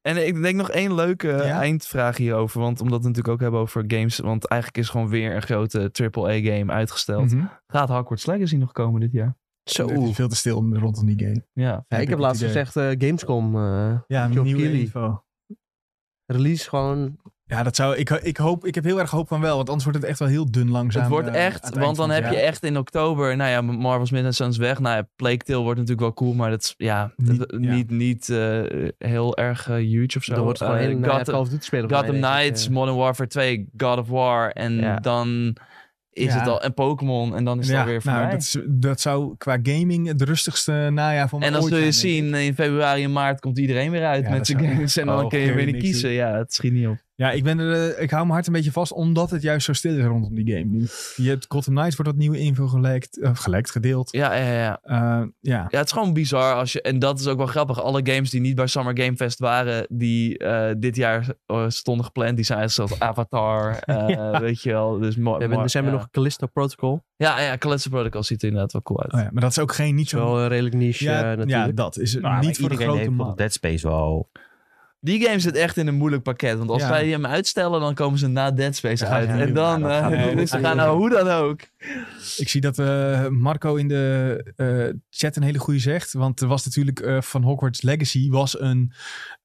En ik denk nog één leuke eh, Ja? eindvraag hierover. Want omdat we het natuurlijk ook hebben over games. Want eigenlijk is gewoon weer een grote AAA-game uitgesteld. Mhm. Gaat Hogwarts Legacy nog komen dit jaar? Zo. Het is veel te stil om- rondom die game. Ja. Ja, ik heb het laatst idee. gezegd eh, Gamescom. eh, Ja, Geoff nieuwe Keighley. info. release gewoon. Ja, dat zou, ik, ik, hoop, ik heb heel erg hoop van wel, want anders wordt het echt wel heel dun langzaam. Het wordt eh, aan echt, eind want van dan het heb je jaar. echt in oktober, nou ja, Marvel's Midnight Suns weg. Nou ja, Plague Tale wordt natuurlijk wel cool, maar dat is, ja, dat- Niet- niet, ja. niet, eh, heel erg eh, huge of zo. dan wordt het gewoon Eh, een hele nare Gotham- Call of Duty spelen. Gotham eh. Knights, Modern Warfare 2, God of War. En Ja. dan is Ja. het al. En Pokémon. En dan is het Ja, alweer nou, voorbij. dat, is- dat zou qua gaming het rustigste najaar van en mijn dan ooit zul je zijn, denk ik. zien, in februari en maart komt iedereen weer uit Ja, met dat zijn zou- games. En dan Oh, kun je kun je weer niet niks kiezen. Ja, het schiet niet op. Ja, ik, ben er, eh, ik hou mijn hart een beetje vast, omdat het juist zo stil is rondom die game. nu. Je hebt Gotham Knights, wordt wat nieuwe info gelekt, eh, gelekt gedeeld. Ja, ja, ja. Eh, ja, ja, het is gewoon bizar. Als je, en dat is ook wel grappig. Alle games die niet bij Summer Game Fest waren, die eh, dit jaar eh, stonden gepland, die zijn [LAUGHS] uitgesteld. Avatar, eh, weet je wel. Dus mooi. We hebben in december nog Callisto Protocol. Ja, ja, Callisto Protocol ziet er inderdaad wel cool uit. Oh ja, maar dat is ook geen niet Is wel zo... een redelijk niche eh, Ja, natuurlijk. ja, dat is het. Nou, maar niet voor de iedereen grote heeft man. Dead Space wel. Die game zit echt in een moeilijk pakket. Want als Ja. wij hem uitstellen, dan komen ze na Dead Space Ja, uit. ja, en dan, ja, dat eh, gaan we [LAUGHS] ook dus ze doen. gaan nou hoe dan ook. Ik zie dat eh, Marco in de eh, chat een hele goede zegt. Want er was natuurlijk eh, van Hogwarts Legacy was een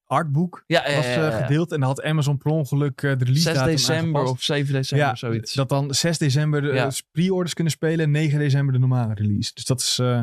artboek. Ja, ja, Was ja, eh, ja. gedeeld en dan had Amazon per ongeluk eh, de release 6 datum december aangepast. of 7 december ja, of zoiets. dat dan 6 december de Ja. eh, pre-orders kunnen spelen en 9 december de normale release. Dus dat is eh,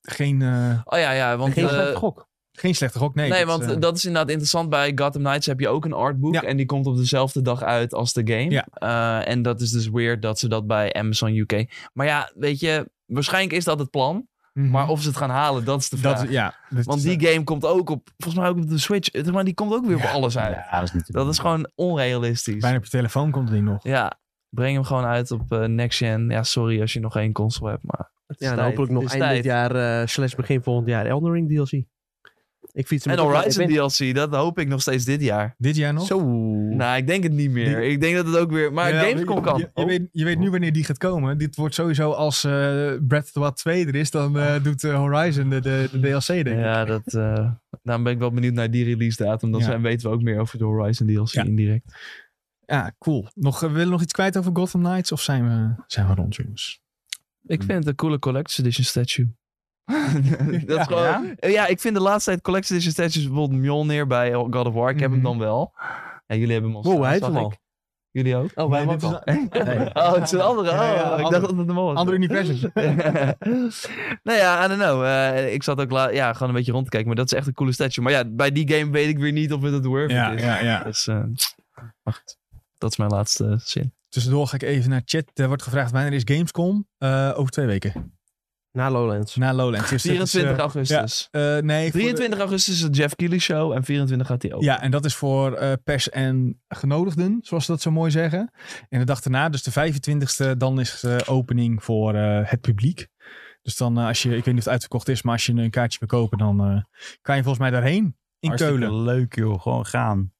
geen, eh, Oh ja, ja, want... Geen eh, slechte gok. geen slechte gok. Nee, nee, dat, want eh, dat is inderdaad interessant. Bij Gotham Knights heb je ook een artboek. Ja. En die komt op dezelfde dag uit als de game. Ja. Eh, en dat is dus weird dat ze dat bij Amazon UK... Maar ja, weet je... Waarschijnlijk is dat het plan. mhm. Maar of ze het gaan halen, dat is de vraag. dat, ja, dat want is, die eh, game komt ook op... Volgens mij ook op de Switch. Eh, Maar die komt ook weer op alles uit. Ja, dat is niet te Dat doen. is gewoon onrealistisch. bijna op je telefoon komt die nog. Ja, breng hem gewoon uit op eh, next gen. Ja, sorry als je nog één console hebt, maar... het is Ja, en tijd. hopelijk Het nog is eind dit tijd. jaar, eh, slash begin volgend jaar, Elden Ring DLC. Ik fiets hem En toch wel- ik Horizon ben- DLC, dat hoop ik nog steeds dit jaar. Dit jaar nog? Zo. Nou, ik denk het niet meer. Die- Ik denk dat het ook weer... Maar Ja, Gamescom je- kan. Oh. Je, je, weet, je weet nu wanneer die gaat komen. Dit wordt sowieso als eh Breath of the Wild 2 er is, dan eh, doet eh, Horizon de, de, de DLC denk ik. ja, dat, eh, daarom ben ik wel benieuwd naar die release datum. Dan Ja. zijn, weten we ook meer over de Horizon DLC Ja. indirect. Ja, cool. Nog, eh, willen we nog iets kwijt over Gotham Knights of zijn we, zijn we rond jongens? Ik vind het een coole Collector's Edition statue. [LAUGHS] dat is gewoon, Eh, ja? Ja? ik vind de laatste tijd Collector's Edition statues bijvoorbeeld Mjolnir bij God of War. Ik heb hem Mhm. dan wel. Ja, jullie hebben hem al Wow, staan, hij heeft zag hem ik. al. Jullie ook? Oh, wij Nee, hebben dit ook is al. Nee. [LAUGHS] [LAUGHS] Oh, het is een andere. Oh, Ja, ja, ik andere- dacht dat het een was. Ander universum. [LAUGHS] nou ja, I don't know. Eh, ik zat ook la- ja, gewoon een beetje rond te kijken. Maar dat is echt een coole statue. Maar ja, bij die game weet ik weer niet of het het worth it is. ja. Dus, eh, maar goed. Dat is mijn laatste zin. Tussendoor ga ik even naar chat. Er wordt gevraagd wanneer is Gamescom? Eh, over twee weken. Na Lowlands. Na Lowlands. Dus dat is, eh, 24 augustus. eh, nee, voor de- 23 augustus is de Jeff Keighley show. En 24 gaat hij open. Ja, en dat is voor eh, pers en genodigden, zoals ze dat zo mooi zeggen. En de dag daarna, dus de 25e, dan is de opening voor eh, het publiek. Dus dan, eh, als je, ik weet niet of het uitverkocht is, maar als je een kaartje wil kopen, dan eh, kan je volgens mij daarheen in Hartstikke Keulen. leuk joh, gewoon gaan.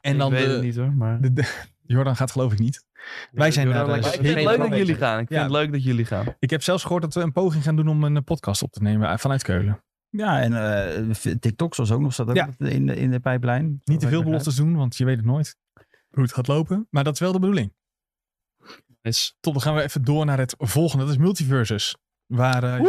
En dan ik weet de- het niet hoor. Maar... de- de- Jordan gaat geloof ik niet. Wij zijn Jordan daar, lijkt eh, me Maar ik vind het geen leuk plan dat jullie bezig. gaan. Ik vind Ja. het leuk dat jullie gaan. Ik heb zelfs gehoord dat we een poging gaan doen om een eh, podcast op te nemen eh, vanuit Keulen. Ja, en eh, TikTok zoals ook nog staat ook Ja. in, de, in de pijplijn. Niet te veel beloftes doen, want je weet het nooit hoe het gaat lopen. Maar dat is wel de bedoeling. Dus, Tom, dan gaan we even door naar het volgende. Dat is Multiverses. Waar eh,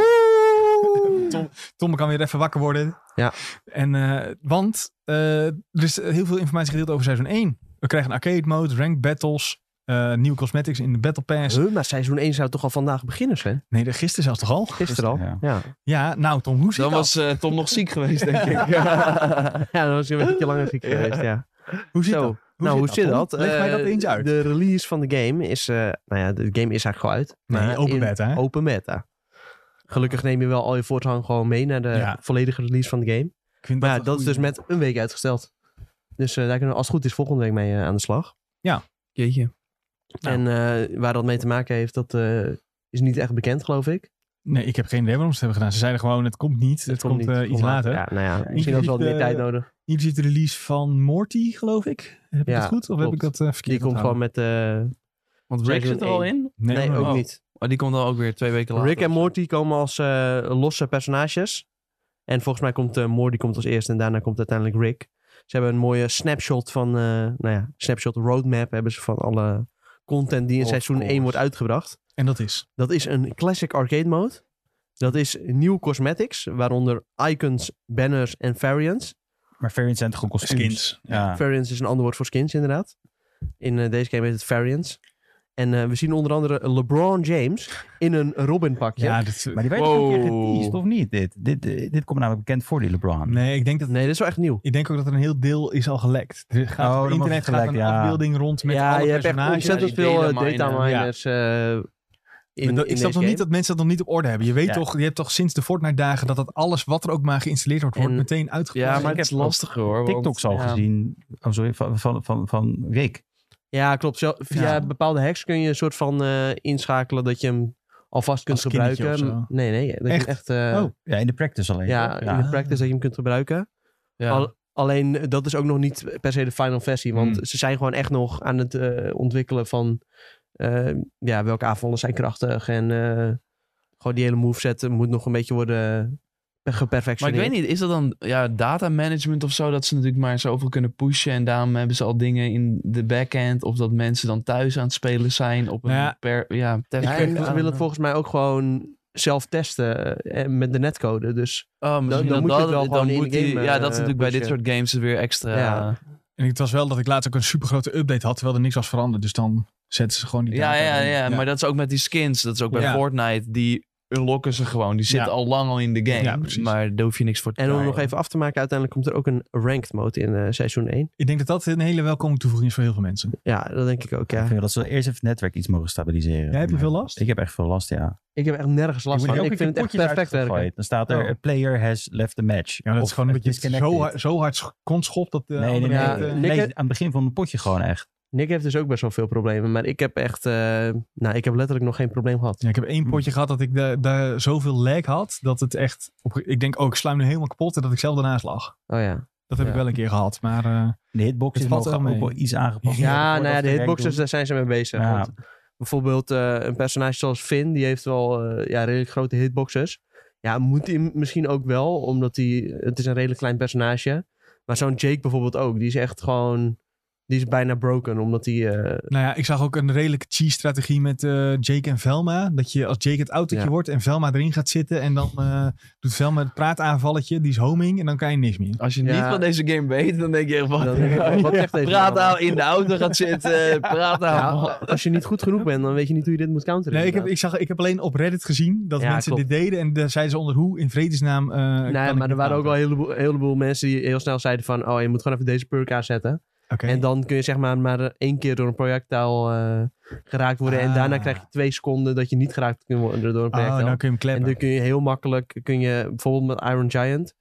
Tom, Tom kan weer even wakker worden. Ja. En, eh, want eh, er is heel veel informatie gedeeld over seizoen 1. We krijgen een arcade mode, ranked battles, eh, nieuwe cosmetics in de battle pass. [LAUGHS] Huh, maar seizoen 1 zou toch al vandaag beginnen, Sven? Nee, de- gisteren zelfs toch al? Gisteren al. ja. Ja, ja. [LAUGHS] Ja, nou Tom, hoe zie, dan je dat? was eh, Tom nog ziek geweest, denk [LAUGHS] ik. dan was je een beetje langer ziek Ja. geweest, ja. Hoe zit Zo. dat? nou, hoe zit Tom? dat? Leg mij Eh, dat eens uit. De release van de game is... eh, nou ja, de game is eigenlijk al uit. nee, Maar open in beta. hè? Open beta. Gelukkig neem je wel al je voortgang gewoon mee naar de Ja. volledige release van de game. Ik vind Maar ja, een dat is dus goeie. met een week uitgesteld. Dus eh, daar kunnen we als het goed is volgende week mee eh, aan de slag. Jeetje. Nou. En eh, waar dat mee te maken heeft, dat eh, is niet echt bekend, geloof ik. Nee, ik heb geen idee waarom ze het hebben gedaan. Ze zeiden gewoon, het komt niet. Het, komt, niet, eh, het iets komt later. eh, Ja, nou [LAUGHS] ja, misschien inclusief had ze wel meer de- tijd nodig. Inclusief de release van Morty, geloof ik. Heb ik Ja, dat goed? Of heb ik klopt. dat eh, verkeerd Die komt gewoon onthouden? met... eh, Want Rick Seizoen zit er al één. in? nee, no, no, ook no. niet. Oh, die komt dan ook weer twee weken later. Rick en Morty komen als eh, losse personages. En volgens mij komt eh, Morty komt als eerste en daarna komt uiteindelijk Rick. Ze hebben een mooie snapshot van, eh, nou ja, snapshot roadmap hebben ze van alle content die in Of seizoen course. 1 wordt uitgebracht. En dat is. Dat is een classic arcade mode. Dat is nieuw cosmetics, waaronder icons, banners en variants. Maar variants zijn toch gewoon kostuums? Ja. Variants is een ander woord voor skins, inderdaad. In eh, deze game heet het variants. En eh, we zien onder andere LeBron James in een Robin pakje. Ja, dat, Maar die werd toch een keer Wow. geteased, of niet? Dit, dit, dit, dit komt namelijk bekend voor, die LeBron. nee, ik denk dat Nee, dat is wel echt nieuw. Ik denk ook dat er een heel deel is al gelekt. Er gaat Oh, op dat internet was gaat gelekt, een ja. afbeelding rond met ja, alle je hebt echt personages. ontzettend Ja, die veel eh, data data miner. miners eh, in, Maar dat- in ik snap nog deze niet game. dat mensen dat nog niet op orde hebben. Je weet Ja. toch, je hebt toch sinds de Fortnite dagen dat dat alles wat er ook maar geïnstalleerd wordt, wordt En- meteen uitgebracht. Ja, maar Ik het is heb lastiger hoor. want- TikToks al ja. gezien. Oh, sorry, van, van, van, van Rick. Ja, klopt. Zo- via bepaalde hacks kun je een soort van eh, inschakelen dat je hem alvast kunt Als kindertje gebruiken. of zo. Nee, nee. Dat je hem Echt? echt eh, Oh, Ja, in de practice alleen. ja, toch? in de practice dat je hem kunt gebruiken. Ja. Al- alleen eh, dat is ook nog niet per se de final versie. Want Hmm. ze zijn gewoon echt nog aan het eh, ontwikkelen van eh, ja, welke aanvallen zijn krachtig. En eh, gewoon die hele moveset moet nog een beetje worden eh, geperfectioneerd. Maar ik weet niet, is dat dan ja, data management of zo? Dat ze natuurlijk maar zoveel kunnen pushen. En daarom hebben ze al dingen in de backend. Of dat mensen dan thuis aan het spelen zijn op een Nou ja, per, ja, test. Ja, I en ze don't willen het know. volgens mij ook gewoon zelf testen eh, met de netcode. Dus Oh, misschien dan dat moet je het dat- wel gewoon dan in moet de die- game, Ja, eh, dat is natuurlijk bij dit pushen. soort games weer extra. Ja. Ja, en het was wel dat ik laatst ook een supergrote update had, terwijl er niks was veranderd. Dus dan zetten ze gewoon die ja, data ja, erin. ja, maar dat is ook met die skins. Dat is ook bij Ja. Fortnite. Die unlocken ze gewoon. Die zitten Ja. al lang al in de game. Ja, precies. maar daar hoef je niks voor te en om betalen. nog even af te maken, uiteindelijk komt er ook een ranked mode in eh, seizoen 1. Ik denk dat dat een hele welkome toevoeging is voor heel veel mensen. Ja, dat denk ik ook, Ik ja. vind dat ze eerst even het netwerk iets mogen stabiliseren. Jij hebt er veel last? Ik heb echt veel last, ja. Ik heb echt nergens last Ik van. Ik word vind elke keer het echt potjes perfect uitgegooid. werken. Dan staat er, Oh. a player has left the match. Ja, dat Of is gewoon dat je het disconnected. zo, eh, hard- zo hard sch- kon schopt dat de Nee, nee, andere nee. Ja, mensen- nee, Nick- aan het begin van het potje gewoon echt. Nick heeft dus ook best wel veel problemen. Maar ik heb echt... eh, nou, ik heb letterlijk nog geen probleem gehad. Ja, ik heb één potje gehad dat ik daar daar zoveel lag had, dat het echt... op- ik denk, oh, ik sluim nu helemaal kapot en dat ik zelf daarnaast lag. Oh ja. Dat heb Ja. ik wel een keer gehad, maar... eh, De hitbox Het is valt mogen wel ook mee. wel iets aangepast. Ja, Ja, Voordat nou ja, ze de rank hitboxers, doen. daar zijn ze mee bezig. Ja. Want bijvoorbeeld eh, een personage zoals Finn, die heeft wel eh, ja, redelijk grote hitboxes. Ja, moet hij misschien ook wel, omdat hij, het is een redelijk klein personage. Maar zo'n Jake bijvoorbeeld ook, die is echt gewoon, die is bijna broken, omdat hij... eh, Nou ja, ik zag ook een redelijke cheese-strategie met eh, Jake en Velma. Dat je als Jake het autootje Ja. wordt en Velma erin gaat zitten. En dan eh, doet Velma het praataanvalletje, die is homing. En dan kan je niks meer. Als je Ja. niet van deze game weet, dan denk je echt, wat, Dan denk ik, wat zegt deze Praat man? nou in de auto gaat zitten. [LAUGHS] Praat [LAUGHS] ja, nou. als je niet goed genoeg bent, dan weet je niet hoe je dit moet counteren. Nee, ik heb, inderdaad. ik, zag, ik heb alleen op Reddit gezien dat Ja, mensen klopt. dit deden. En daar zeiden ze onder hoe in vredesnaam. eh, kan Nee, ik maar niet er waren ook praten? wel een heleboel, een heleboel mensen die heel snel zeiden van... oh, je moet gewoon even deze perk aanzetten. Oké. En dan kun je zeg maar maar één keer door een projectiel eh, geraakt worden. En Ah. daarna krijg je twee seconden dat je niet geraakt kunt worden door een projectiel. Oh, nou kun je hem En klemmen. dan kun je heel makkelijk, kun je bijvoorbeeld met Iron Giant,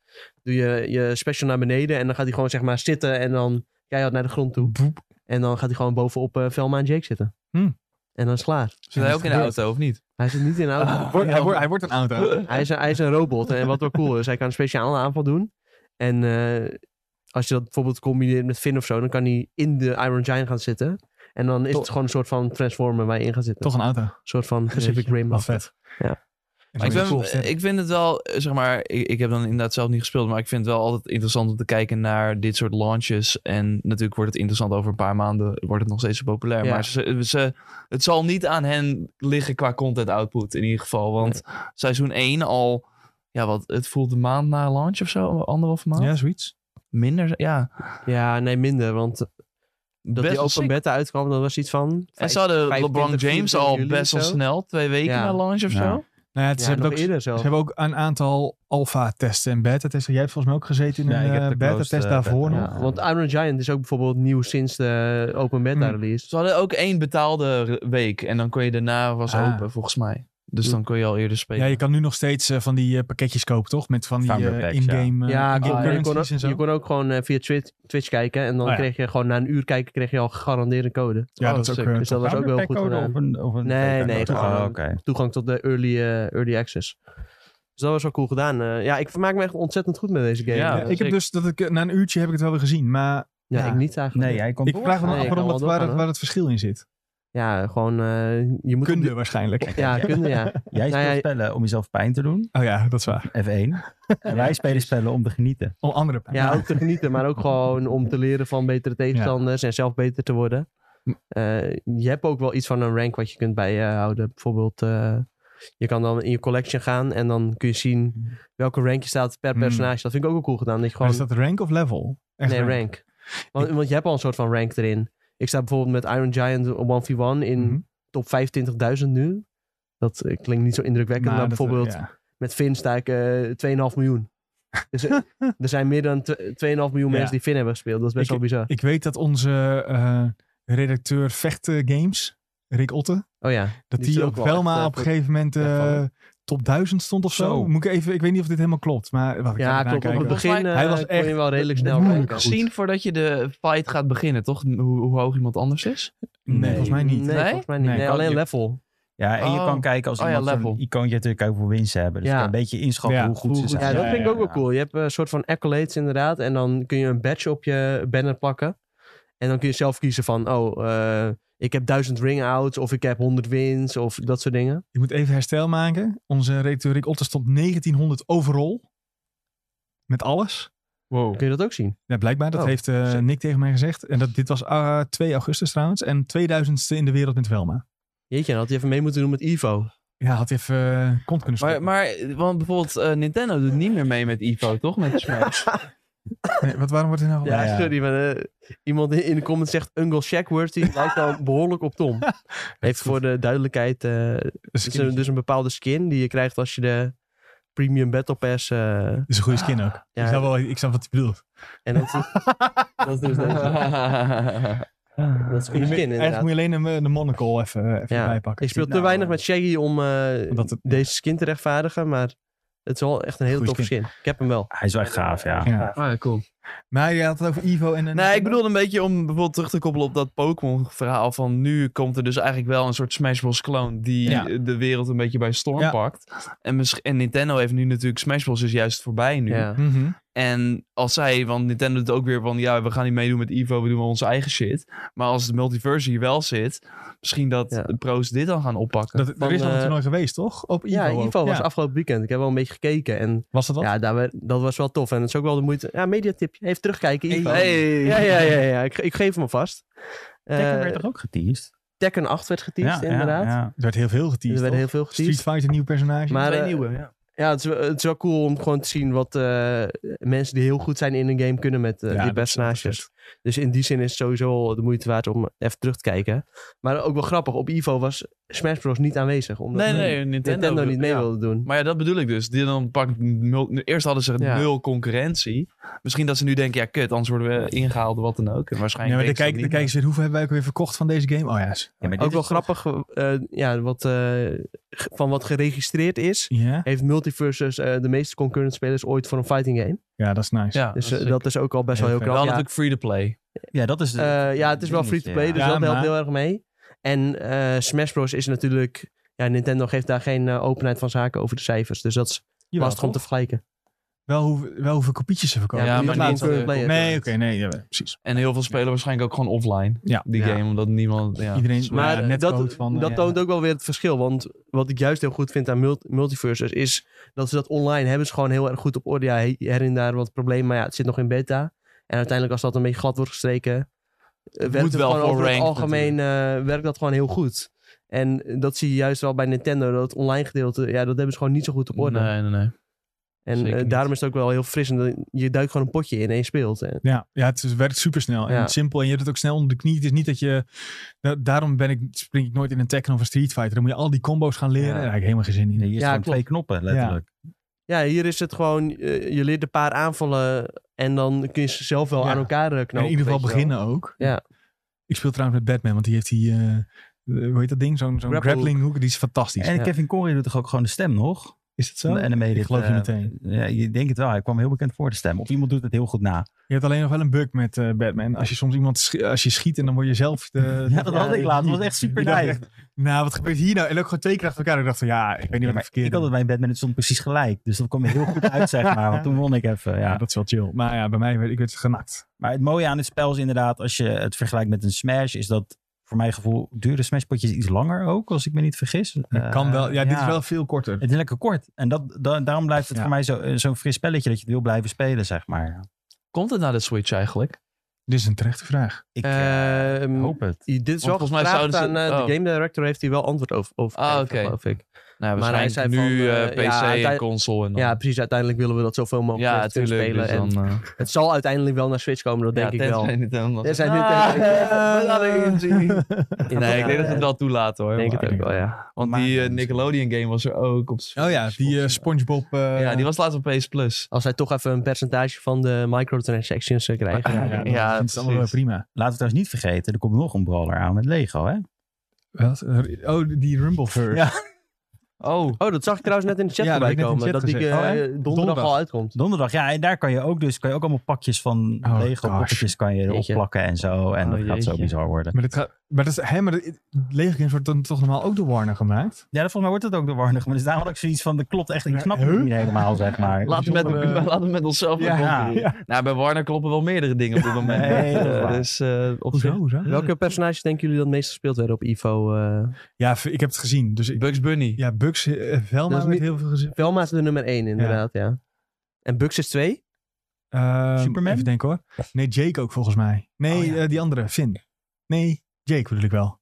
doe je je special naar beneden en dan gaat hij gewoon zeg maar zitten en dan keihard naar de grond toe. Boep. En dan gaat hij gewoon bovenop eh, Velma en Jake zitten. Hmm. En dan is het klaar. Zit hij ook in de auto, of niet? Hij zit niet in de auto. Hij Ah, wordt- hij, wordt, hij wordt een auto. [LAUGHS] Hij, is een, hij is een robot en wat wel cool is, hij kan een speciale aanval doen. En eh, als je dat bijvoorbeeld combineert met Finn of zo, dan kan hij in de Iron Giant gaan zitten. En dan is Toch- het gewoon een soort van transformer waar je in gaat zitten. Toch een auto. Een soort van Pacific Rim. Wat vet. Ja. En Maar ik, zo'n cool ben, sterren. ik vind het wel, eh, zeg maar, ik, ik heb dan inderdaad zelf niet gespeeld, maar ik vind het wel altijd interessant om te kijken naar dit soort launches. En natuurlijk wordt het interessant over een paar maanden, wordt het nog steeds zo populair. Ja. Maar ze, ze, het zal niet aan hen liggen qua content output in ieder geval. Want seizoen 1 al, ja, wat, het voelt een maand na launch of zo, anderhalf maand. Ja, zoiets. Minder, ja. Ja, nee, minder. Want dat Best die wel open sick. beta uitkwam, dat was iets van... En vijf- ze hadden 25, LeBron James 24 al juli best of wel zo. snel, twee weken Ja. na launch of Ja. zo. Nou ja, het Ja, is hebben nog ook eerder zelf. Ze hebben ook een aantal alfa-testen en beta-testen. Jij hebt volgens mij ook gezeten in Ja, ik een heb eh, de closed, beta-test eh, daarvoor beta. nog. Ja, want Iron Giant is ook bijvoorbeeld nieuw sinds de open beta Hmm. release. Ze hadden ook één betaalde re- week. En dan kon je daarna was Ah. open, volgens mij. Dus dan kon je al eerder spelen. Ja, je kan nu nog steeds eh, van die eh, pakketjes kopen, toch? Met van die Founder eh, packs, in-game eh, ja, in-game klopt. je, kon ook, currencies en zo. je kon ook gewoon eh, via Twitch, Twitch kijken. En dan Oh ja. kreeg je gewoon na een uur kijken, kreeg je al gegarandeerd een code. ja, Oh, dat is ook... sick. eh, Dus dat was ook wel goed Counterpack code gedaan. Of een, of een Nee, PK nee, code? gewoon Oh, een- oké. Toegang tot de early, eh, early access. Dus dat was wel cool gedaan. Eh, ja, ik vermaak me echt ontzettend goed met deze game. Ja, Ja, ja, ik heb sick. dus dat ik eh, na een uurtje heb ik het wel weer gezien, maar ja. ik niet eigenlijk. Nee, jij kon ik vraag me Nee, af je kan waarom wel dat, waar, doorgaan, het- hoor. waar het verschil in zit. Ja, gewoon eh, je moet... op Kunde die- waarschijnlijk. Ja, kunde, [LAUGHS] ja. Jij Nou speelt ja, spellen om jezelf pijn te doen, Oh ja, dat is waar. F1. En wij spelen spellen om te genieten. Om andere pijn. [LAUGHS] Ja, ook Nou, te genieten, maar ook gewoon om te leren van betere tegenstanders en zelf beter te worden. Eh, je hebt ook wel iets van een rank wat je kunt bijhouden. Bijvoorbeeld, eh, je kan dan in je collection gaan en dan kun je zien welke rank je staat per Hmm. personage. Dat vind ik ook wel cool gedaan. Dat je Maar gewoon, Mhm. is dat rank of level? Echt nee, rank. Want, want je hebt al een soort van rank erin. Ik sta bijvoorbeeld met Iron Giant op 1v1 in Mhm. top 25.000 nu. Dat eh, klinkt niet zo indrukwekkend, Maar maar, Nou, dat- eh, bijvoorbeeld ja. met Finn sta ik eh, 2,5 miljoen. Dus [LAUGHS] eh, er zijn meer dan tw- 2,5 miljoen Ja. mensen die Finn hebben gespeeld. Dat is best Ik- wel bizar. Ik weet dat onze eh, redacteur vechten games, Rick Otte, Oh ja. dat Die die, is ook op wel Velma echt, eh, op een gegeven moment eh, wegvallen. top 1000 stond of zo. Zo. Moet ik even, ik weet niet of dit helemaal klopt, maar wacht, ik ga Ja, even klopt. Op het nakijken. begin eh Hij was kon echt je wel redelijk snel moeilijk kijken. goed. Zien voordat je de fight gaat beginnen, toch? Hoe, hoe hoog iemand anders [LAUGHS] is? Nee, volgens mij niet. Nee, Nee? volgens mij niet. Nee, Nee, kan alleen je- level. Ja, en je Oh. kan kijken als Oh ja, iemand level. zo'n icoontje natuurlijk ook voor winst hebben. Dus Ja. je kan een beetje inschatten Ja, hoe goed ze hoe zijn. Ja, dat vind ik ook wel ja. cool. Je hebt eh, een soort van accolades inderdaad. En dan kun je een badge op je banner plakken. En dan kun je zelf kiezen van... Oh, eh, ik heb 1000 ring-outs. Of ik heb 100 wins. Of dat soort dingen. Ik moet even herstel maken. Onze redacteur Rick Otte stond 1900 overal. Met alles. Oh. Wow. Kun je dat ook zien? Ja, blijkbaar, dat Oh, heeft eh, shit. Nick tegen mij gezegd. En dat, dit was eh, 2 augustus trouwens. En 2000ste in de wereld met Velma. Jeetje, dan had je even mee moeten doen met Ivo. Ja, had even eh, kont kunnen Maar, stoppen. maar want bijvoorbeeld eh, Nintendo doet niet meer mee met Ivo, toch? Met [LAUGHS] Smash. [LAUGHS] Nee, wat, waarom wordt er nou... Ja, Ja, ja. sorry, maar eh, iemand in in de comments zegt Uncle Shackworthy lijkt al [LAUGHS] behoorlijk op Tom. Heeft voor de duidelijkheid, eh, Dat het is een- dus een bepaalde skin die je krijgt als je de Premium Battle Pass... eh, is een goede skin ook. Ah, ja, Ik, snap wel, ik snap wat hij bedoelt. En dat is, dat is dus deze. Dat is een goede skin Eigenlijk inderdaad. moet je alleen eh, de, de monocle even, even Ja. bijpakken. Ik speel te Nou, weinig maar- met Shaggy om eh, Omdat het- deze skin te rechtvaardigen, maar het is wel echt een hele Goeie toffe skin. Ik heb hem wel. Hij is wel echt gaaf, ja. Eh, Ja. Ah, cool. Maar je had het over Ivo en... en- Nee, ik bedoel een beetje om bijvoorbeeld terug te koppelen op dat Pokémon-verhaal van nu komt er dus eigenlijk wel een soort Smash Bros. kloon die Ja. de wereld een beetje bij storm Ja. pakt. En, misschien- en Nintendo heeft nu natuurlijk Smash Bros. is juist voorbij nu. Ja. Mhm. En als zij, want Nintendo doet ook weer van ja, we gaan niet meedoen met Evo, we doen wel onze eigen shit. Maar als het multiverse hier wel zit, misschien dat Ja. de pro's dit dan gaan oppakken. Dat, er is nog eh, een toernooi geweest, toch? Op Ivo Ja, ook. Ivo was Ja. afgelopen weekend. Ik heb wel een beetje gekeken en Was dat wat? ja, daar, werd- dat was wel tof. En het is ook wel de moeite. Ja, mediatipje. Even terugkijken, Ivo. Hey. Ja, ja, ja, ja. Ik, ik geef hem alvast. Tekken Eh, werd toch ook geteased? Tekken 8 werd geteased, inderdaad. ja. Er werd heel veel geteased, er werden toch? heel veel Street geteased. Fighter, nieuw personage. Maar, Twee eh, nieuwe, ja. Ja, het is, wel- het is wel cool om gewoon te zien wat eh, mensen die heel goed zijn in een game kunnen met eh, Ja, die dat is- dat is personages. Dus in die zin is het sowieso al de moeite waard om even terug te kijken. Maar ook wel grappig, op Ivo was Smash Bros. niet aanwezig. Omdat Nee, nee, Nintendo, Nintendo, wil- niet mee ja. wilde doen. Maar ja, dat bedoel ik dus. Die dan pakt nul- Eerst hadden ze Ja. nul concurrentie. Misschien dat ze nu denken, ja kut, anders worden we ingehaald of wat dan ook. En Ja, waarschijnlijk maar dan denken kijk, dan ze dat kijken niet. ze weer, hoeveel hebben wij ook weer verkocht van deze game? Oh ja. is- Ja, maar dit Ook wel is toch- grappig eh, ja, wat, eh, ge- van wat geregistreerd is. Ja? Heeft Multiversus eh, de meeste concurrent spelers ooit voor een fighting game. ja, dat is nice. Ja, Dus eh, Ah, dat, dat, is is ook al best Heel wel heel vet. wel knap. Ja. natuurlijk free-to-play. Ja, dat is... Eh, ja, het is wel dingetje, free-to-play, ja. dus Ja, dat helpt maar- heel erg mee. En eh, Smash Bros. is natuurlijk... Ja, Nintendo geeft daar geen eh, openheid van zaken over de cijfers. Dus dat is Jawel, lastig om te toch? vergelijken. wel, hoe, wel hoeveel kopietjes ze verkopen. Ja, Dat maar laat niet het voor- wel. player. Nee, oké, nee, ja, precies. En heel veel spelen waarschijnlijk ook gewoon offline. Ja. Die Ja. game, omdat niemand... Ja. Iedereen Maar ja, net dat, van... eh, dat ja. toont ook wel weer het verschil. Want wat ik juist heel goed vind aan mult multiverses is dat ze dat online hebben ze gewoon heel erg goed op orde. Ja, he- her en daar wat problemen, maar ja, het zit nog in beta. En uiteindelijk als dat een beetje glad wordt gestreken, eh, werkt moet het wel gewoon voor over het ranked algemeen eh, werkt dat gewoon heel goed. En dat zie je juist wel bij Nintendo, dat het online gedeelte, ja, dat hebben ze gewoon niet zo goed op orde. Nee, nee, nee. En Zeker eh, niet. daarom is het ook wel heel fris. En dat- je duikt gewoon een potje in en je speelt. En, Ja, ja, het is- werkt supersnel en Ja. simpel. En je hebt het ook snel onder de knie. Het is niet dat je... da- daarom ben ik, spring ik nooit in een Tekken of een Street Fighter. Dan moet je al die combo's gaan leren. Ja. Daar heb ik helemaal geen zin in. Hier Ja, staan klopt. twee knoppen, letterlijk. ja, hier is het gewoon, eh, je leert een paar aanvallen en dan kun je ze zelf wel Ja. aan elkaar eh, knopen. En in ieder geval weet je wel. beginnen ook. Ja. Ik speel trouwens met Batman, want die heeft die... eh, eh, hoe heet dat ding? Zo'n zo'n Grapple grappling hook. Die is fantastisch. En Ja. Kevin Corey doet toch ook gewoon de stem nog? is dat zo? Van de animated. Ik geloof je eh, meteen. Ja, je denkt het wel. Hij kwam heel bekend voor de stem. Of iemand doet het heel goed na. Je hebt alleen nog wel een bug met eh, Batman. Als je soms iemand schi- als je schiet en dan word je zelf... De, Ja, dat had ik laatst. Dat was echt Ik super dacht nice. echt, nou, wat gebeurt hier nou? En ook gewoon twee keer achter elkaar. Ik dacht van, ja, ik weet niet Ja, wat ik maar verkeerd ik had het bij Batman, het stond precies gelijk. Dus dat kwam er heel goed uit, zeg maar. Want toen won ik even, Ja, ja. dat is wel chill. Maar ja, bij mij werd ik werd genakt. Maar het mooie aan het spel is inderdaad, als je het vergelijkt met een Smash, is dat voor mijn gevoel duren Smashpotjes iets langer ook, als ik me niet vergis. Eh, kan wel. Ja, dit is wel veel korter. Het is lekker kort. En dat, da- daarom blijft het Ja. voor mij zo- eh, zo'n fris spelletje dat je het wil blijven spelen, zeg maar. Komt het naar de Switch eigenlijk? Dit is een terechte vraag. Ik Ehm, eh, hoop het. Dit is wel Want volgens mij gevraagd aan zouden ze- eh, oh. de game director heeft hier wel antwoord over, over Ah, gegeven, oké. geloof ik. Nou, Maar hij waarschijnlijk zei nu van, eh, eh, PC ja, en uiteind- console en dan. Ja, precies. Uiteindelijk willen we dat zoveel mogelijk ja mensen kunnen tuurlijk. spelen. Dus en dan, eh, Het zal uiteindelijk wel naar Switch komen, dat ja, denk ik wel. tenzij Nintendo Er zegt, zijn nu- [LAUGHS] "Ah, we laten eh, hem zien." [LAUGHS] [LAUGHS] Nee, ik denk dat ze Ja, het wel toelaten hoor. Ik denk maar- het ook wel, ja. Want Maar- die eh, Nickelodeon game was er ook op Oh ja, die eh, Spongebob. eh, Ja, die was laatst op PS Plus. Als zij toch even een percentage van de microtransactions eh, krijgen. Ja, ja, Ah, Ja, ik vind het allemaal wel precies. prima. Laten we trouwens niet vergeten, er komt nog een brawler aan met Lego, hè? Wat? Oh, die Rumbleverse. Ja. Oh, Oh, dat zag ik trouwens net in de chat Ja, dat voorbij heb ik net in de komen. chat Dat die gezegd. eh, Oh, hè? donderdag, Donderdag. al uitkomt. Donderdag, ja. En daar kan je ook dus, kan je ook allemaal pakjes van Oh, Lego gosh. poppetjes kan je erop Jeetje. plakken en zo. En Oh, dat gaat zo jeetje. bizar worden. Maar, dit gaat, maar, dat is, hè, maar de, Lego Games wordt dan toch normaal ook door Warner gemaakt? Ja, dat volgens mij wordt het ook door Warner. Maar dus daarom had ik zoiets van, dat klopt echt. Ik snap het Huh? niet helemaal, zeg maar. laten we met, bijzonder, [LAUGHS] eh, laten we met onszelf Ja. ja. Nou, bij Warner kloppen wel meerdere dingen [LAUGHS] op dit moment. Nee, dat is Eh, waar. dus eh, op Hoezo? zich- hoezo? Welke personages denken jullie dat het meest gespeeld werden op Ivo? eh Ja, v- ik heb het gezien. Dus ik, Bugs Bunny. ja, Bugs, eh, Velma Dat is werd niet- heel veel gezien. Velma is de nummer 1 inderdaad, ja. En Bugs is 2? Ehm, Superman? Even denken hoor. Nee, Jake ook volgens mij. Nee, Oh, ja. eh, die andere, Finn. Nee, Jake bedoel ik wel.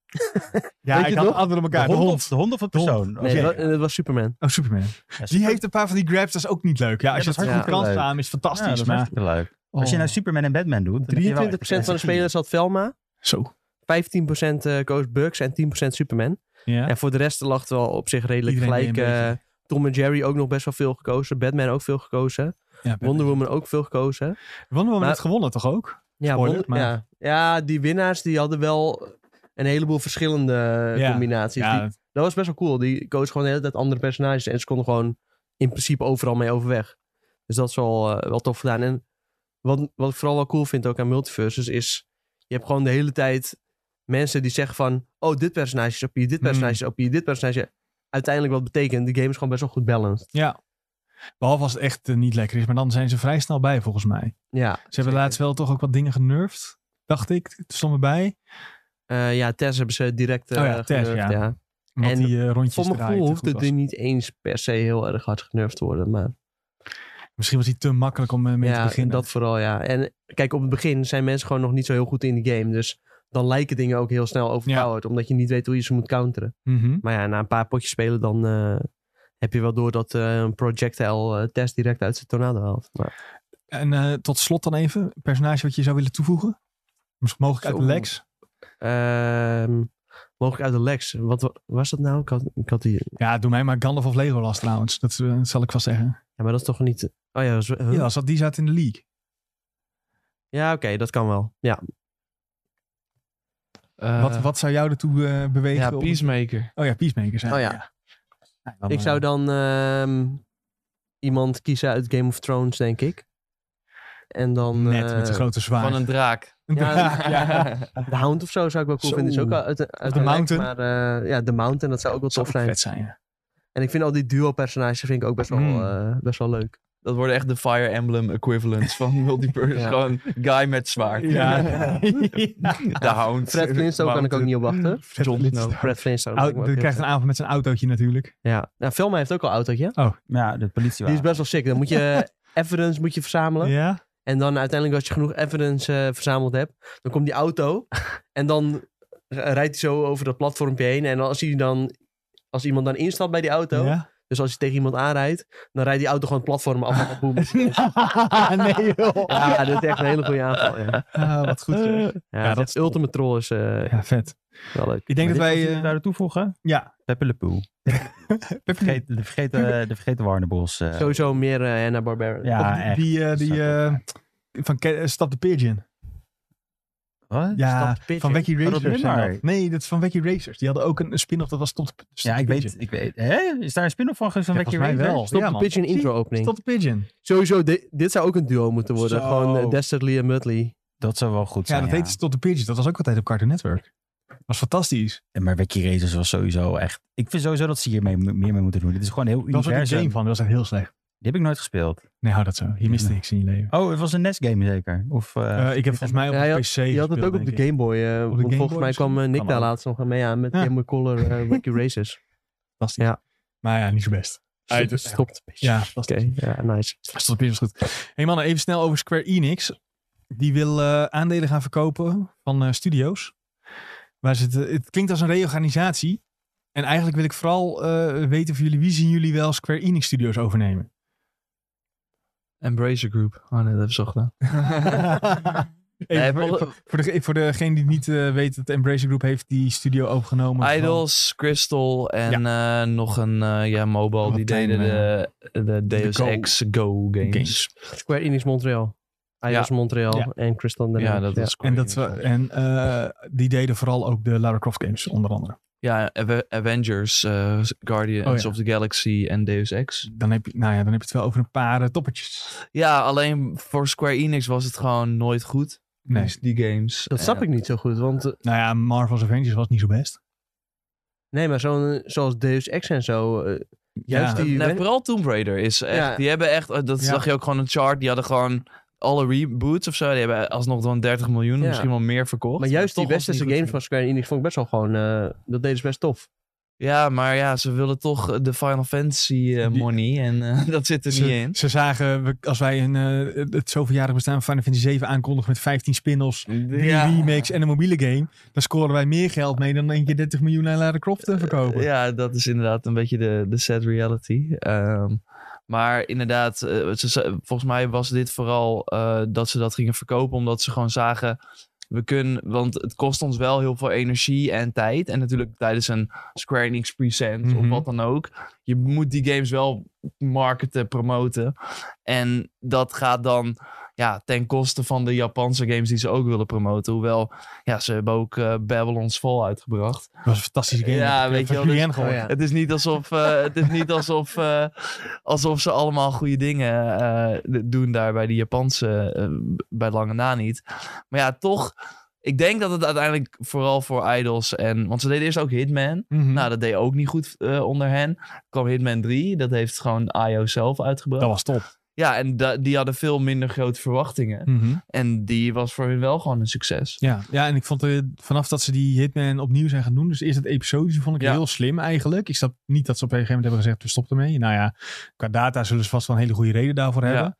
ja, je ik het had nog? andere De elkaar. hond, of, de hond of het De hond. persoon? Nee, Oké. dat, dat was Superman. Oh, Superman. Ja, Die heeft een paar van die grabs, dat is ook niet leuk. Ja, als Ja, je dat dat is hard goed kan hartstikke leuk. staan, is ja, fantastisch. dat is maar hartstikke leuk. Oh. Als je nou Superman en Batman doet... dan heb je wel 23% van de expertise. spelers had Velma. Zo. 15% eh, koos Bugs en 10% Superman. Ja. En voor de rest lag het wel op zich redelijk Iedereen gelijk. deed een eh, Tom en Jerry ook nog best wel veel gekozen. Batman ook veel gekozen. Ja, Batman. eh, Wonder Woman ook veel gekozen. Wonder Woman Maar- heeft gewonnen toch ook? Ja, Spoiler, Wonder- maar- ja. ja, die winnaars die hadden wel een heleboel verschillende Ja. combinaties. Ja, Die- dat was best wel cool. Die coach gewoon de hele tijd andere personages. En ze konden gewoon in principe overal mee overweg. Dus dat is wel, eh, wel tof gedaan. En wat, wat ik vooral wel cool vind ook aan multiverses is... Je hebt gewoon de hele tijd mensen die zeggen van... Oh, dit personage is op je, dit Hmm. personage is op je, dit personage... Uiteindelijk wat betekent, de game is gewoon best wel goed balanced. Behalve als het echt eh, niet lekker is, maar dan zijn ze vrij snel bij volgens mij. Ja, Ze hebben laatst wel toch ook wat dingen genervd, dacht ik. Er stonden bij. Eh, ja Tess hebben ze direct eh Oh ja, Tess, genurfd, ja. Omdat En die eh, rondjes Voor mijn draaien gevoel te hoeft goed was. het niet eens per se heel erg hard genurfd te worden. Maar Misschien was die te makkelijk om eh, mee te ja, beginnen. dat vooral, ja. En kijk, op het begin zijn mensen gewoon nog niet zo heel goed in de game. Dus dan lijken dingen ook heel snel overpowered. Omdat je niet weet hoe je ze moet counteren. Mhm. Maar ja, na een paar potjes spelen dan eh, heb je wel door dat eh, een projectile eh, test direct uit zijn tornado haalt. Maar, En eh, tot slot dan even, een personage wat je zou willen toevoegen? Misschien mogelijk uit Zo. de Lex? ehm, mogelijk uit de Lex. Wat wa- was dat nou? Ik had, ik had die... Ja, doe mij maar Gandalf of Legolas trouwens. Dat eh, zal ik vast zeggen. Ja, maar dat is toch niet... Oh ja, dat is- huh? Ja, ja. als dat die zat in de league. oké, dat kan wel. Ja, Eh, wat, wat zou jou ertoe eh, bewegen? ja, om- Peacemaker. Oh ja, Peacemaker zijn. Oh ja. Dan, ik zou eh, dan ehm, iemand kiezen uit Game of Thrones, denk ik. En dan... Net met eh, zijn grote zwaard. Van een draak. Een Ja, draak, [LAUGHS] ja. De Hound of zo zou ik wel cool Zo. vinden. Is ook uit, de- uit The de lijst, Mountain. Maar eh, ja, de Mountain, dat zou ook wel Dat zou tof ook zijn. vet zijn, ja. En ik vind al die duo-personages vind ik ook best wel, Mm. eh, best wel leuk. [LAUGHS] Dat worden echt de Fire Emblem equivalents [LAUGHS] van multiverse. Ja. Gewoon guy met zwaard. Ja. [LAUGHS] [LAUGHS] De hound. Fred Flintstone kan ik ook niet op wachten. [LAUGHS] Fred Jon Flintstone. Snow. Fred Nou, Flintstone. Au- vind ik Oh, die ook heel krijgt een avond met zijn autootje natuurlijk. vet. Ja, nou, Velma heeft ook al een autootje. Ja, de politie Die is best wel sick. Dan moet [LAUGHS] je evidence moet je verzamelen. Ja? En dan uiteindelijk, als je genoeg evidence eh, verzameld hebt, dan komt die auto. en dan rijdt hij zo over dat platformpje heen. En als, hij dan, als iemand dan instapt bij die auto, ja? dus als je tegen iemand aanrijdt, dan rijdt die auto gewoon het platform af. [LAUGHS] en boem. [LAUGHS] nee joh. [LAUGHS] Ja, dit is echt een hele goede aanval. Ja, Ah, wat goed. zeg. ja, dat dat is is Ultimate Troll is eh, Ja, vet. wel leuk. Ik denk dat wij... eh, daar toevoegen? ja. Peppe Le Pew. Vergeet- De vergeten, de vergeten Warnerbos. eh. Sowieso meer eh Hanna-Barbera. Ja, of die, echt. die, eh, Dat die zou ik eh, van Ke- eh, Stap de Pigeon. Wat? Ja, Stop pitching. van Wacky dat Racers. zijn nummer. dat. Nee, dat is van Wacky Racers. Die hadden ook een, een spin-off, dat was Stop Stop Ja, the ik Pigeon. weet, ik weet. Hè? Is daar een spin-off van geweest van Ja, Wacky volgens mij Ranger? wel. Stop Ja, de man. pitch in Zie- intro opening. Stop the Pigeon. Sowieso, di- dit zou ook een duo moeten worden. Zo. Gewoon eh, Dastardly en Mudley. Dat zou wel goed Ja, zijn. dat heette Stop the Pigeon. Dat was ook altijd op Cartoon Network. was fantastisch. Ja, Maar Wacky Racers was sowieso echt... Ik vind sowieso dat ze hiermee m- meer mee moeten doen. Dit is gewoon een heel Dat was ook een universum. game van, dat was echt heel slecht. Die heb ik nooit gespeeld. Nee, hou dat zo. Je mist Ja. niks in je leven. Oh, het was een NES game zeker? Of... eh, Eh, ik heb volgens mij op Ja, je de had- PC Je had het ook op de Game Boy. eh, Op de want Game volgens Boy mij kwam eh, Nick Kan daar ook. laatst nog mee aan met Ja. Game Boy Color [LAUGHS] eh, Wacky Races. Fantastisch. Ja. Maar ja, niet zo best. Stop- Stop de pitch. Ja, Oké, ja, nice. Stop the Pigeon is goed. hey mannen, even snel over Square Enix. Die wil eh, aandelen gaan verkopen van eh, studio's. Waar ze het, eh, het klinkt als een reorganisatie. En eigenlijk wil ik vooral eh, weten van jullie, wie zien jullie wel Square Enix studios [LAUGHS] overnemen? Embracer Group. Oh nee, dat hebben ze al gedaan. Even Nee, eh, voor, voor, de, voor degene die het niet eh, weet, dat Embracer Group heeft die studio overgenomen. van- Idols, Crystal en eh, nog een eh, ja, mobile. Wat Die een, eh, deden de, de Deus Go- Ex Go games. Games. Square Enix Montreal. Ios Montreal Ja. en Crystal Dynamics. Ja, dat is En, dat, we- en eh, die deden vooral ook de Lara Croft games, onder andere. Ja, Ave- Avengers, eh, Guardians Oh, ja. of the Galaxy en Deus Ex. Dan heb, je, nou ja, dan heb je het wel over een paar eh, toppertjes. Ja, alleen voor Square Enix was het gewoon nooit goed. Nee. Dus die games. Dat snap ik niet zo goed, want... eh, Nou ja, Marvel's Avengers was niet zo best. Nee, maar zo'n, eh, zoals Deus Ex en zo... eh, juist Ja. die... Nee, vooral Tomb Raider is echt... Ja. Die hebben echt... eh, Dat Ja. zag je ook gewoon een chart. Die hadden gewoon alle reboots of zo. Die hebben alsnog dan 30 miljoen, Ja. misschien wel meer verkocht. maar juist die toch was het westerse niet goed games van Square Enix vond ik best wel gewoon... eh, dat deden ze best tof. Ja, maar ja, ze willen toch eh, de Final Fantasy eh, Die- money. En eh, [LAUGHS] dat zit er niet Ze, in. ze zagen, we- als wij een, eh, het zoveeljarig bestaan van Final Fantasy 7 aankondigen met 15 spin-offs, drie remakes en een mobiele game, dan scoren wij meer geld mee dan één keer 30 miljoen aan Lara Croft te verkopen. Eh, Ja, dat is inderdaad een beetje de, de sad reality. Ehm, maar inderdaad, eh, ze ze- volgens mij was dit vooral eh, dat ze dat gingen verkopen. Omdat ze gewoon zagen, we kunnen... Want het kost ons wel heel veel energie en tijd. En natuurlijk tijdens een Square Enix Present Mhm. of wat dan ook. Je moet die games wel marketen, promoten. En dat gaat dan ja, ten koste van de Japanse games die ze ook willen promoten. Hoewel, ja, ze hebben ook eh, Babylon's Fall uitgebracht. Dat was een fantastische game. Ja, Ik heb weet je van wel, dus- Julien gehoord. Oh, ja. Het is niet alsof, eh, het is niet alsof, eh, alsof ze allemaal goede dingen eh, d- doen daar bij de Japanse, eh, b- bij lange na niet. Maar ja, toch, ik denk dat het uiteindelijk vooral voor idols en... Want ze deden eerst ook Hitman. Mhm. Nou, dat deed ook niet goed eh, onder hen. Er kwam Hitman 3, dat heeft gewoon IO zelf uitgebracht. dat was top. Ja, en da- die hadden veel minder grote verwachtingen. Mhm. En die was voor hun wel gewoon een succes. Ja, ja, en ik vond eh, vanaf dat ze die Hitman opnieuw zijn gaan doen, dus eerst het episodische, vond ik Ja. heel slim eigenlijk. Ik snap niet dat ze op een gegeven moment hebben gezegd, we stoppen ermee. Nou ja, qua data zullen ze vast wel een hele goede reden daarvoor Ja. hebben.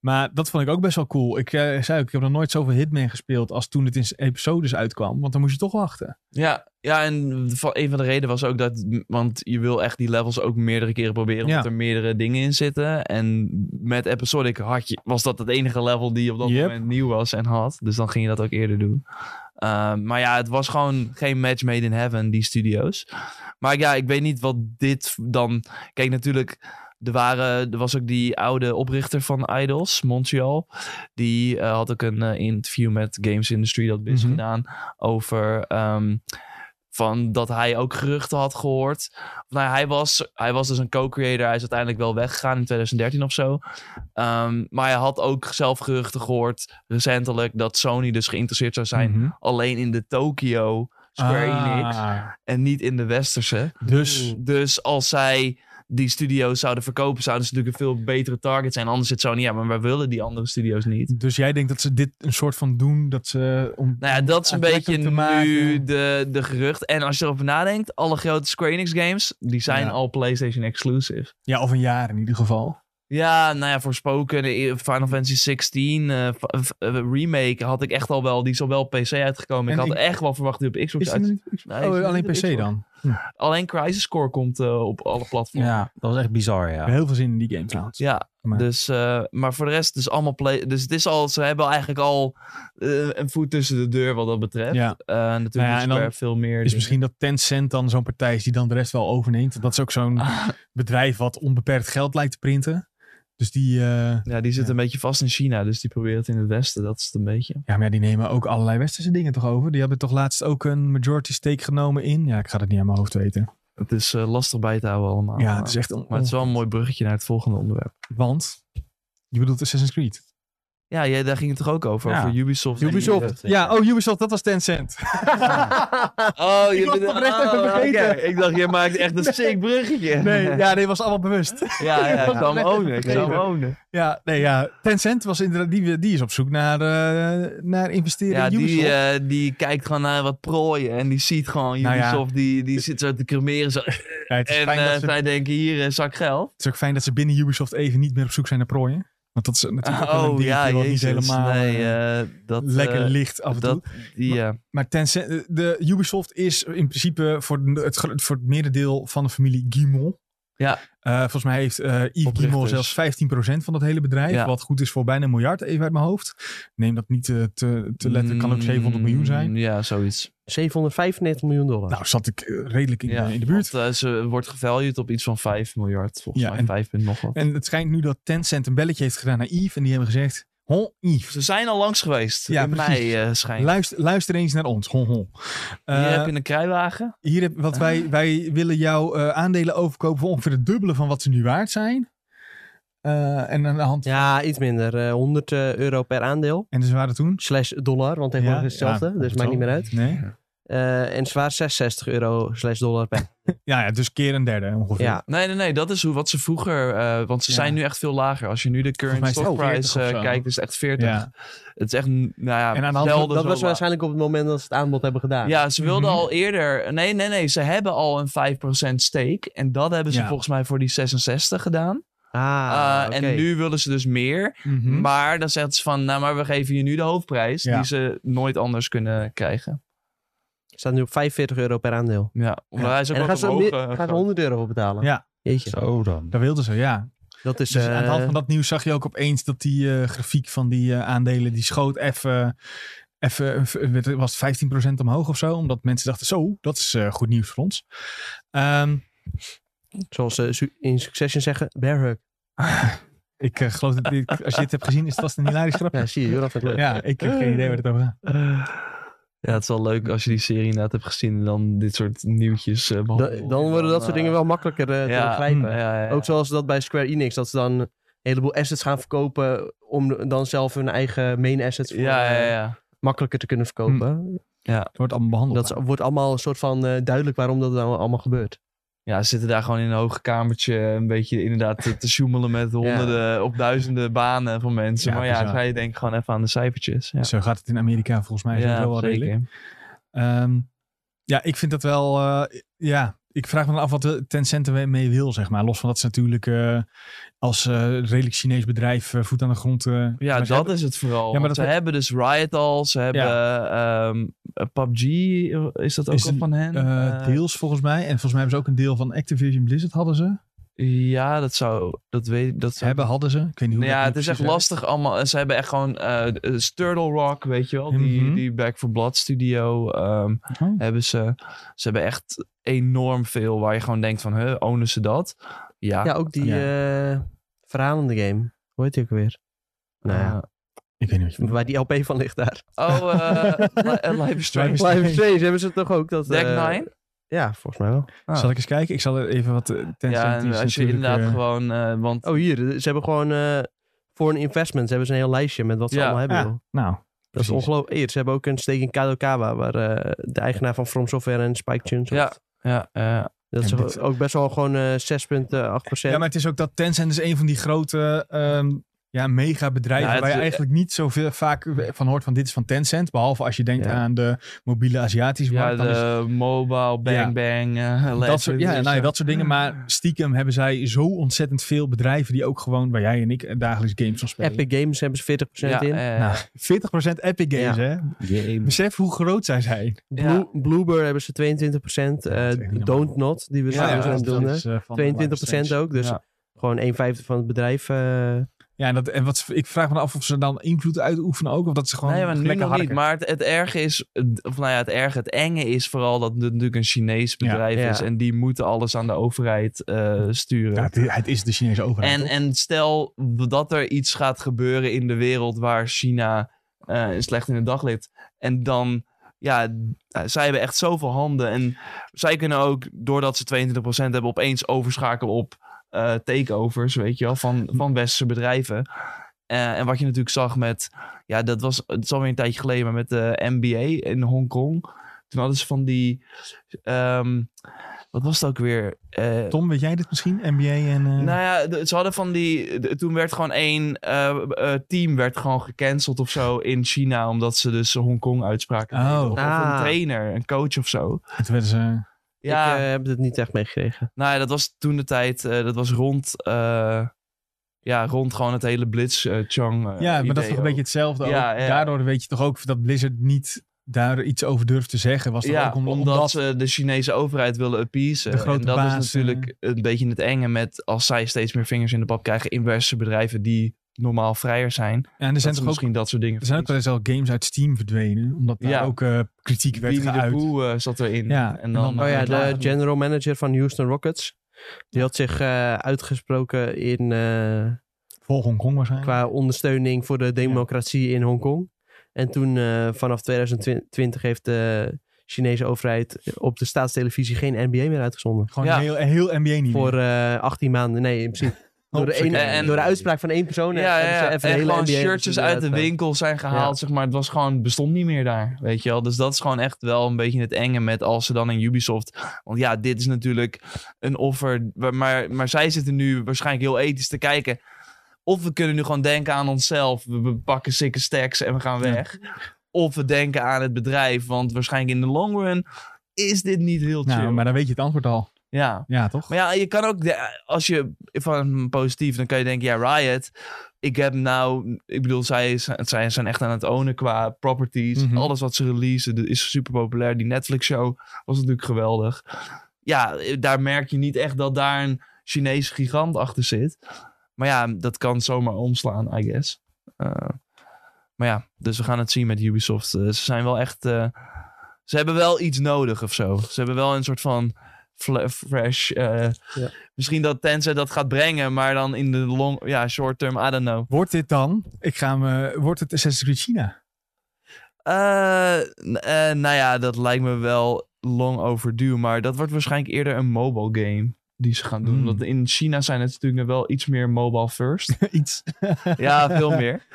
Maar dat vond ik ook best wel cool. Ik eh, zei ook, ik heb nog nooit zoveel Hitman gespeeld als toen het in s- episodes uitkwam, want dan moest je toch wachten. Ja, ja, en van- een van de redenen was ook dat, want je wil echt die levels ook meerdere keren proberen, omdat Ja. er meerdere dingen in zitten. En met Episodic had je, was dat het enige level die je op dat Yep. moment nieuw was en had. Dus dan ging je dat ook eerder doen. Ehm, maar ja, het was gewoon geen match made in heaven, die studio's. Maar ja, ik weet niet wat dit dan... Kijk, natuurlijk, er, waren, er was ook die oude oprichter van Idols, Montreal. Die eh, had ook een eh, interview met Games Industry, dat is Mhm. gedaan, over... ehm, van dat hij ook geruchten had gehoord. Of Nou, ja, hij, was, hij was dus een co-creator. Hij is uiteindelijk wel weggegaan in 2013 of zo. Ehm, maar hij had ook zelf geruchten gehoord recentelijk dat Sony dus geïnteresseerd zou zijn Mhm. alleen in de Tokyo Square Ah, Enix en niet in de westerse. Dus Dus als zij die studio's zouden verkopen, zouden ze natuurlijk een veel betere target zijn. Anders zit Sony, ja, maar wij willen die andere studio's niet. Dus jij denkt dat ze dit een soort van doen, dat ze... Om, Nou ja, dat is een beetje aantrekkelijk te maken. nu de, de gerucht. En als je erover nadenkt, alle grote Square Enix games, die zijn Ja. al PlayStation exclusive. Ja, of een jaar in ieder geval. Ja, nou ja, voorspoken, eh, Final Fantasy 16 eh, v- v- eh, remake had ik echt al wel, die is al wel PC uitgekomen. En ik had ik- echt wel verwacht die op Xbox Is uit. die nog niet- Nee, is die oh, nog alleen niet op PC Xbox? dan? Alleen Crisis Core komt eh, op alle platforms. Ja. Ja, dat was echt bizar, ja. Heel veel zin in die game trouwens. Maar- dus, eh, maar voor de rest is allemaal play. Dus het is al, ze hebben eigenlijk al eh, een voet tussen de deur wat dat betreft. Ja. Eh, natuurlijk Nou ja, is en dan Square veel meer. Is dingen. misschien dat Tencent dan zo'n Ah. partij is die dan de rest wel overneemt. Dat is ook zo'n bedrijf wat onbeperkt geld lijkt te printen. Dus die... eh, Ja, die zit Ja. een beetje vast in China, dus die probeert het in het Westen. Dat is het een beetje. ja, maar ja, die nemen ook allerlei westerse dingen toch over? Die hebben toch laatst ook een majority stake genomen in? Ja, ik ga dat niet aan mijn hoofd weten. Het is eh, lastig bij te houden allemaal. Ja, het is echt... On, Maar het is wel een mooi bruggetje naar het volgende onderwerp. Want, je bedoelt Assassin's Creed. Ja, jij, daar ging het toch ook over? Ja. Over Ubisoft. [LAUGHS] Ubisoft. Ja, oh Ubisoft, dat was [LAUGHS] Tencent. Oh, je Ik was bent- het oprecht even oh, vergeten. oké. Ik dacht, jij maakt echt [LAUGHS] een sick bruggetje. Nee, [LAUGHS] ja, dit was allemaal bewust. Ja, ja, ik was zou net hem even ownen. Ik zou hem vergeten. ownen. Ja, nee, ja. Tencent was inderdaad, die, die is op zoek naar, eh, naar investeren Ja, in Ubisoft. die, eh, die kijkt gewoon naar wat prooien en die ziet gewoon Nou ja. Ubisoft, die, die zit zo te cremeren. Zo. Ja, [LAUGHS] het, is En fijn dat eh, ze, zij denken, hier, eh, zak geld. het is ook fijn dat ze binnen Ubisoft even niet meer op zoek zijn naar prooien. Want dat is natuurlijk ook wel [LAUGHS] een oh dingetje ja, wat jezus. niet helemaal nee, eh, eh, dat, lekker eh, ligt af en toe. dat, die, eh, ja. Maar Tencent, de Ubisoft is in principe voor de- het, gro- voor het merendeel van de familie Guimont. Ja. Eh, volgens mij heeft eh Yves Oprichters. Guimont zelfs 15% van dat hele bedrijf. Ja. Wat goed is voor bijna een miljard, even uit mijn hoofd. Neem dat niet eh, te, te letten. Kan ook 700 miljoen zijn. Mm, Ja, zoiets. 795 miljoen dollar. Nou, zat ik eh, redelijk in, ja, eh, in de buurt. want, eh, ze wordt gevalued op iets van 5 miljard, volgens Ja, mij. en- 5 punt nog wat. En het schijnt nu dat Tencent een belletje heeft gedaan naar Yves. En die hebben gezegd, hon Yves, Ze zijn al langs geweest. Ja, in precies. mei eh schijnt. luister, luister eens naar ons. Hon, hon. Hier Eh, heb je een kruiwagen. Hier heb, wat wij, Ah. wij willen jouw eh, aandelen overkopen voor ongeveer het dubbele van wat ze nu waard zijn. Eh, en aan de hand. Ja, iets minder. eh, 100 eh, euro per aandeel. En ze waren toen. Slash dollar, want tegenwoordig Ja, is hetzelfde. ja, dus goed maakt zo. niet meer uit. Nee. Eh, en zwaar 66 euro slash dollar per. Ja, ja, dus keer een derde ongeveer. ja. Nee, nee, nee. Dat is hoe, wat ze vroeger... eh, want ze Ja. zijn nu echt veel lager. Als je nu de current Volgens mij is stock het ook 40 price of eh, zo. kijkt, is het echt 40. Ja. Het is echt, nou ja, En aan de hand- zelden Dat zo was laag. waarschijnlijk op het moment dat ze het aanbod hebben gedaan. Ja, ze wilden Mhm. al eerder... Nee, nee, nee. Ze hebben al een 5% stake. En dat hebben ze Ja. volgens mij voor die 66 gedaan. Ah, Eh, oké. En nu willen ze dus meer. Mhm. Maar dan zeggen ze van... Nou, maar we geven je nu de hoofdprijs. Ja. Die ze nooit anders kunnen krijgen. Staat nu op 45 euro per aandeel. Ja, omdat Ja. hij is ook en dan gaan wel ze, ook meer- verhogen, eh, gaan ze groot. 100 euro voor betalen. Ja. Jeetje. Zo dan. Dat wilden ze, ja. Dat is... Dus aan de hand eh, van dat nieuws zag je ook opeens dat die eh, grafiek van die eh, aandelen. die schoot even. Even, eh, werd- was het 15% omhoog of zo. Omdat mensen dachten: zo, dat is eh, goed nieuws voor ons. Ehm, Zoals ze su- in Succession zeggen, bear hug. ik eh, geloof dat dit, als je dit hebt gezien, is het vast een hilarisch grapje. Ja, zie je, Joran vindt het leuk. Ja, ik heb geen idee waar het over gaat. Ja, het is wel leuk als je die serie inderdaad hebt gezien en dan dit soort nieuwtjes eh Da- behandelt. dan worden dat soort dingen wel makkelijker eh, te ja, begrijpen. Ja, ja, ja. Ook zoals dat bij Square Enix, dat ze dan een heleboel assets gaan verkopen om de- dan zelf hun eigen main assets voor, Ja, ja, eh, ja. makkelijker te kunnen verkopen. Het wordt allemaal behandeld. Dat is- wordt allemaal een soort van eh, duidelijk waarom dat nou allemaal gebeurt. Ja, ze zitten daar gewoon in een hoog kamertje een beetje inderdaad te, te sjoemelen met honderden of duizenden banen van mensen. Ja, maar ja, bizar. ga je denk ik gewoon even aan de cijfertjes. Ja, Zo gaat het in Amerika volgens mij. Ja, wel zeker. redelijk. Ehm, ja, ik vind dat wel. eh, ja, ik vraag me dan af wat de Tencent ermee wil, zeg maar. Los van dat ze natuurlijk eh, als eh, redelijk Chinees bedrijf eh, voet aan de grond. eh, maar Ja, ze dat hebben- is het vooral. maar Want dat ze heb- hebben dus Riot al, ze hebben ehm, eh, PUBG, eh, is dat ook Is al een, van hen? eh, Eh, deels volgens mij. En volgens mij hebben ze ook een deel van Activision Blizzard hadden ze. Ja, dat zou, dat weet dat zou Hebben hadden ze. Ik weet niet hoe. Nou dat ja, nu het is echt precies werkt. lastig allemaal. En Ze hebben echt gewoon eh eh, Turtle Rock, weet je wel. Die, Mhm. die Back for Blood studio ehm, Oh. hebben ze. Ze hebben echt enorm veel waar je gewoon denkt van, huh, ownen ze dat? Ja. Ja, ook die eh, verhalende game. Hoe heet die ook weer? Ah. Nou ja, Ik weet niet wat je bedoelt. waar die LP van ligt daar. Oh, [LAUGHS] eh Li- eh, Life is Strange. Life is- Live Strange hebben ze toch ook? Dat, Deck eh, Nine? Ja, volgens mij wel. Ah. Zal ik eens kijken? Ik zal er even wat. eh, Tencent Ja, en die is als je natuurlijk, inderdaad eh, gewoon... eh, want Oh, hier. Ze hebben gewoon eh, voor een investment. Ze hebben ze een heel lijstje met wat ze Ja. allemaal hebben. Ja, joh. nou, Dat is precies. ongelooflijk. Eer, ze hebben ook een steek in Kadokawa, waar eh, de eigenaar van From Software en Spike Chunsoft. ja, ja, eh, Dat is En dit- ook best wel gewoon eh 6,8 Ja, maar het is ook dat Tencent is een van die grote ehm ja, megabedrijven Ja, het- eh, waar je eigenlijk niet zoveel vaak van hoort van dit is van Tencent. Behalve als je denkt Ja. aan de mobiele Aziatische ja markt. dan is het de mobile, bang Ja. bang, eh, dat Legends, soort, ja, nou ja, dat soort dingen. Maar stiekem hebben zij zo ontzettend veel bedrijven die ook gewoon, waar jij en ik eh, dagelijks games van spelen. Epic Games hebben ze 40% Ja, in. eh, Nou, 40% Epic Games, hè? Besef hoe groot zij zijn. Blue, Bluebird hebben ze 22%. eh, dat is echt niet Don't Not, die we Ja, zo ja, aan het dat doen. hè. is, eh, van 22% ook. Dus Ja. gewoon 1,50 van het bedrijf. eh, Ja, Ja, en, dat, en wat, ze- ik vraag me af of ze dan invloed uitoefenen ook. Of dat ze gewoon nee, maar nu lekker nog niet. harken. Maar het, het erge is, het- of nou ja, het erge, het enge is vooral dat het natuurlijk een Chinees bedrijf Ja. is. En die moeten alles aan de overheid eh, sturen. Ja, het, is- het is de Chinese overheid. En, toch? en stel dat er iets gaat gebeuren in de wereld waar China eh, slecht in het daglicht. En dan, ja, eh, zij hebben echt zoveel handen. En zij kunnen ook, doordat ze 22% hebben, opeens overschakelen op eh, takeovers, weet je wel, van, van westerse bedrijven. Eh, en wat je natuurlijk zag met, ja, dat was, het is alweer een tijdje geleden, maar met eh, de NBA in Hongkong. Toen hadden ze van die, ehm, wat was het ook weer? Eh, Tom, weet jij dit misschien? NBA en... eh, nou ja, de- ze hadden van die. de- toen werd gewoon één eh, eh, team werd gewoon gecanceld of zo in China. Omdat ze dus Hongkong uitspraken. Oh, Of Ah. een trainer, een coach of zo. het werden ze... Ja, Ik eh, heb het niet echt meegekregen. nou ja, dat was toen de tijd. eh, dat was rond. eh, ja, rond gewoon het hele Blitz eh, Chang. eh, Ja, maar dat idee is toch een ook. beetje hetzelfde Ja, ook. ja. Daardoor weet je toch ook dat Blizzard niet daar iets over durft te zeggen. Was dat Ja, ook om- omdat, omdat... ze de Chinese overheid willen appeasen. De grote eh. en dat baas, is natuurlijk een beetje het enge met als zij steeds meer vingers in de pap krijgen in westerse bedrijven die normaal vrijer zijn. Ja, en er Dat zijn ze toch ook... misschien dat soort dingen. Er zijn ook wel eens al games uit Steam verdwenen. Omdat daar Ja. ook eh, kritiek werd Winnie de geuit. Pooh eh, zat erin. Ja, en dan, eh, Maar Oh ja, het de lagen- general manager van Houston Rockets. Die had zich eh, uitgesproken in, eh, Vol Hongkong waarschijnlijk. qua ondersteuning voor de democratie in Hongkong. En toen eh, vanaf 2020 heeft de Chinese overheid op de staatstelevisie geen NBA meer uitgezonden. Gewoon Ja. heel, heel NBA niet Voor eh, 18 maanden. Nee, in [LAUGHS] principe. Door de, ene- En- door de uitspraak van één persoon. eh, ja, hebben ja, ze ja. even de en hele gewoon NBA shirtjes eruit uit de gedaan. winkel zijn gehaald, zeg maar. Het was gewoon, het bestond niet meer daar, weet je wel. Dus dat is gewoon echt wel een beetje het enge met als ze dan in Ubisoft... Want ja, dit is natuurlijk een offer, waar- maar, maar zij zitten nu waarschijnlijk heel ethisch te kijken... Of we kunnen nu gewoon denken aan onszelf. We, we pakken sikke stacks en we gaan weg. Of we denken aan het bedrijf. Want waarschijnlijk in de long run is dit niet heel chill. Nou, maar dan weet je het antwoord al. ja. Ja, toch? Maar ja, je kan ook, de- als je van positief, dan kan je denken, ja, Riot, ik heb nou, ik bedoel, zij, is- zij zijn echt aan het ownen qua properties. Mhm. Alles wat ze releasen dat is super populair. Die Netflix-show was natuurlijk geweldig. Ja, eh, daar merk je niet echt dat daar een Chinese gigant achter zit. Maar ja, dat kan zomaar omslaan, I guess. Eh, maar ja, dus we gaan het zien met Ubisoft. Eh, ze zijn wel echt, eh, ze hebben wel iets nodig of zo. Ze hebben wel een soort van fla- fresh. eh, Ja. Misschien dat Tencent dat gaat brengen, maar dan in de long, ja, short term, I don't know. Wordt dit dan... Ik ga me... Wordt het Assassin's Creed China? [LAUGHS] Eh, n- eh, nou ja, dat lijkt me wel long overdue, maar dat wordt waarschijnlijk eerder een mobile game die ze gaan doen. Hmm. Want in China zijn het natuurlijk wel iets meer mobile first. Iets. ja, veel meer.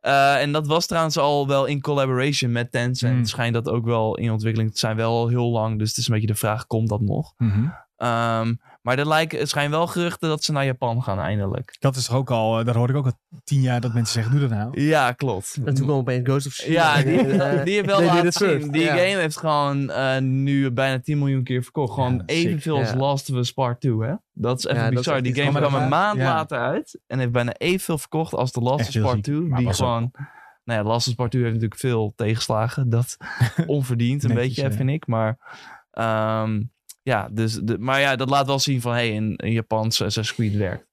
Eh, en dat was trouwens al wel in collaboration met Tencent. Hmm. Schijnt dat ook wel in ontwikkeling te zijn, wel al heel lang. Dus het is een beetje de vraag, komt dat nog? Mhm. Ehm, maar er lijken, er schijnen wel geruchten dat ze naar Japan gaan eindelijk. Dat is toch ook al... eh, Daar hoor ik ook al tien jaar dat mensen zeggen, doe dat nou. Ja, klopt. En toen kwam opeens Ghost of Tsushima. Ja, [LAUGHS] die, Eh, die heeft wel they did laten it first. zien. Die Ja. game heeft gewoon eh, nu bijna 10 miljoen keer verkocht. Gewoon Ja, evenveel sick, als ja. Last of Us Part 2, hè? Dat is echt Ja, dat is bizar. echt die iets game anders. kwam een maand Ja. later uit en heeft bijna evenveel verkocht als de Last Echt of heel Part ziek. 2. Maar Die pas op. gewoon... Nou ja, Last of Us Part 2 heeft natuurlijk veel tegenslagen. Dat onverdiend een Netjes, beetje, ja. vind ik. Maar ehm, ja, dus de, maar ja, dat laat wel zien van... hey, een, een Japanse Assassin's Creed werkt.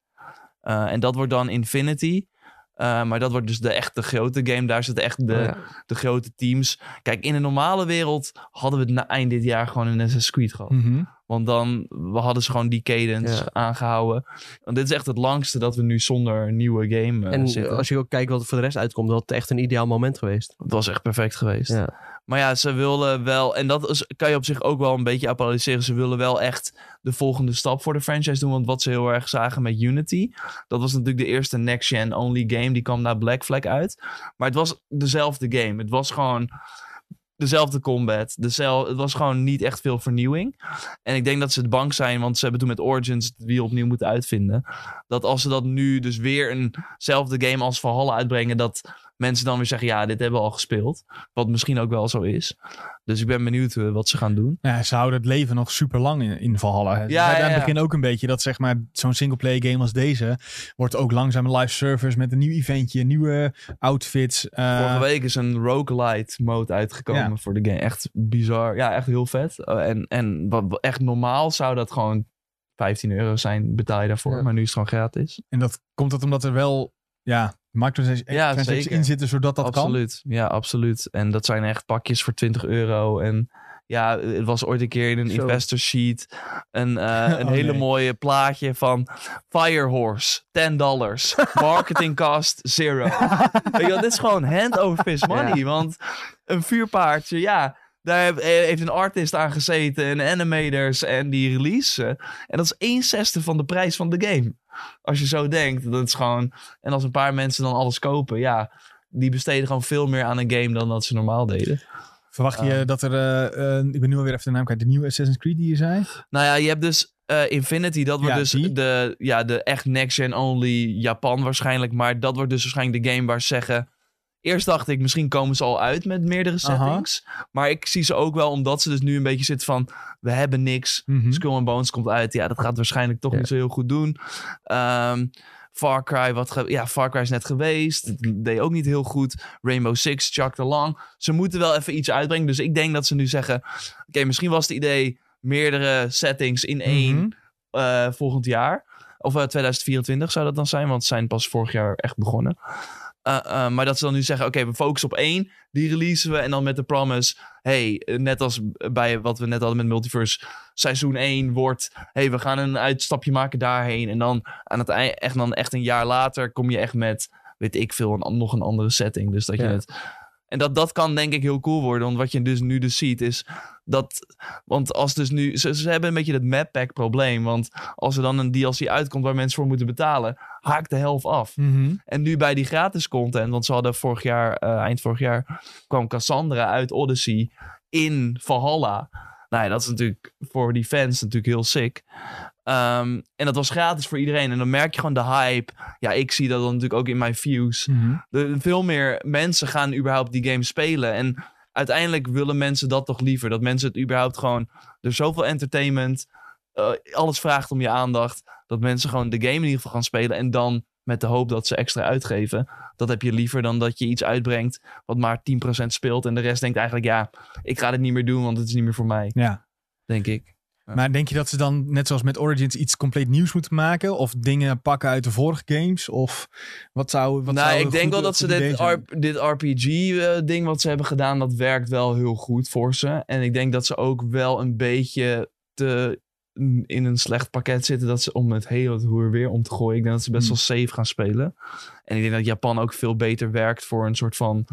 Eh, en dat wordt dan Infinity. Eh, maar dat wordt dus de echte grote game. Daar zitten echt de, Oh ja. de grote teams. Kijk, in de normale wereld hadden we het na eind dit jaar gewoon een Assassin's Creed gehad. Mhm. Want dan we hadden ze gewoon die cadence Hm. Ja. aangehouden. Want dit is echt het langste dat we nu zonder nieuwe game eh, En zitten. als je ook kijkt wat er voor de rest uitkomt, dat het echt een ideaal moment geweest. Dat was echt perfect geweest. Ja. Maar ja, ze willen wel, en dat is, kan je op zich ook wel een beetje applaudisseren. Ze willen wel echt de volgende stap voor de franchise doen. Want wat ze heel erg zagen met Unity, dat was natuurlijk de eerste next-gen only game. Die kwam na Black Flag uit. Maar het was dezelfde game. Het was gewoon dezelfde combat. Dezel, het was gewoon niet echt veel vernieuwing. En ik denk dat ze het bang zijn, want ze hebben toen met Origins het wiel opnieuw moeten uitvinden. Dat als ze dat nu dus weer eenzelfde game als Valhalla uitbrengen, dat mensen dan weer zeggen, ja, dit hebben we al gespeeld. Wat misschien ook wel zo is. Dus ik ben benieuwd eh, wat ze gaan doen. Nou Ja, ze houden het leven nog super lang in, in Valhalla. Ja, ja, aan het ja. begin ook een beetje dat zeg maar zo'n singleplayer game als deze wordt ook langzaam een live service met een nieuw eventje, nieuwe outfits. eh, Vorige week is een roguelite mode uitgekomen Ja. voor de game. Echt bizar. Ja, echt heel vet. Eh, en en wat, wat echt normaal zou dat gewoon 15 euro zijn, betaal je daarvoor. Ja. Maar nu is het gewoon gratis. En dat komt dat omdat er wel ja, Ja, microtransactions zeker. in zitten zodat dat kan. absoluut. Ja, absoluut. En dat zijn echt pakjes voor 20 euro. En ja, het was ooit een keer in een Zo. investor sheet een, eh, een [LAUGHS] Oh, hele nee. mooie plaatje van Firehorse, [LAUGHS] 10 dollars. Marketing cost zero. Weet je wel, dit is gewoon hand [LAUGHS] over fist money. Want een vuurpaardje, ja, daar heb- eh, heeft een artist aan gezeten en animators en die release. En dat is 1 zesde van de prijs van de game. Als je zo denkt, dat is gewoon... En als een paar mensen dan alles kopen, ja... Die besteden gewoon veel meer aan een game dan dat ze normaal deden. Verwacht je dat er, eh, eh, ik ben nu alweer even de naam kwijt, de nieuwe Assassin's Creed die je zei? Nou ja, je hebt dus eh, Infinity. Dat wordt Ja, dus die. de, ja, de echt next-gen only Japan waarschijnlijk. Maar dat wordt dus waarschijnlijk de game waar ze zeggen... Eerst dacht ik, misschien komen ze al uit met meerdere Aha. settings. Maar ik zie ze ook wel, omdat ze dus nu een beetje zitten van... We hebben niks. Mhm. Skull and Bones komt uit. Ja, dat gaat waarschijnlijk toch Ja. niet zo heel goed doen. Ehm, Far Cry, wat ge- ja, Far Cry is net geweest. Mhm. Dat deed ook niet heel goed. Rainbow Six, Chuck Along. Ze moeten wel even iets uitbrengen. Dus ik denk dat ze nu zeggen... Oké, misschien was het idee meerdere settings in één Mhm. eh, volgend jaar. Of eh, 2024 zou dat dan zijn, want ze zijn pas vorig jaar echt begonnen. Eh, eh, maar dat ze dan nu zeggen, oké, we focussen op één. Die releasen we en dan met de promise... hey, eh, net als bij wat we net hadden met Multiverse... seizoen 1 wordt... hey, we gaan een uitstapje maken daarheen. En dan, aan het eind, echt, dan echt een jaar later kom je echt met... weet ik veel, een, nog een andere setting. Dus dat Ja. je het... En dat, dat kan denk ik heel cool worden. Want wat je dus nu dus ziet is dat... Want als dus nu... Ze, ze hebben een beetje dat map pack probleem. Want als er dan een DLC uitkomt waar mensen voor moeten betalen... haakt de helft af. Mhm. En nu bij die gratis content, want ze hadden vorig jaar, eh, eind vorig jaar, kwam Cassandra uit Odyssey in Valhalla. Nou ja, dat is natuurlijk voor die fans natuurlijk heel sick. Ehm, en dat was gratis voor iedereen. En dan merk je gewoon de hype. Ja, ik zie dat dan natuurlijk ook in mijn views. Mhm. De, veel meer mensen gaan überhaupt die game spelen. En uiteindelijk willen mensen dat toch liever. Dat mensen het überhaupt gewoon... Er is zoveel entertainment. eh, alles vraagt om je aandacht. Dat mensen gewoon de game in ieder geval gaan spelen. En dan met de hoop dat ze extra uitgeven. Dat heb je liever dan dat je iets uitbrengt... wat maar 10% speelt. En de rest denkt eigenlijk... ja, ik ga dit niet meer doen, want het is niet meer voor mij. Ja. Denk ik. Maar denk je dat ze dan, net zoals met Origins, iets compleet nieuws moeten maken? Of dingen pakken uit de vorige games? Of wat zou. Wat nou, zou ik een denk goed- wel dat ze goed idee dit, zijn? RP dit RPG-ding eh, wat ze hebben gedaan, dat werkt wel heel goed voor ze. En ik denk dat ze ook wel een beetje te mm, in een slecht pakket zitten dat ze om het hele roer weer om te gooien. Ik denk dat ze best Hmm. wel safe gaan spelen. En ik denk dat Japan ook veel beter werkt voor een soort van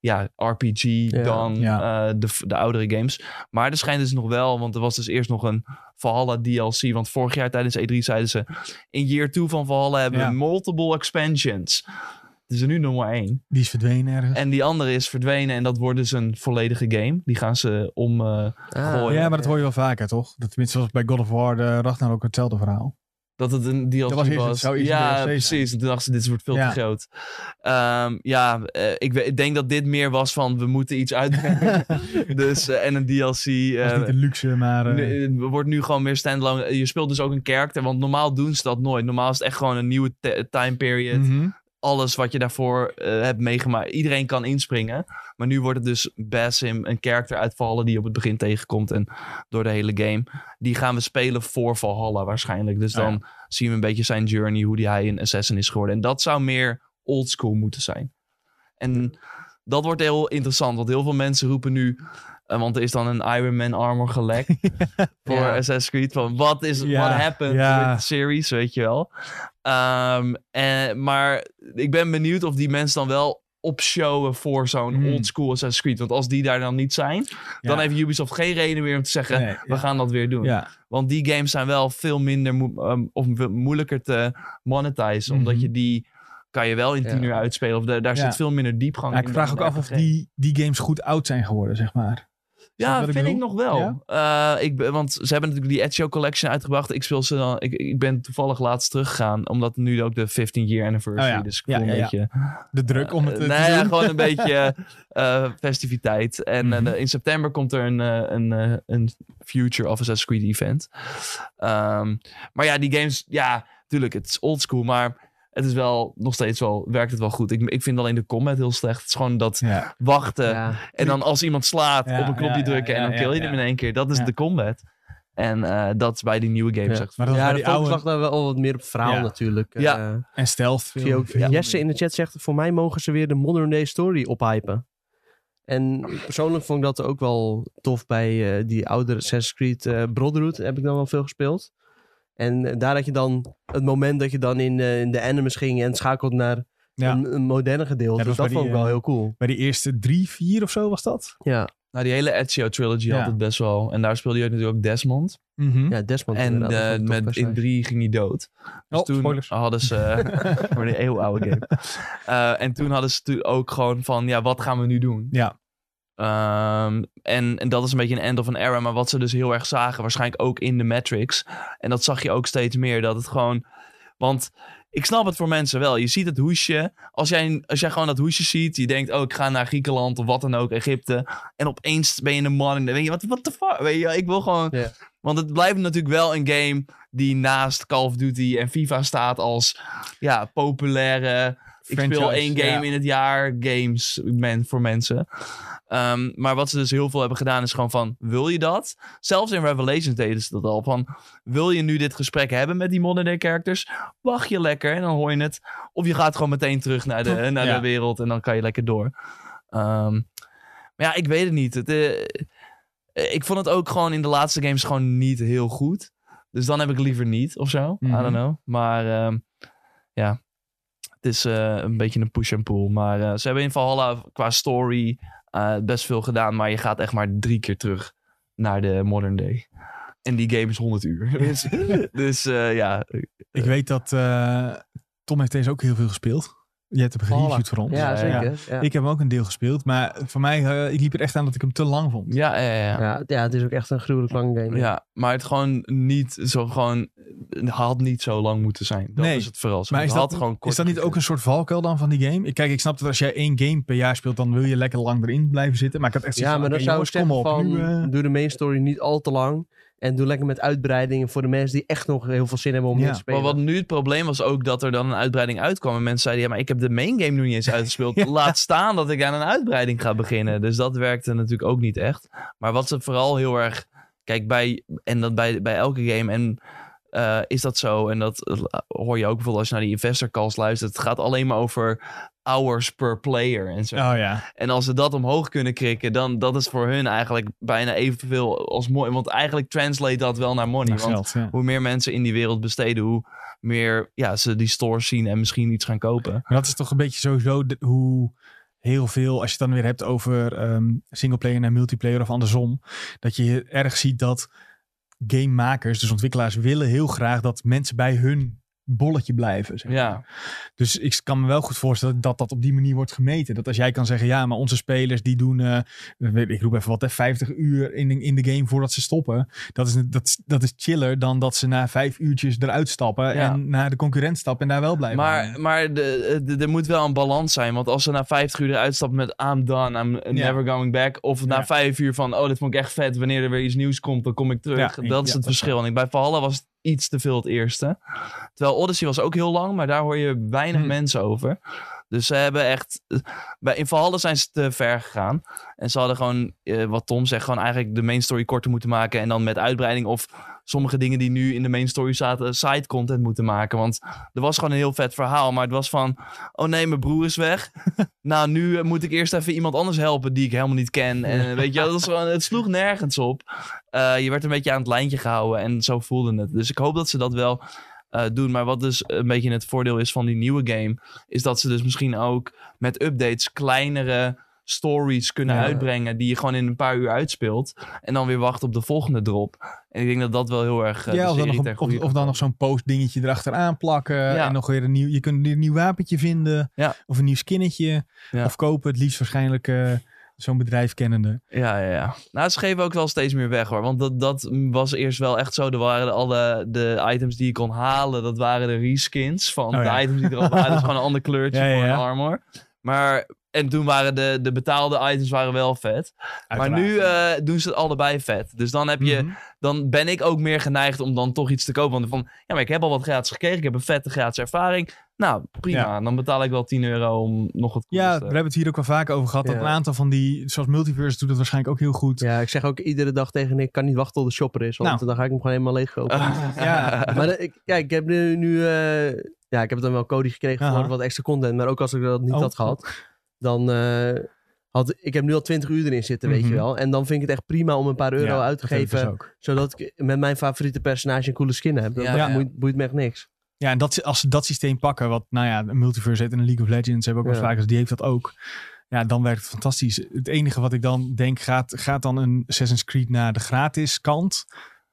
ja, RPG dan ja. eh, de, de oudere games. Maar er schijnt dus nog wel, want er was dus eerst nog een Valhalla DLC. Want vorig jaar tijdens E3 zeiden ze, in year 2 van Valhalla hebben Ja. we multiple expansions. Het is er nu nog maar één. Die is verdwenen ergens. En die andere is verdwenen en dat wordt dus een volledige game. Die gaan ze om... eh, Ah, ja, maar dat hoor je wel vaker, toch? Dat tenminste was bij God of War de Ragnar ook hetzelfde [LAUGHS] verhaal. dat het een DLC was was. eerst- het zou eerst een DLC ja, zijn. precies. En toen dachten ze, dit wordt veel Ja. te groot. Ehm, ja, eh, ik, we- ik denk dat dit meer was van, we moeten iets [LAUGHS] uitbrengen. dus, eh, en een DLC. Dat eh, was niet een luxe, maar. eh, Nu- het wordt nu gewoon meer standalone. Je speelt dus ook een character, want normaal doen ze dat nooit. Normaal is het echt gewoon een nieuwe te- time period. mhm. Alles wat je daarvoor eh, hebt meegemaakt, iedereen kan inspringen. Maar nu wordt het dus Basim, een character uit Valhalla die je op het begin tegenkomt en door de hele game. Die gaan we spelen voor Valhalla waarschijnlijk. Dus Oh ja. dan zien we een beetje zijn journey, hoe die hij een assassin is geworden. En dat zou meer old school moeten zijn. En dat wordt heel interessant, want heel veel mensen roepen nu, eh, want er is dan een Iron Man armor [LAUGHS] gelekt voor Ja. Assassin's Creed. Van wat is Ja, what happened ja. with the series, weet je wel. Ehm, en, maar ik ben benieuwd of die mensen dan wel opshowen voor zo'n Hmm. old school Assassin's Creed. Want als die daar dan niet zijn, dan heeft Ubisoft geen reden meer om te zeggen, Nee, we ja. gaan dat weer doen. Ja. Want die games zijn wel veel minder mo- ehm, of mo- moeilijker te monetizen. Omdat Mhm. je die kan je wel in tien Ja. uur uitspelen. Of daar, daar Ja. zit veel minder diepgang Ja, in. ik vraag dan ook een af of RPG. die, die games goed oud zijn geworden, zeg maar. Ja, wat ik vind ik nog wel. Eh, ik, ben- want ze hebben natuurlijk die Ezio Collection uitgebracht. Ik speel ze dan. Ik, ik ben toevallig laatst teruggegaan. Omdat nu ook de 15-year anniversary. Oh ja. Dus ik Ja, voel ja, een ja. beetje. De druk om het eh, Eh, te nou ja, doen. gewoon een beetje eh, festiviteit. En eh, Mhm. in september komt er een, eh, een, eh, een Future of Assassin's Creed event. Ehm, maar ja, die games, ja, tuurlijk, het is oldschool, maar het is wel nog steeds wel, werkt het wel goed. Ik, ik vind alleen de combat heel slecht. Het is gewoon dat [LAUGHS] Ja. wachten ja. en dan als iemand slaat, Ja, op een knopje ja, ja, drukken en ja, dan kill je ja, hem ja. in één keer. Dat is Ja. de combat. En eh, dat is bij die nieuwe games Ja. echt. Maar dat Ja, bij die de focus lag oude daar wel wat meer op verhaal Ja. natuurlijk. Ja. Eh, en stealth zie je veel- ook, veel Jesse meer. in de chat zegt, voor mij mogen ze weer de modern day story ophypen. En persoonlijk vond ik dat ook wel tof bij eh, die oudere Assassin's Creed eh, Brotherhood. Heb ik dan wel veel gespeeld. En eh, daar had je dan het moment dat je dan in, eh, in de animus ging en schakelt naar Ja. een, een moderne gedeelte. Ja, dat Dus dat was bij vond die, ik wel eh, heel cool. Bij de eerste drie, vier of zo was dat? Ja, Nou, die hele Ezio trilogy Ja. had het best wel. En daar speelde je ook natuurlijk ook Desmond. Ja. ja Desmond. en inderdaad, dat eh, vond ik een tof met, in personage. drie ging hij dood. Dus Oh, toen spoilers. hadden ze. [LAUGHS] voor de eeuwenoude game. Eh, en toen hadden ze tu- ook gewoon van, ja, wat gaan we nu doen? Ja. Ehm, en, en dat is een beetje een end of an era. Maar wat ze dus heel erg zagen, waarschijnlijk ook in de Matrix. En dat zag je ook steeds meer. Dat het gewoon. Want ik snap het voor mensen wel. Je ziet het hoesje. Als jij, als jij gewoon dat hoesje ziet, je denkt, oh, ik ga naar Griekenland of wat dan ook, Egypte. En opeens ben je een man. En dan denk je, wat what the fuck? Weet je, ik wil gewoon. Ja. Want het blijft natuurlijk wel een game die naast Call of Duty en FIFA staat als ja, populaire ik speel Franchise, één ja. game in het jaar games man, voor mensen. Ehm, maar wat ze dus heel veel hebben gedaan is gewoon van, wil je dat? Zelfs in Revelations deden ze dat al. Van, wil je nu dit gesprek hebben met die modern day characters? Wacht je lekker en dan hoor je het. Of je gaat gewoon meteen terug naar de, naar Ja. de wereld en dan kan je lekker door. Ehm, maar ja, ik weet het niet. Het, eh, ik vond het ook gewoon in de laatste games gewoon niet heel goed. Dus dan heb ik liever niet of zo. I Mhm. don't know. Maar ehm, ja, het is eh, een beetje een push en pull. Maar eh, ze hebben in Valhalla qua story eh, best veel gedaan. Maar je gaat echt maar drie keer terug naar de modern day. En die game is 100 uur. [LAUGHS] [LAUGHS] Dus, dus eh, ja. [LAUGHS] Ik weet dat eh, Tom heeft deze ook heel veel gespeeld. Je hebt hem gereviewd voor ons. Ja, Ja, zeker. Ja. Ik heb hem ook een deel gespeeld, maar voor mij, eh, ik liep er echt aan dat ik hem te lang vond. Ja, ja, ja. Ja, ja, het is ook echt een gruwelijk lange game. Ja, maar het gewoon niet zo gewoon het had niet zo lang moeten zijn. Dat Nee. is het vooral. Zo, Maar is het dat, had gewoon kort is dat niet ook een soort valkuil dan van die game? Ik- Kijk, ik snap dat als jij één game per jaar speelt, dan wil je lekker lang erin blijven zitten. Maar ik had echt zoiets Ja, maar van, dan oké, zou ik jongens, zeggen van, kom op. nu, eh, doe de main story niet al te lang. En doe lekker met uitbreidingen voor de mensen die echt nog heel veel zin hebben om Ja. mee te spelen. Maar wat nu het probleem was ook dat er dan een uitbreiding uitkwam. En mensen zeiden, ja, maar ik heb de main game nu niet eens [LAUGHS] uitgespeeld. Ja. Laat staan dat ik aan een uitbreiding ga beginnen. Dus dat werkte natuurlijk ook niet echt. Maar wat ze vooral heel erg... Kijk, bij, en dat bij, bij elke game en, eh, is dat zo. En dat eh, hoor je ook bijvoorbeeld als je naar die investor calls luistert. Het gaat alleen maar over hours per player en zo. Oh ja. En als ze dat omhoog kunnen krikken, dan dat is voor hun eigenlijk bijna evenveel als mooi. Want eigenlijk translate dat wel naar money. Nou, Want geld, ja. hoe meer mensen in die wereld besteden, hoe meer ja, ze die stores zien en misschien iets gaan kopen. Maar dat is toch een beetje sowieso de- hoe heel veel, als je het dan weer hebt over ehm singleplayer naar multiplayer of andersom, dat je erg ziet dat gamemakers, dus ontwikkelaars, willen heel graag dat mensen bij hun bolletje blijven. zeg maar. Ja, Dus ik kan me wel goed voorstellen dat dat op die manier wordt gemeten. Dat als jij kan zeggen, ja, maar onze spelers die doen, eh, weet- ik roep even wat, hè, 50 uur in, de- in de game voordat ze stoppen. Dat is, dat, is- dat is chiller dan dat ze na vijf uurtjes eruit stappen Ja. en naar de concurrent stappen en daar wel blijven. hangen. maar, maar de, de- er moet wel een balans zijn. Want als ze na 50 uur eruit stapt met I'm done, I'm never going back. Of na Ja. 5 uur van, oh, dit vond ik echt vet. Wanneer er weer iets nieuws komt, dan kom ik terug. Ja, ja, dat is dat het is verschil. En ik- bij Valhalla was het iets te veel het eerste. Terwijl Odyssey was ook heel lang, maar daar hoor je weinig Hm. mensen over. Dus ze hebben echt... Bij, in Valhalla zijn ze te ver gegaan. En ze hadden gewoon, eh, wat Tom zegt, gewoon eigenlijk de main story korter moeten maken. En dan met uitbreiding of sommige dingen die nu in de main story zaten, side content moeten maken. Want er was gewoon een heel vet verhaal. Maar het was van, oh nee, mijn broer is weg. nou, nu eh, moet ik eerst even iemand anders helpen die ik helemaal niet ken. En eh, weet [LAUGHS] je, dat is gewoon, het sloeg nergens op. Eh, je werd een beetje aan het lijntje gehouden en zo voelde het. Dus ik hoop dat ze dat wel eh, doen. Maar wat dus een beetje het voordeel is van die nieuwe game, is dat ze dus misschien ook met updates kleinere stories kunnen Ja. uitbrengen die je gewoon in een paar uur uitspeelt en dan weer wacht op de volgende drop. En ik denk dat dat wel heel erg eh, de ja, of dan, serie nog, ten een- goede of, kan of dan komen. nog zo'n post dingetje erachteraan plakken. Ja. En nog weer een nieuw, je kunt een nieuw wapentje vinden. Ja. Of een nieuw skinnetje. Ja. Of kopen, het liefst waarschijnlijk eh, zo'n bedrijf kennende. Ja, ja, ja. Nou, ze geven ook wel steeds meer weg hoor. Want dat, dat was eerst wel echt zo. Er waren alle de items die je kon halen, dat waren de reskins van Oh, de ja. items die er al waren. Dus gewoon een ander kleurtje [LAUGHS] Ja, ja, voor ja. een armor. Maar En toen waren de, de betaalde items waren wel vet. Maar nu Uiteraard. eh, doen ze het allebei vet. Dus dan, heb je, Mhm. dan ben ik ook meer geneigd om dan toch iets te kopen. Want van, ja, maar ik heb al wat gratis gekregen. Ik heb een vette gratis ervaring. Nou, prima. Ja. Dan betaal ik wel 10 euro om nog wat Ja, koers we te- hebben het hier ook wel vaak over gehad. Dat Ja. een aantal van die, zoals Multiverse doet dat waarschijnlijk ook heel goed. Ja, ik zeg ook iedere dag tegen Nick, ik kan niet wachten tot de shopper is. Want Nou. dan ga ik hem gewoon helemaal leegkopen. [LAUGHS] Ja. Maar eh, ik, ja, ik heb nu, nu eh, ja, ik heb dan wel code gekregen Aha. voor wat extra content. Maar ook als ik dat niet Oh. had gehad, dan eh, had ik heb nu al 20 uur erin zitten, weet Mhm. je wel. En dan vind ik het echt prima om een paar euro Ja, uit te dat heb ik geven. dus ook. Zodat ik met mijn favoriete personage een coole skin heb. Dat, Ja. dat Ja. Boeit, boeit me echt niks. Ja, en dat, als ze dat systeem pakken, wat nou ja, Multiverse heeft en League of Legends hebben ook wel Ja. vaak, dus die heeft dat ook. Ja, dan werkt het fantastisch. Het enige wat ik dan denk, gaat, gaat dan een Assassin's Creed naar de gratis kant?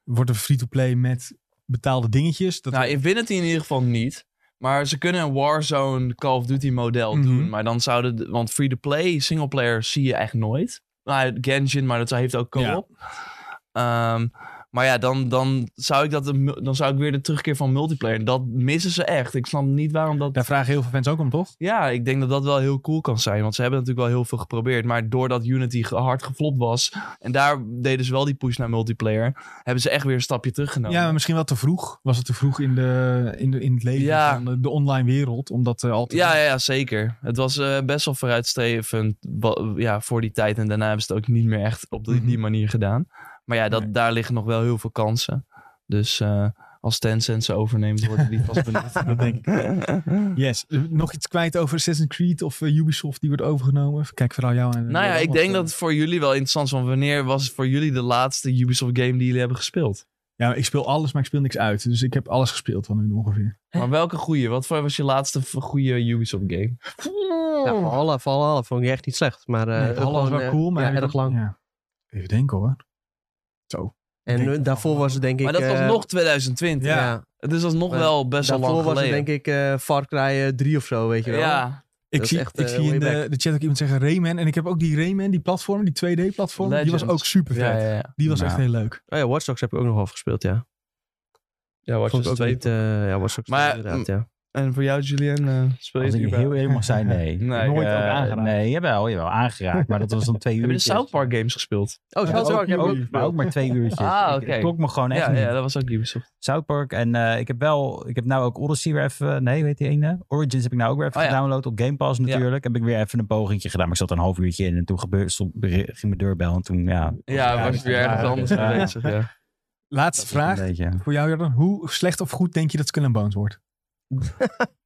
Wordt er free-to-play met betaalde dingetjes? Dat, Nou, Infinity in ieder geval niet. Maar ze kunnen een Warzone Call of Duty model Mhm. doen. Maar dan zouden... de- Want free-to-play, singleplayer zie je echt nooit. Nou, Genshin, maar dat heeft ook co-op. Ehm, maar ja, dan, dan, zou ik dat, dan zou ik weer de terugkeer van multiplayer. En Dat missen ze echt. Ik snap niet waarom dat... Daar vragen heel veel fans ook om, toch? Ja, ik denk dat dat wel heel cool kan zijn. Want ze hebben natuurlijk wel heel veel geprobeerd. Maar doordat Unity ge- hard geflopt was... En daar deden ze wel die push naar multiplayer. Hebben ze echt weer een stapje teruggenomen. Ja, maar misschien wel te vroeg. Was het te vroeg in, de, in, de, in het leven Ja. van de, de online wereld? Omdat eh altijd... Ja, ja, ja, zeker. Het was eh, best wel vooruitstrevend wa- ja, voor die tijd. En daarna hebben ze het ook niet meer echt op die, Mhm. die manier gedaan. Maar ja, dat, Nee. daar liggen nog wel heel veel kansen. Dus eh, als Tencent ze overneemt, [LAUGHS] worden die vast benut. [LAUGHS] Dat denk ik. Yes. Eh, Nog iets kwijt over Assassin's Creed of eh, Ubisoft die wordt overgenomen? Even Kijk vooral jou eh, aan. nou ja, ik denk dat het voor jullie wel interessant is. Want wanneer was het voor jullie de laatste Ubisoft game die jullie hebben gespeeld? Ja, maar ik speel alles, maar ik speel niks uit. Dus ik heb alles gespeeld van hun ongeveer. Maar welke goeie? Wat voor- was je laatste v- goede Ubisoft game? Ja, Valhalla, Valhalla vond ik echt niet slecht. Maar eh, Nee, ook alles gewoon, was wel eh, cool, maar... ja, erg lang. Ja. Even denken hoor. En denk ik daarvoor wel. was het denk ik... Maar dat was eh, nog 2020. Ja. Dus dat is nog Maar wel best wel Daarvoor lang was geleden. het denk ik eh Far Cry eh, 3 of zo, weet je wel. ja, Ik Dat is zie, echt, ik eh, zie in way de, de chat ook iemand zeggen Rayman. En ik heb ook die Rayman, die platform, die 2D-platform. Die was Legends. ook super vet. ja, ja, ja. Die was Nou. echt heel leuk. Oh ja, Watch Dogs heb ik ook nog afgespeeld, ja. Ja, Watch Vond ik Dogs ook 2 niet... eh, ja, Watch Dogs Maar, 2 inderdaad, ja. En voor jou, Julien, speel je het Als ik heel überhaupt? eerlijk mag zijn, [LAUGHS] nee. Nee. Nooit Eh, ook aangeraakt. Nee, jawel, jawel, aangeraakt. Maar dat was dan twee uur. Heb je de South Park games gespeeld? Oh, Ja, South ook, Park heb ik ook. ook, maar ook maar twee uurtjes. Ah, Ik- oké. Het klonk me gewoon echt Ja, niet. ja, dat was ook Ubisoft. South Park. En eh, ik heb wel, ik heb nou ook Odyssey weer even, nee, weet die ene? Origins heb ik nou ook weer even Oh, ja. gedownload op Game Pass natuurlijk. Heb ik weer even een pogingje gedaan. Maar ik zat er een half uurtje in en toen gebeurde, stond, ging mijn deurbel en toen, ja. was Ja, het was uit. het weer ja, ergens ja, anders ja. mee bezig, ja. Laatste Dat was vraag een beetje. voor jou, Jordan. Hoe slecht of goed denk je dat Skull and Bones wordt?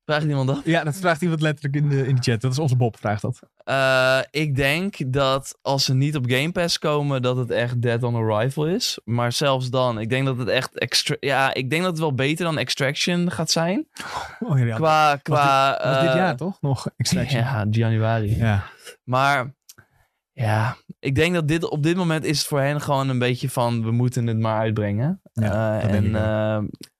Vraag niemand af. Ja, dat vraagt iemand letterlijk in de, in de chat. Dat is onze Bob, vraagt dat. Eh, ik denk dat als ze niet op Game Pass komen, dat het echt Dead on Arrival is. Maar zelfs dan, ik denk dat het echt... Extra ja, ik denk dat het wel beter dan Extraction gaat zijn. Oh, ja, ja. Qua... qua Was dit eh, jaar toch? Nog Extraction. [LAUGHS] Ja, januari. Ja. Maar ja, ik denk dat dit op dit moment is het voor hen gewoon een beetje van we moeten het maar uitbrengen. Ja, Eh, dat en denk ik ook.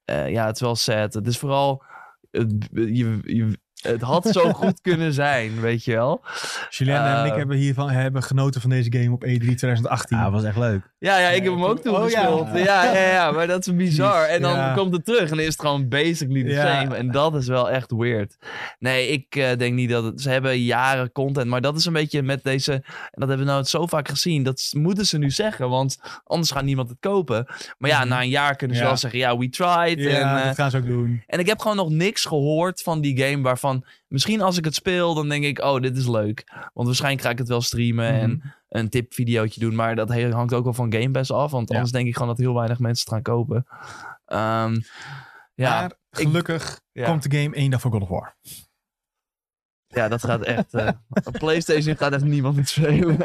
eh, eh, ja, het is wel sad. Het is vooral. Het, je, je- het had [LAUGHS] zo goed kunnen zijn, weet je wel. Julianne en Eh, ik hebben hiervan hebben genoten van deze game op E E3 2018. Ja, dat was echt leuk. Ja, ja ik heb hem ik ook vond- toen oh, ja. gespeeld. Ja. Ja, ja, maar dat is bizar. En dan Ja. komt het terug en dan is het gewoon basically the Ja. same. En dat is wel echt weird. Nee, ik eh, denk niet dat het... Ze hebben jaren content, maar dat is een beetje met deze... En dat hebben we nou zo vaak gezien. Dat s- moeten ze nu zeggen, want anders gaat niemand het kopen. Maar ja, Mhm. na een jaar kunnen ze Ja. wel zeggen, ja, we tried. ja, en, eh, dat gaan ze ook doen. en ik heb gewoon nog niks gehoord van die game waarvan... Misschien als ik het speel, dan denk ik, oh, dit is leuk. Want waarschijnlijk ga ik het wel streamen Mhm. en een tipvideootje doen. Maar dat he- hangt ook wel van Game Pass af. Want Ja. anders denk ik gewoon dat heel weinig mensen het gaan kopen. Ehm, ja, maar gelukkig ja. komt de game één dag voor God of War. ja, dat gaat echt... eh, op PlayStation gaat echt niemand [LAUGHS] het spelen.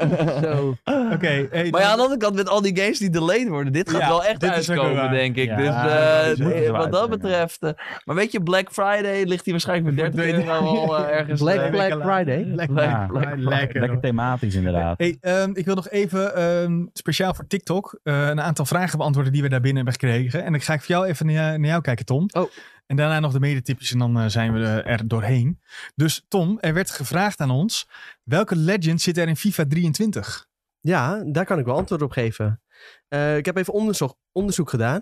Zo. Oké. E hey, Maar ja, dan- [LAUGHS] aan de andere kant, met al die games die delayed worden, dit gaat Ja, wel echt dit is ook wel uitkomen, waar. denk ik. Ja, dus dat is eh, wel eh, waar, wat dat ja. betreft. eh, maar weet je, Black Friday ligt hier waarschijnlijk met 30 Voor euro [LAUGHS] al eh, ergens. Black eh, Black Friday? Black Black- Friday. Black Friday. Lekker. Lekker thematisch inderdaad. Hey, ehm, ik wil nog even ehm, speciaal voor TikTok eh, een aantal vragen beantwoorden die we daar binnen hebben gekregen. En dan ga ik voor jou even naar, naar jou kijken, Tom. Oh. En daarna nog de medetipjes en dan eh, zijn we eh, er doorheen. Dus Tom, er werd gevraagd aan ons, welke legend zit er in FIFA 23? Ja, daar kan ik wel antwoord op geven. Eh, ik heb even onderzoek, onderzoek gedaan.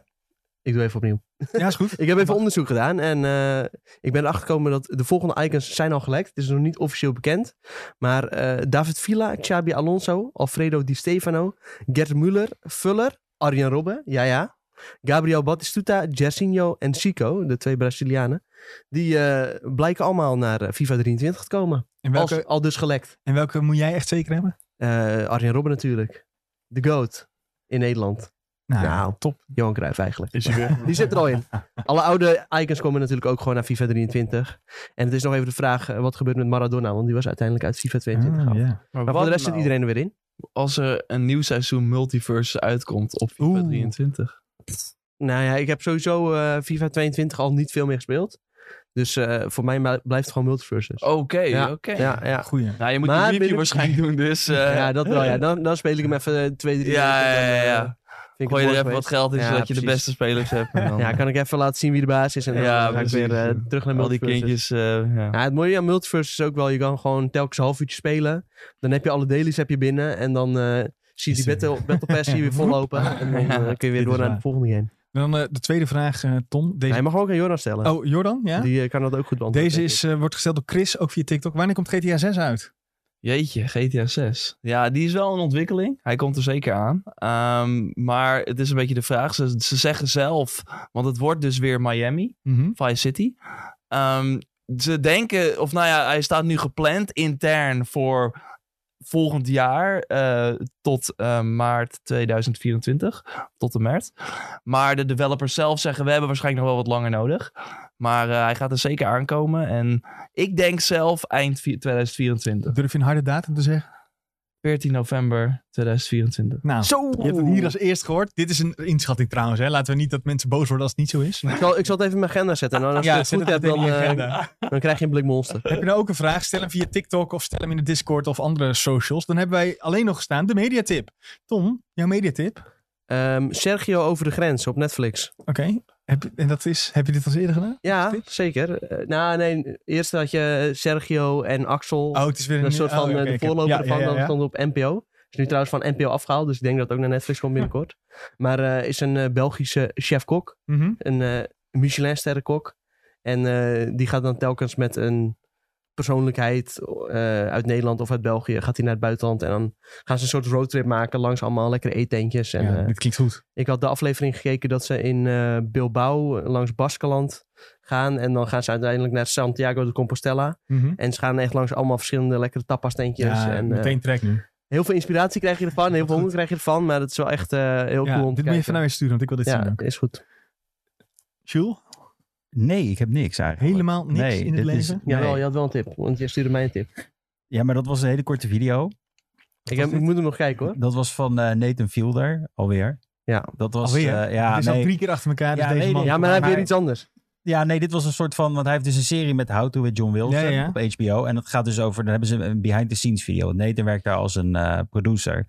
Ik doe even opnieuw. Ja, is goed. Ik heb even onderzoek gedaan en eh, ik ben erachter gekomen dat de volgende icons zijn al gelekt. Het is nog niet officieel bekend. Maar eh, David Villa, Xabi Alonso, Alfredo Di Stefano, Gerd Müller, Fuller, Arjen Robben, ja ja. Gabriel Batistuta, Jersinho en Chico, de twee Brazilianen. Die eh, blijken allemaal naar eh, FIFA 23 te komen. En welke, Als, al dus gelekt. en welke moet jij echt zeker hebben? Eh, Arjen Robben natuurlijk. De GOAT in Nederland. Nou, Nou. top. Johan Cruijff eigenlijk. Is hij weer? Die zit er al in. Alle oude icons komen natuurlijk ook gewoon naar FIFA 23. En het is nog even de vraag, eh, wat gebeurt met Maradona? Want die was uiteindelijk uit FIFA 22 Ah, ja. gehaald. [LAUGHS] Maar Maar voor de rest nou? zit iedereen er weer in. Als er een nieuw seizoen Multiverse uitkomt op FIFA Oeh. 23. Nou ja, ik heb sowieso eh, FIFA 22 al niet veel meer gespeeld. Dus eh, voor mij ma- blijft het gewoon multiverses. Oké, Ja, oké. Ja, ja. Goeie. Nou, je moet Maar een review binnen- waarschijnlijk doen, [LAUGHS] dus... eh, ja, dat [LAUGHS] wel. Ja. Dan, dan speel ik hem even eh, twee, drie Ja, weken, dan, ja, ja, eh, ja. vind ik Gooi het er mooi even wat geweest. geld in, Ja, zodat je de precies. beste spelers hebt. En dan [LAUGHS] Ja, kan ik even laten zien wie de baas is. En dan Ja, ga ik weer precies. eh, terug naar al die multiverses. kindjes... eh, ja. Ja, het mooie aan Multiverse is ook wel, je kan gewoon telkens een half uurtje spelen. Dan heb je alle dailies heb je binnen en dan eh zie je die Is er- battle, battle pass zie [LAUGHS] je weer vollopen. En dan eh, kun je weer Dit is door naar waar. de volgende game. Dan eh, de tweede vraag, eh, Tom. Deze... Hij mag ook aan Joran stellen. Oh, Jordan? Ja? Die eh, kan dat ook goed beantwoorden. Deze denk is, eh, wordt gesteld door Chris, ook via TikTok. Wanneer komt GTA 6 uit? Jeetje, GTA 6. Ja, die is wel een ontwikkeling. Hij komt er zeker aan. Ehm, maar het is een beetje de vraag. Ze, ze zeggen zelf, want het wordt dus weer Miami, Mhm. Vice City. Ehm, ze denken, of nou ja, hij staat nu gepland intern voor volgend jaar eh, tot eh, maart 2024. Tot en maart. Maar de developers zelf zeggen, we hebben waarschijnlijk nog wel wat langer nodig. Maar eh, hij gaat er zeker aankomen. En ik denk zelf eind vi- 2024. Durf je een harde datum te zeggen? 14 november 2024. Nou, Zo! je hebt het hier als eerst gehoord. Dit is een inschatting trouwens. Hè. Laten we niet dat mensen boos worden als het niet zo is. Ik, ik zal, ik zal het even in mijn agenda zetten. En dan als je het zet goed hebt, meteen dan, in je eh, agenda. [LAUGHS] dan krijg je een blik monster. Heb je nou ook een vraag? Stel hem via TikTok of stel hem in de Discord of andere socials. Dan hebben wij alleen nog gestaan de mediatip. Tom, jouw mediatip. Ehm, Sergio over de grens op Netflix. Oké. Heb je- En dat is, heb je dit al eens eerder gedaan? Ja, zeker. Eh, nou nee, eerst had je eh, Sergio en Axel. Oh, het is weer een soort van oh, eh, oké, de oké. voorloper Ja, ervan. ja, ja, ja. Dat stond op NPO. Is nu trouwens van NPO afgehaald, dus ik denk dat het ook naar Netflix komt binnenkort. Maar eh, is een eh, Belgische chef-kok, Mhm. een eh Michelin-sterrenkok. En eh, die gaat dan telkens met een persoonlijkheid eh, uit Nederland of uit België, gaat hij naar het buitenland. En dan gaan ze een soort roadtrip maken langs allemaal lekkere eetentjes. En, Ja, eh, dit klinkt goed. ik had de aflevering gekeken dat ze in eh, Bilbao langs Baskeland gaan. En dan gaan ze uiteindelijk naar Santiago de Compostela. Mhm. En ze gaan echt langs allemaal verschillende lekkere tapastentjes. Ja, en, eh, meteen trek nu. heel veel inspiratie krijg je ervan. Heel veel honger krijg je ervan. Maar dat is wel echt eh, heel Ja, cool dit om te moet je kijken. even naar mij sturen, want ik wil dit zien. Ja, ook. is goed. Jules, Nee, ik heb niks eigenlijk. helemaal niks Nee, in het dit is- leven? nee. Jawel, je had wel een tip. Want je stuurde mij een tip. Ja, maar dat was een hele korte video. Ik, heb, ik moet hem nog kijken hoor. Dat was van eh, Nathan Fielder, alweer. Ja. Dat was, Alweer? eh, ja, het is al nee. drie keer achter elkaar, dus Ja, deze nee, man... nee. Ja, maar hij heeft weer maar- iets anders. ja, nee, dit was een soort van... Want hij heeft dus een serie met How to with John Wilson Ja, ja. op HBO. En dat gaat dus over... Dan hebben ze een behind-the-scenes video. Want Nathan werkt daar als een eh, producer.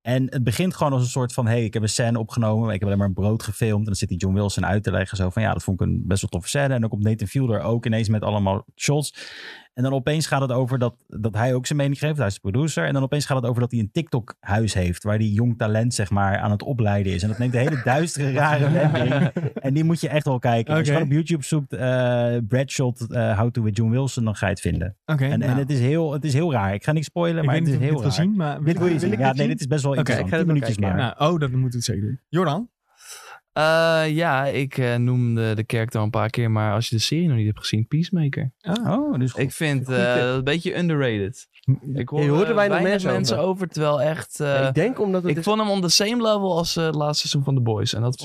En het begint gewoon als een soort van... hey, ik heb een scène opgenomen. maar Ik heb alleen maar een brood gefilmd. En dan zit die John Wilson uit te leggen. Zo van, ja, dat vond ik een best wel toffe scène. En dan komt Nathan Fielder ook ineens met allemaal shots. En dan opeens gaat het over dat, dat hij ook zijn mening geeft. Hij is de producer. En dan opeens gaat het over dat hij een TikTok-huis heeft. Waar die jong talent, zeg maar, aan het opleiden is. En dat neemt een hele duistere, [LAUGHS] rare wending. En die moet je echt wel kijken. Als Oké. je gewoon op YouTube zoekt... eh Bradshot, eh How to with John Wilson, dan ga je het vinden. Oké, En, en nou, het, is heel, het is heel raar. Ik ga niks spoilen, ik maar weet het niet is of ik heel dit wil raar. zien, maar... Dit wil je zien. ik Ja, dit nee, zien? dit is best wel ik ga interessant. dit Tien ook minuutjes kijken, maar. Nou, oh, dat moet het zeker doen. Jordan? Eh, ja, ik eh, noemde de kerk al een paar keer, maar als je de serie nog niet hebt gezien, Peacemaker. Ah. Oh, dus Ik vind Goeie tip. eh een beetje underrated. Ik hoor Je hoort er eh, weinig mensen mensen over. terwijl echt... eh, ik denk omdat het... ik is- vond hem on the same level als eh, het laatste seizoen van The Boys. En dat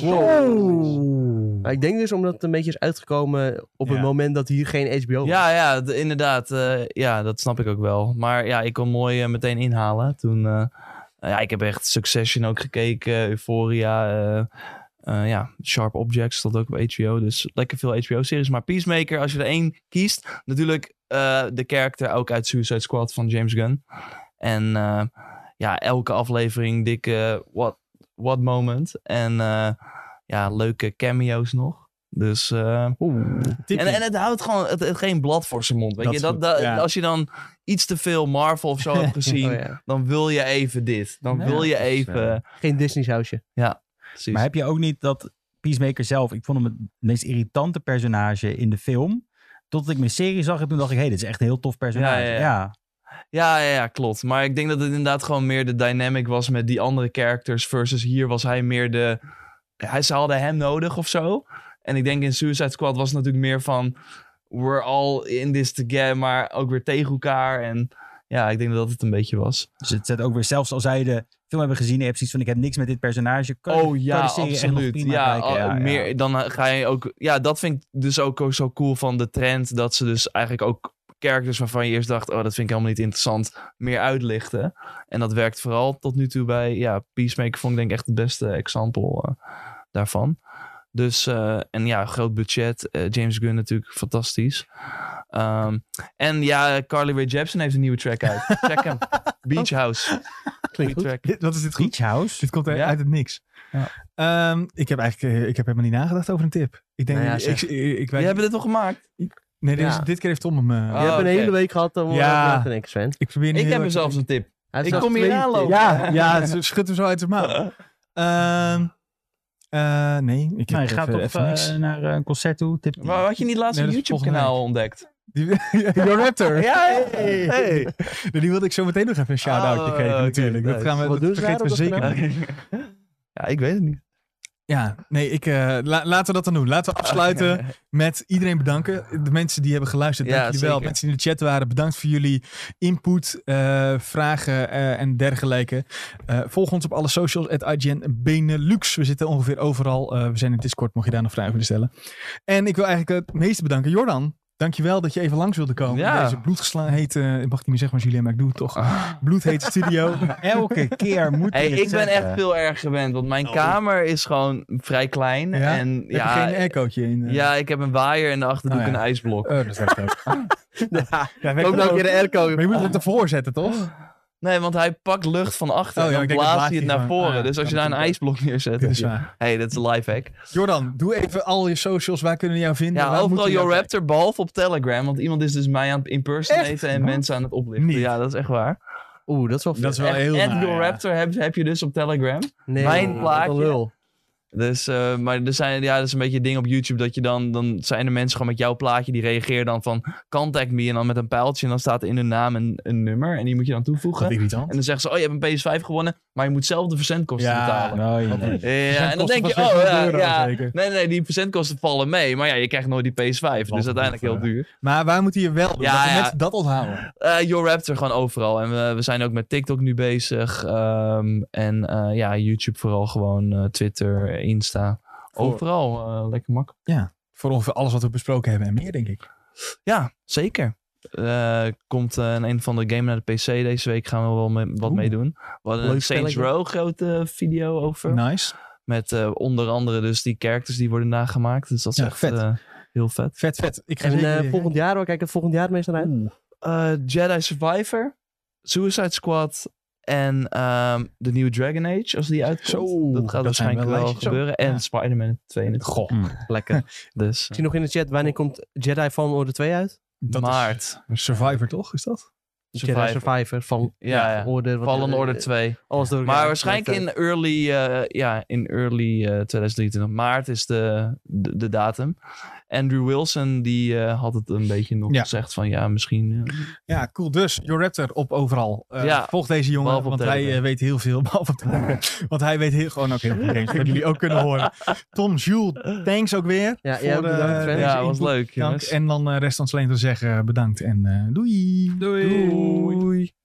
Maar ik denk dus omdat het een beetje is uitgekomen op Ja. het moment dat hier geen HBO was. Ja, ja, d- inderdaad. eh, ja, dat snap ik ook wel. Maar ja, ik kon mooi eh, meteen inhalen. Toen, eh, ja, ik heb echt Succession ook gekeken, Euphoria. eh, eh, ja, Sharp Objects stond ook op HBO. Dus lekker veel HBO-series. Maar Peacemaker, als je er één kiest, natuurlijk eh, de character ook uit Suicide Squad van James Gunn. En eh, ja, elke aflevering dikke what, what moment. En eh, ja, leuke cameo's nog. Dus eh, en, en het houdt gewoon het, het geen blad voor zijn mond. Weet Dat je? is Dat, goed, dat- ja. Als je dan iets te veel Marvel of zo hebt gezien, Oh, ja. dan wil je even dit. Dan Ja, wil je dat is, even. eh, Geen Disney's huisje. precies. Maar heb je ook niet dat Peacemaker zelf, ik vond hem het meest irritante personage in de film. Totdat ik mijn serie zag en toen dacht ik, hé, hey, dit is echt een heel tof personage. Ja, ja, ja. ja. Ja, ja, ja, klopt. Maar ik denk dat het inderdaad gewoon meer de dynamic was met die andere characters. Versus hier was hij meer de. Hij, ze hadden hem nodig of zo. En ik denk in Suicide Squad was het natuurlijk meer van. We're all in this together, maar ook weer tegen elkaar. En ja, ik denk dat dat het een beetje was. Dus het zet ook weer, zelfs als zij de film hebben gezien, je hebt zoiets van, ik heb niks met dit personage. Kan, kan Oh de ja, serie echt nog absoluut. prima Ja, kijken. al- meer, Dan ga je ook. Ja, dat vind ik dus ook, ook zo cool van de trend. Dat ze dus eigenlijk ook characters waarvan je eerst dacht: oh, dat vind ik helemaal niet interessant. meer uitlichten. En dat werkt vooral tot nu toe bij. Ja, Peacemaker vond ik denk ik echt het beste example eh, daarvan. Dus, eh, en ja, groot budget. eh, James Gunn natuurlijk fantastisch. Ehm, en ja, Carly Rae Jepsen heeft een nieuwe track uit. Check [LAUGHS] hem. Beach House. Klinkt goed. Die track. Dit- Wat is dit goed? Beach House? Dit komt Ja. uit het niks. Ja. Ehm, ik heb eigenlijk eh, ik heb helemaal niet nagedacht over een tip. Ik denk, Nou ja, ik, zeg. ik, ik, ik weet- Jullie hebben dit nog gemaakt? nee, dit, is- Ja. dit keer heeft Tom hem. eh, Oh, Je hebt een oké. hele week gehad om Ja. ja. na te denken, Sven. Ik probeer nu Ik heel heb er erg- zelfs een tip. Hij Ik heeft kom zelfs hier twee aanlopen. tips. Ja, ja, ze schudt hem zo uit zijn mouw. Ehm, eh, nee, ik heb Nou, je gaat even, toch even eh, niks. naar eh, een concert toe? Tip die. Maar had je niet laatst Nee, een dat is YouTube-kanaal ontdekt? Die, [LAUGHS] Your Raptor. Ja, hey. Hey. Die wilde ik zo meteen nog even een shout-outje Oh, geven oké, natuurlijk. Dat, nice. gaan we, Wat dat doen ze daar vergeten we op dat zeker. kanaal? niet. [LAUGHS] ja, ik weet het niet. Ja, nee, ik, eh, la- laten we dat dan doen. Laten we afsluiten [LAUGHS] met iedereen bedanken. De mensen die hebben geluisterd, Ja, dank jullie wel. zeker. Mensen die in de chat waren, bedankt voor jullie input, eh, vragen eh, en dergelijke. Eh, volg ons op alle socials, at IGN Benelux. We zitten ongeveer overal. Eh, we zijn in Discord, mocht je daar nog vragen willen stellen. En ik wil eigenlijk het meeste bedanken. Jordan, dankjewel dat je even langs wilde komen. Ja. Ah. In deze bloedgeslagen, eh ik mag het niet meer zeggen, maar Julien, maar ik doe het toch. Bloedheet [LAUGHS] studio. Elke keer moet Hey, je het dus, ik eh, ben zeggen. echt veel erg gewend, want mijn kamer is gewoon vrij klein. Ja? En Heb je ja, geen echootje in? eh? ja, ik heb een waaier en daarachter doe Oh, ik een ja. [LAUGHS] ijsblok. Eh, dat werkt ook. ja, werkt Ook nog een ook. keer de airco. Maar je Ah. moet het ervoor zetten, toch? Nee, want hij pakt lucht van achter Oh, ja, en ik dan denk dat blaast hij het blaast naar hij gewoon. voren. Ah, ja, dus als je dat daar een natuurlijk ijsblok neerzet... Dit is heb je- waar. hey, dat is een lifehack. Jordan, doe even al je socials. Waar kunnen we jou vinden? Ja, Waar overal moeten we Your jou Raptor, behalve op Telegram. Want iemand is dus mij aan het impersonaten en Wat? mensen aan het oplichten. Niet. Ja, dat is echt waar. Oeh, dat is wel vinden? Dat is wel Echt, heel at naar, ja. Your Raptor heb, heb je dus op Telegram. Nee, Mijn wat een plaatje. lul. Dus, eh, maar er zijn, ja, dat is een beetje het ding op YouTube dat je dan, dan zijn er mensen gewoon met jouw plaatje die reageren dan van contact me en dan met een pijltje en dan staat er in hun naam een, een nummer en die moet je dan toevoegen. Wat irritant. En dan zeggen ze, oh je hebt een PS5 gewonnen, maar je moet zelf de verzendkosten Ja. nou, betalen. Nee, nee. Ja, en dan Verzendkosten denk je, van oh 600 ja, euro ja. zeker. nee nee, die verzendkosten vallen mee, maar ja, je krijgt nooit die PS5, Wat dus uiteindelijk heel goed, duur. Maar waar moeten je wel doen? Ja, dat de ja. mensen dat onthouden. Eh Your Raptor gewoon overal. En we, we zijn ook met TikTok nu bezig. ehm, en eh, ja, YouTube vooral gewoon eh, Twitter, Insta. Overal. eh, lekker mak. Voor ongeveer alles wat we besproken hebben en meer, denk ik. Ja, zeker. Eh, komt eh, een, een van de game naar de PC deze week. Gaan we wel mee- wat Oeh. mee doen. We hadden Leuk een Saints spelletje. Row grote video over. Nice. Met eh, onder andere dus die characters die worden nagemaakt. Dus dat is Ja, echt vet. eh, heel vet. Vet, vet. Ik ga En zeker eh, weer- volgend jaar, hoor, kijk het volgend jaar het meest naar uit. Eh, Jedi Survivor, Suicide Squad en ehm, de nieuwe Dragon Age, als die uitkomt. Zo, dat gaat dat zijn waarschijnlijk wel wel lijstjes. gebeuren. Zo, En ja. Spider-Man 2 in het Goh, Lekker. Dus Ik zie nog in de chat, wanneer komt Jedi Fallen Order 2 uit? dat maart. is Survivor, toch? Is dat? Survivor. Jedi Survivor van Ja, ja. Order. wat- Fallen eh, Order 2. Alles door elkaar. Maar waarschijnlijk in early, eh, ja, in early eh 2023. Maart is de, de, de datum. Andrew Wilson die eh, had het een beetje nog Ja. gezegd van ja, misschien. eh, Ja, cool. Dus, Your Raptor op overal. Eh, Ja, volg deze jongen, behalve op want hij Telegram. eh, weet heel veel. [LAUGHS] Behalve op Telegram. [LAUGHS] want hij weet heel, gewoon ook heel veel games. Dat jullie ook kunnen horen. Tom, Jules, thanks ook weer. Ja, voor, jij ook eh, bedankt, Sven. deze ja, was input. leuk. Dank. jongens. En dan eh, rest ons alleen te zeggen bedankt en eh, doei. Doei.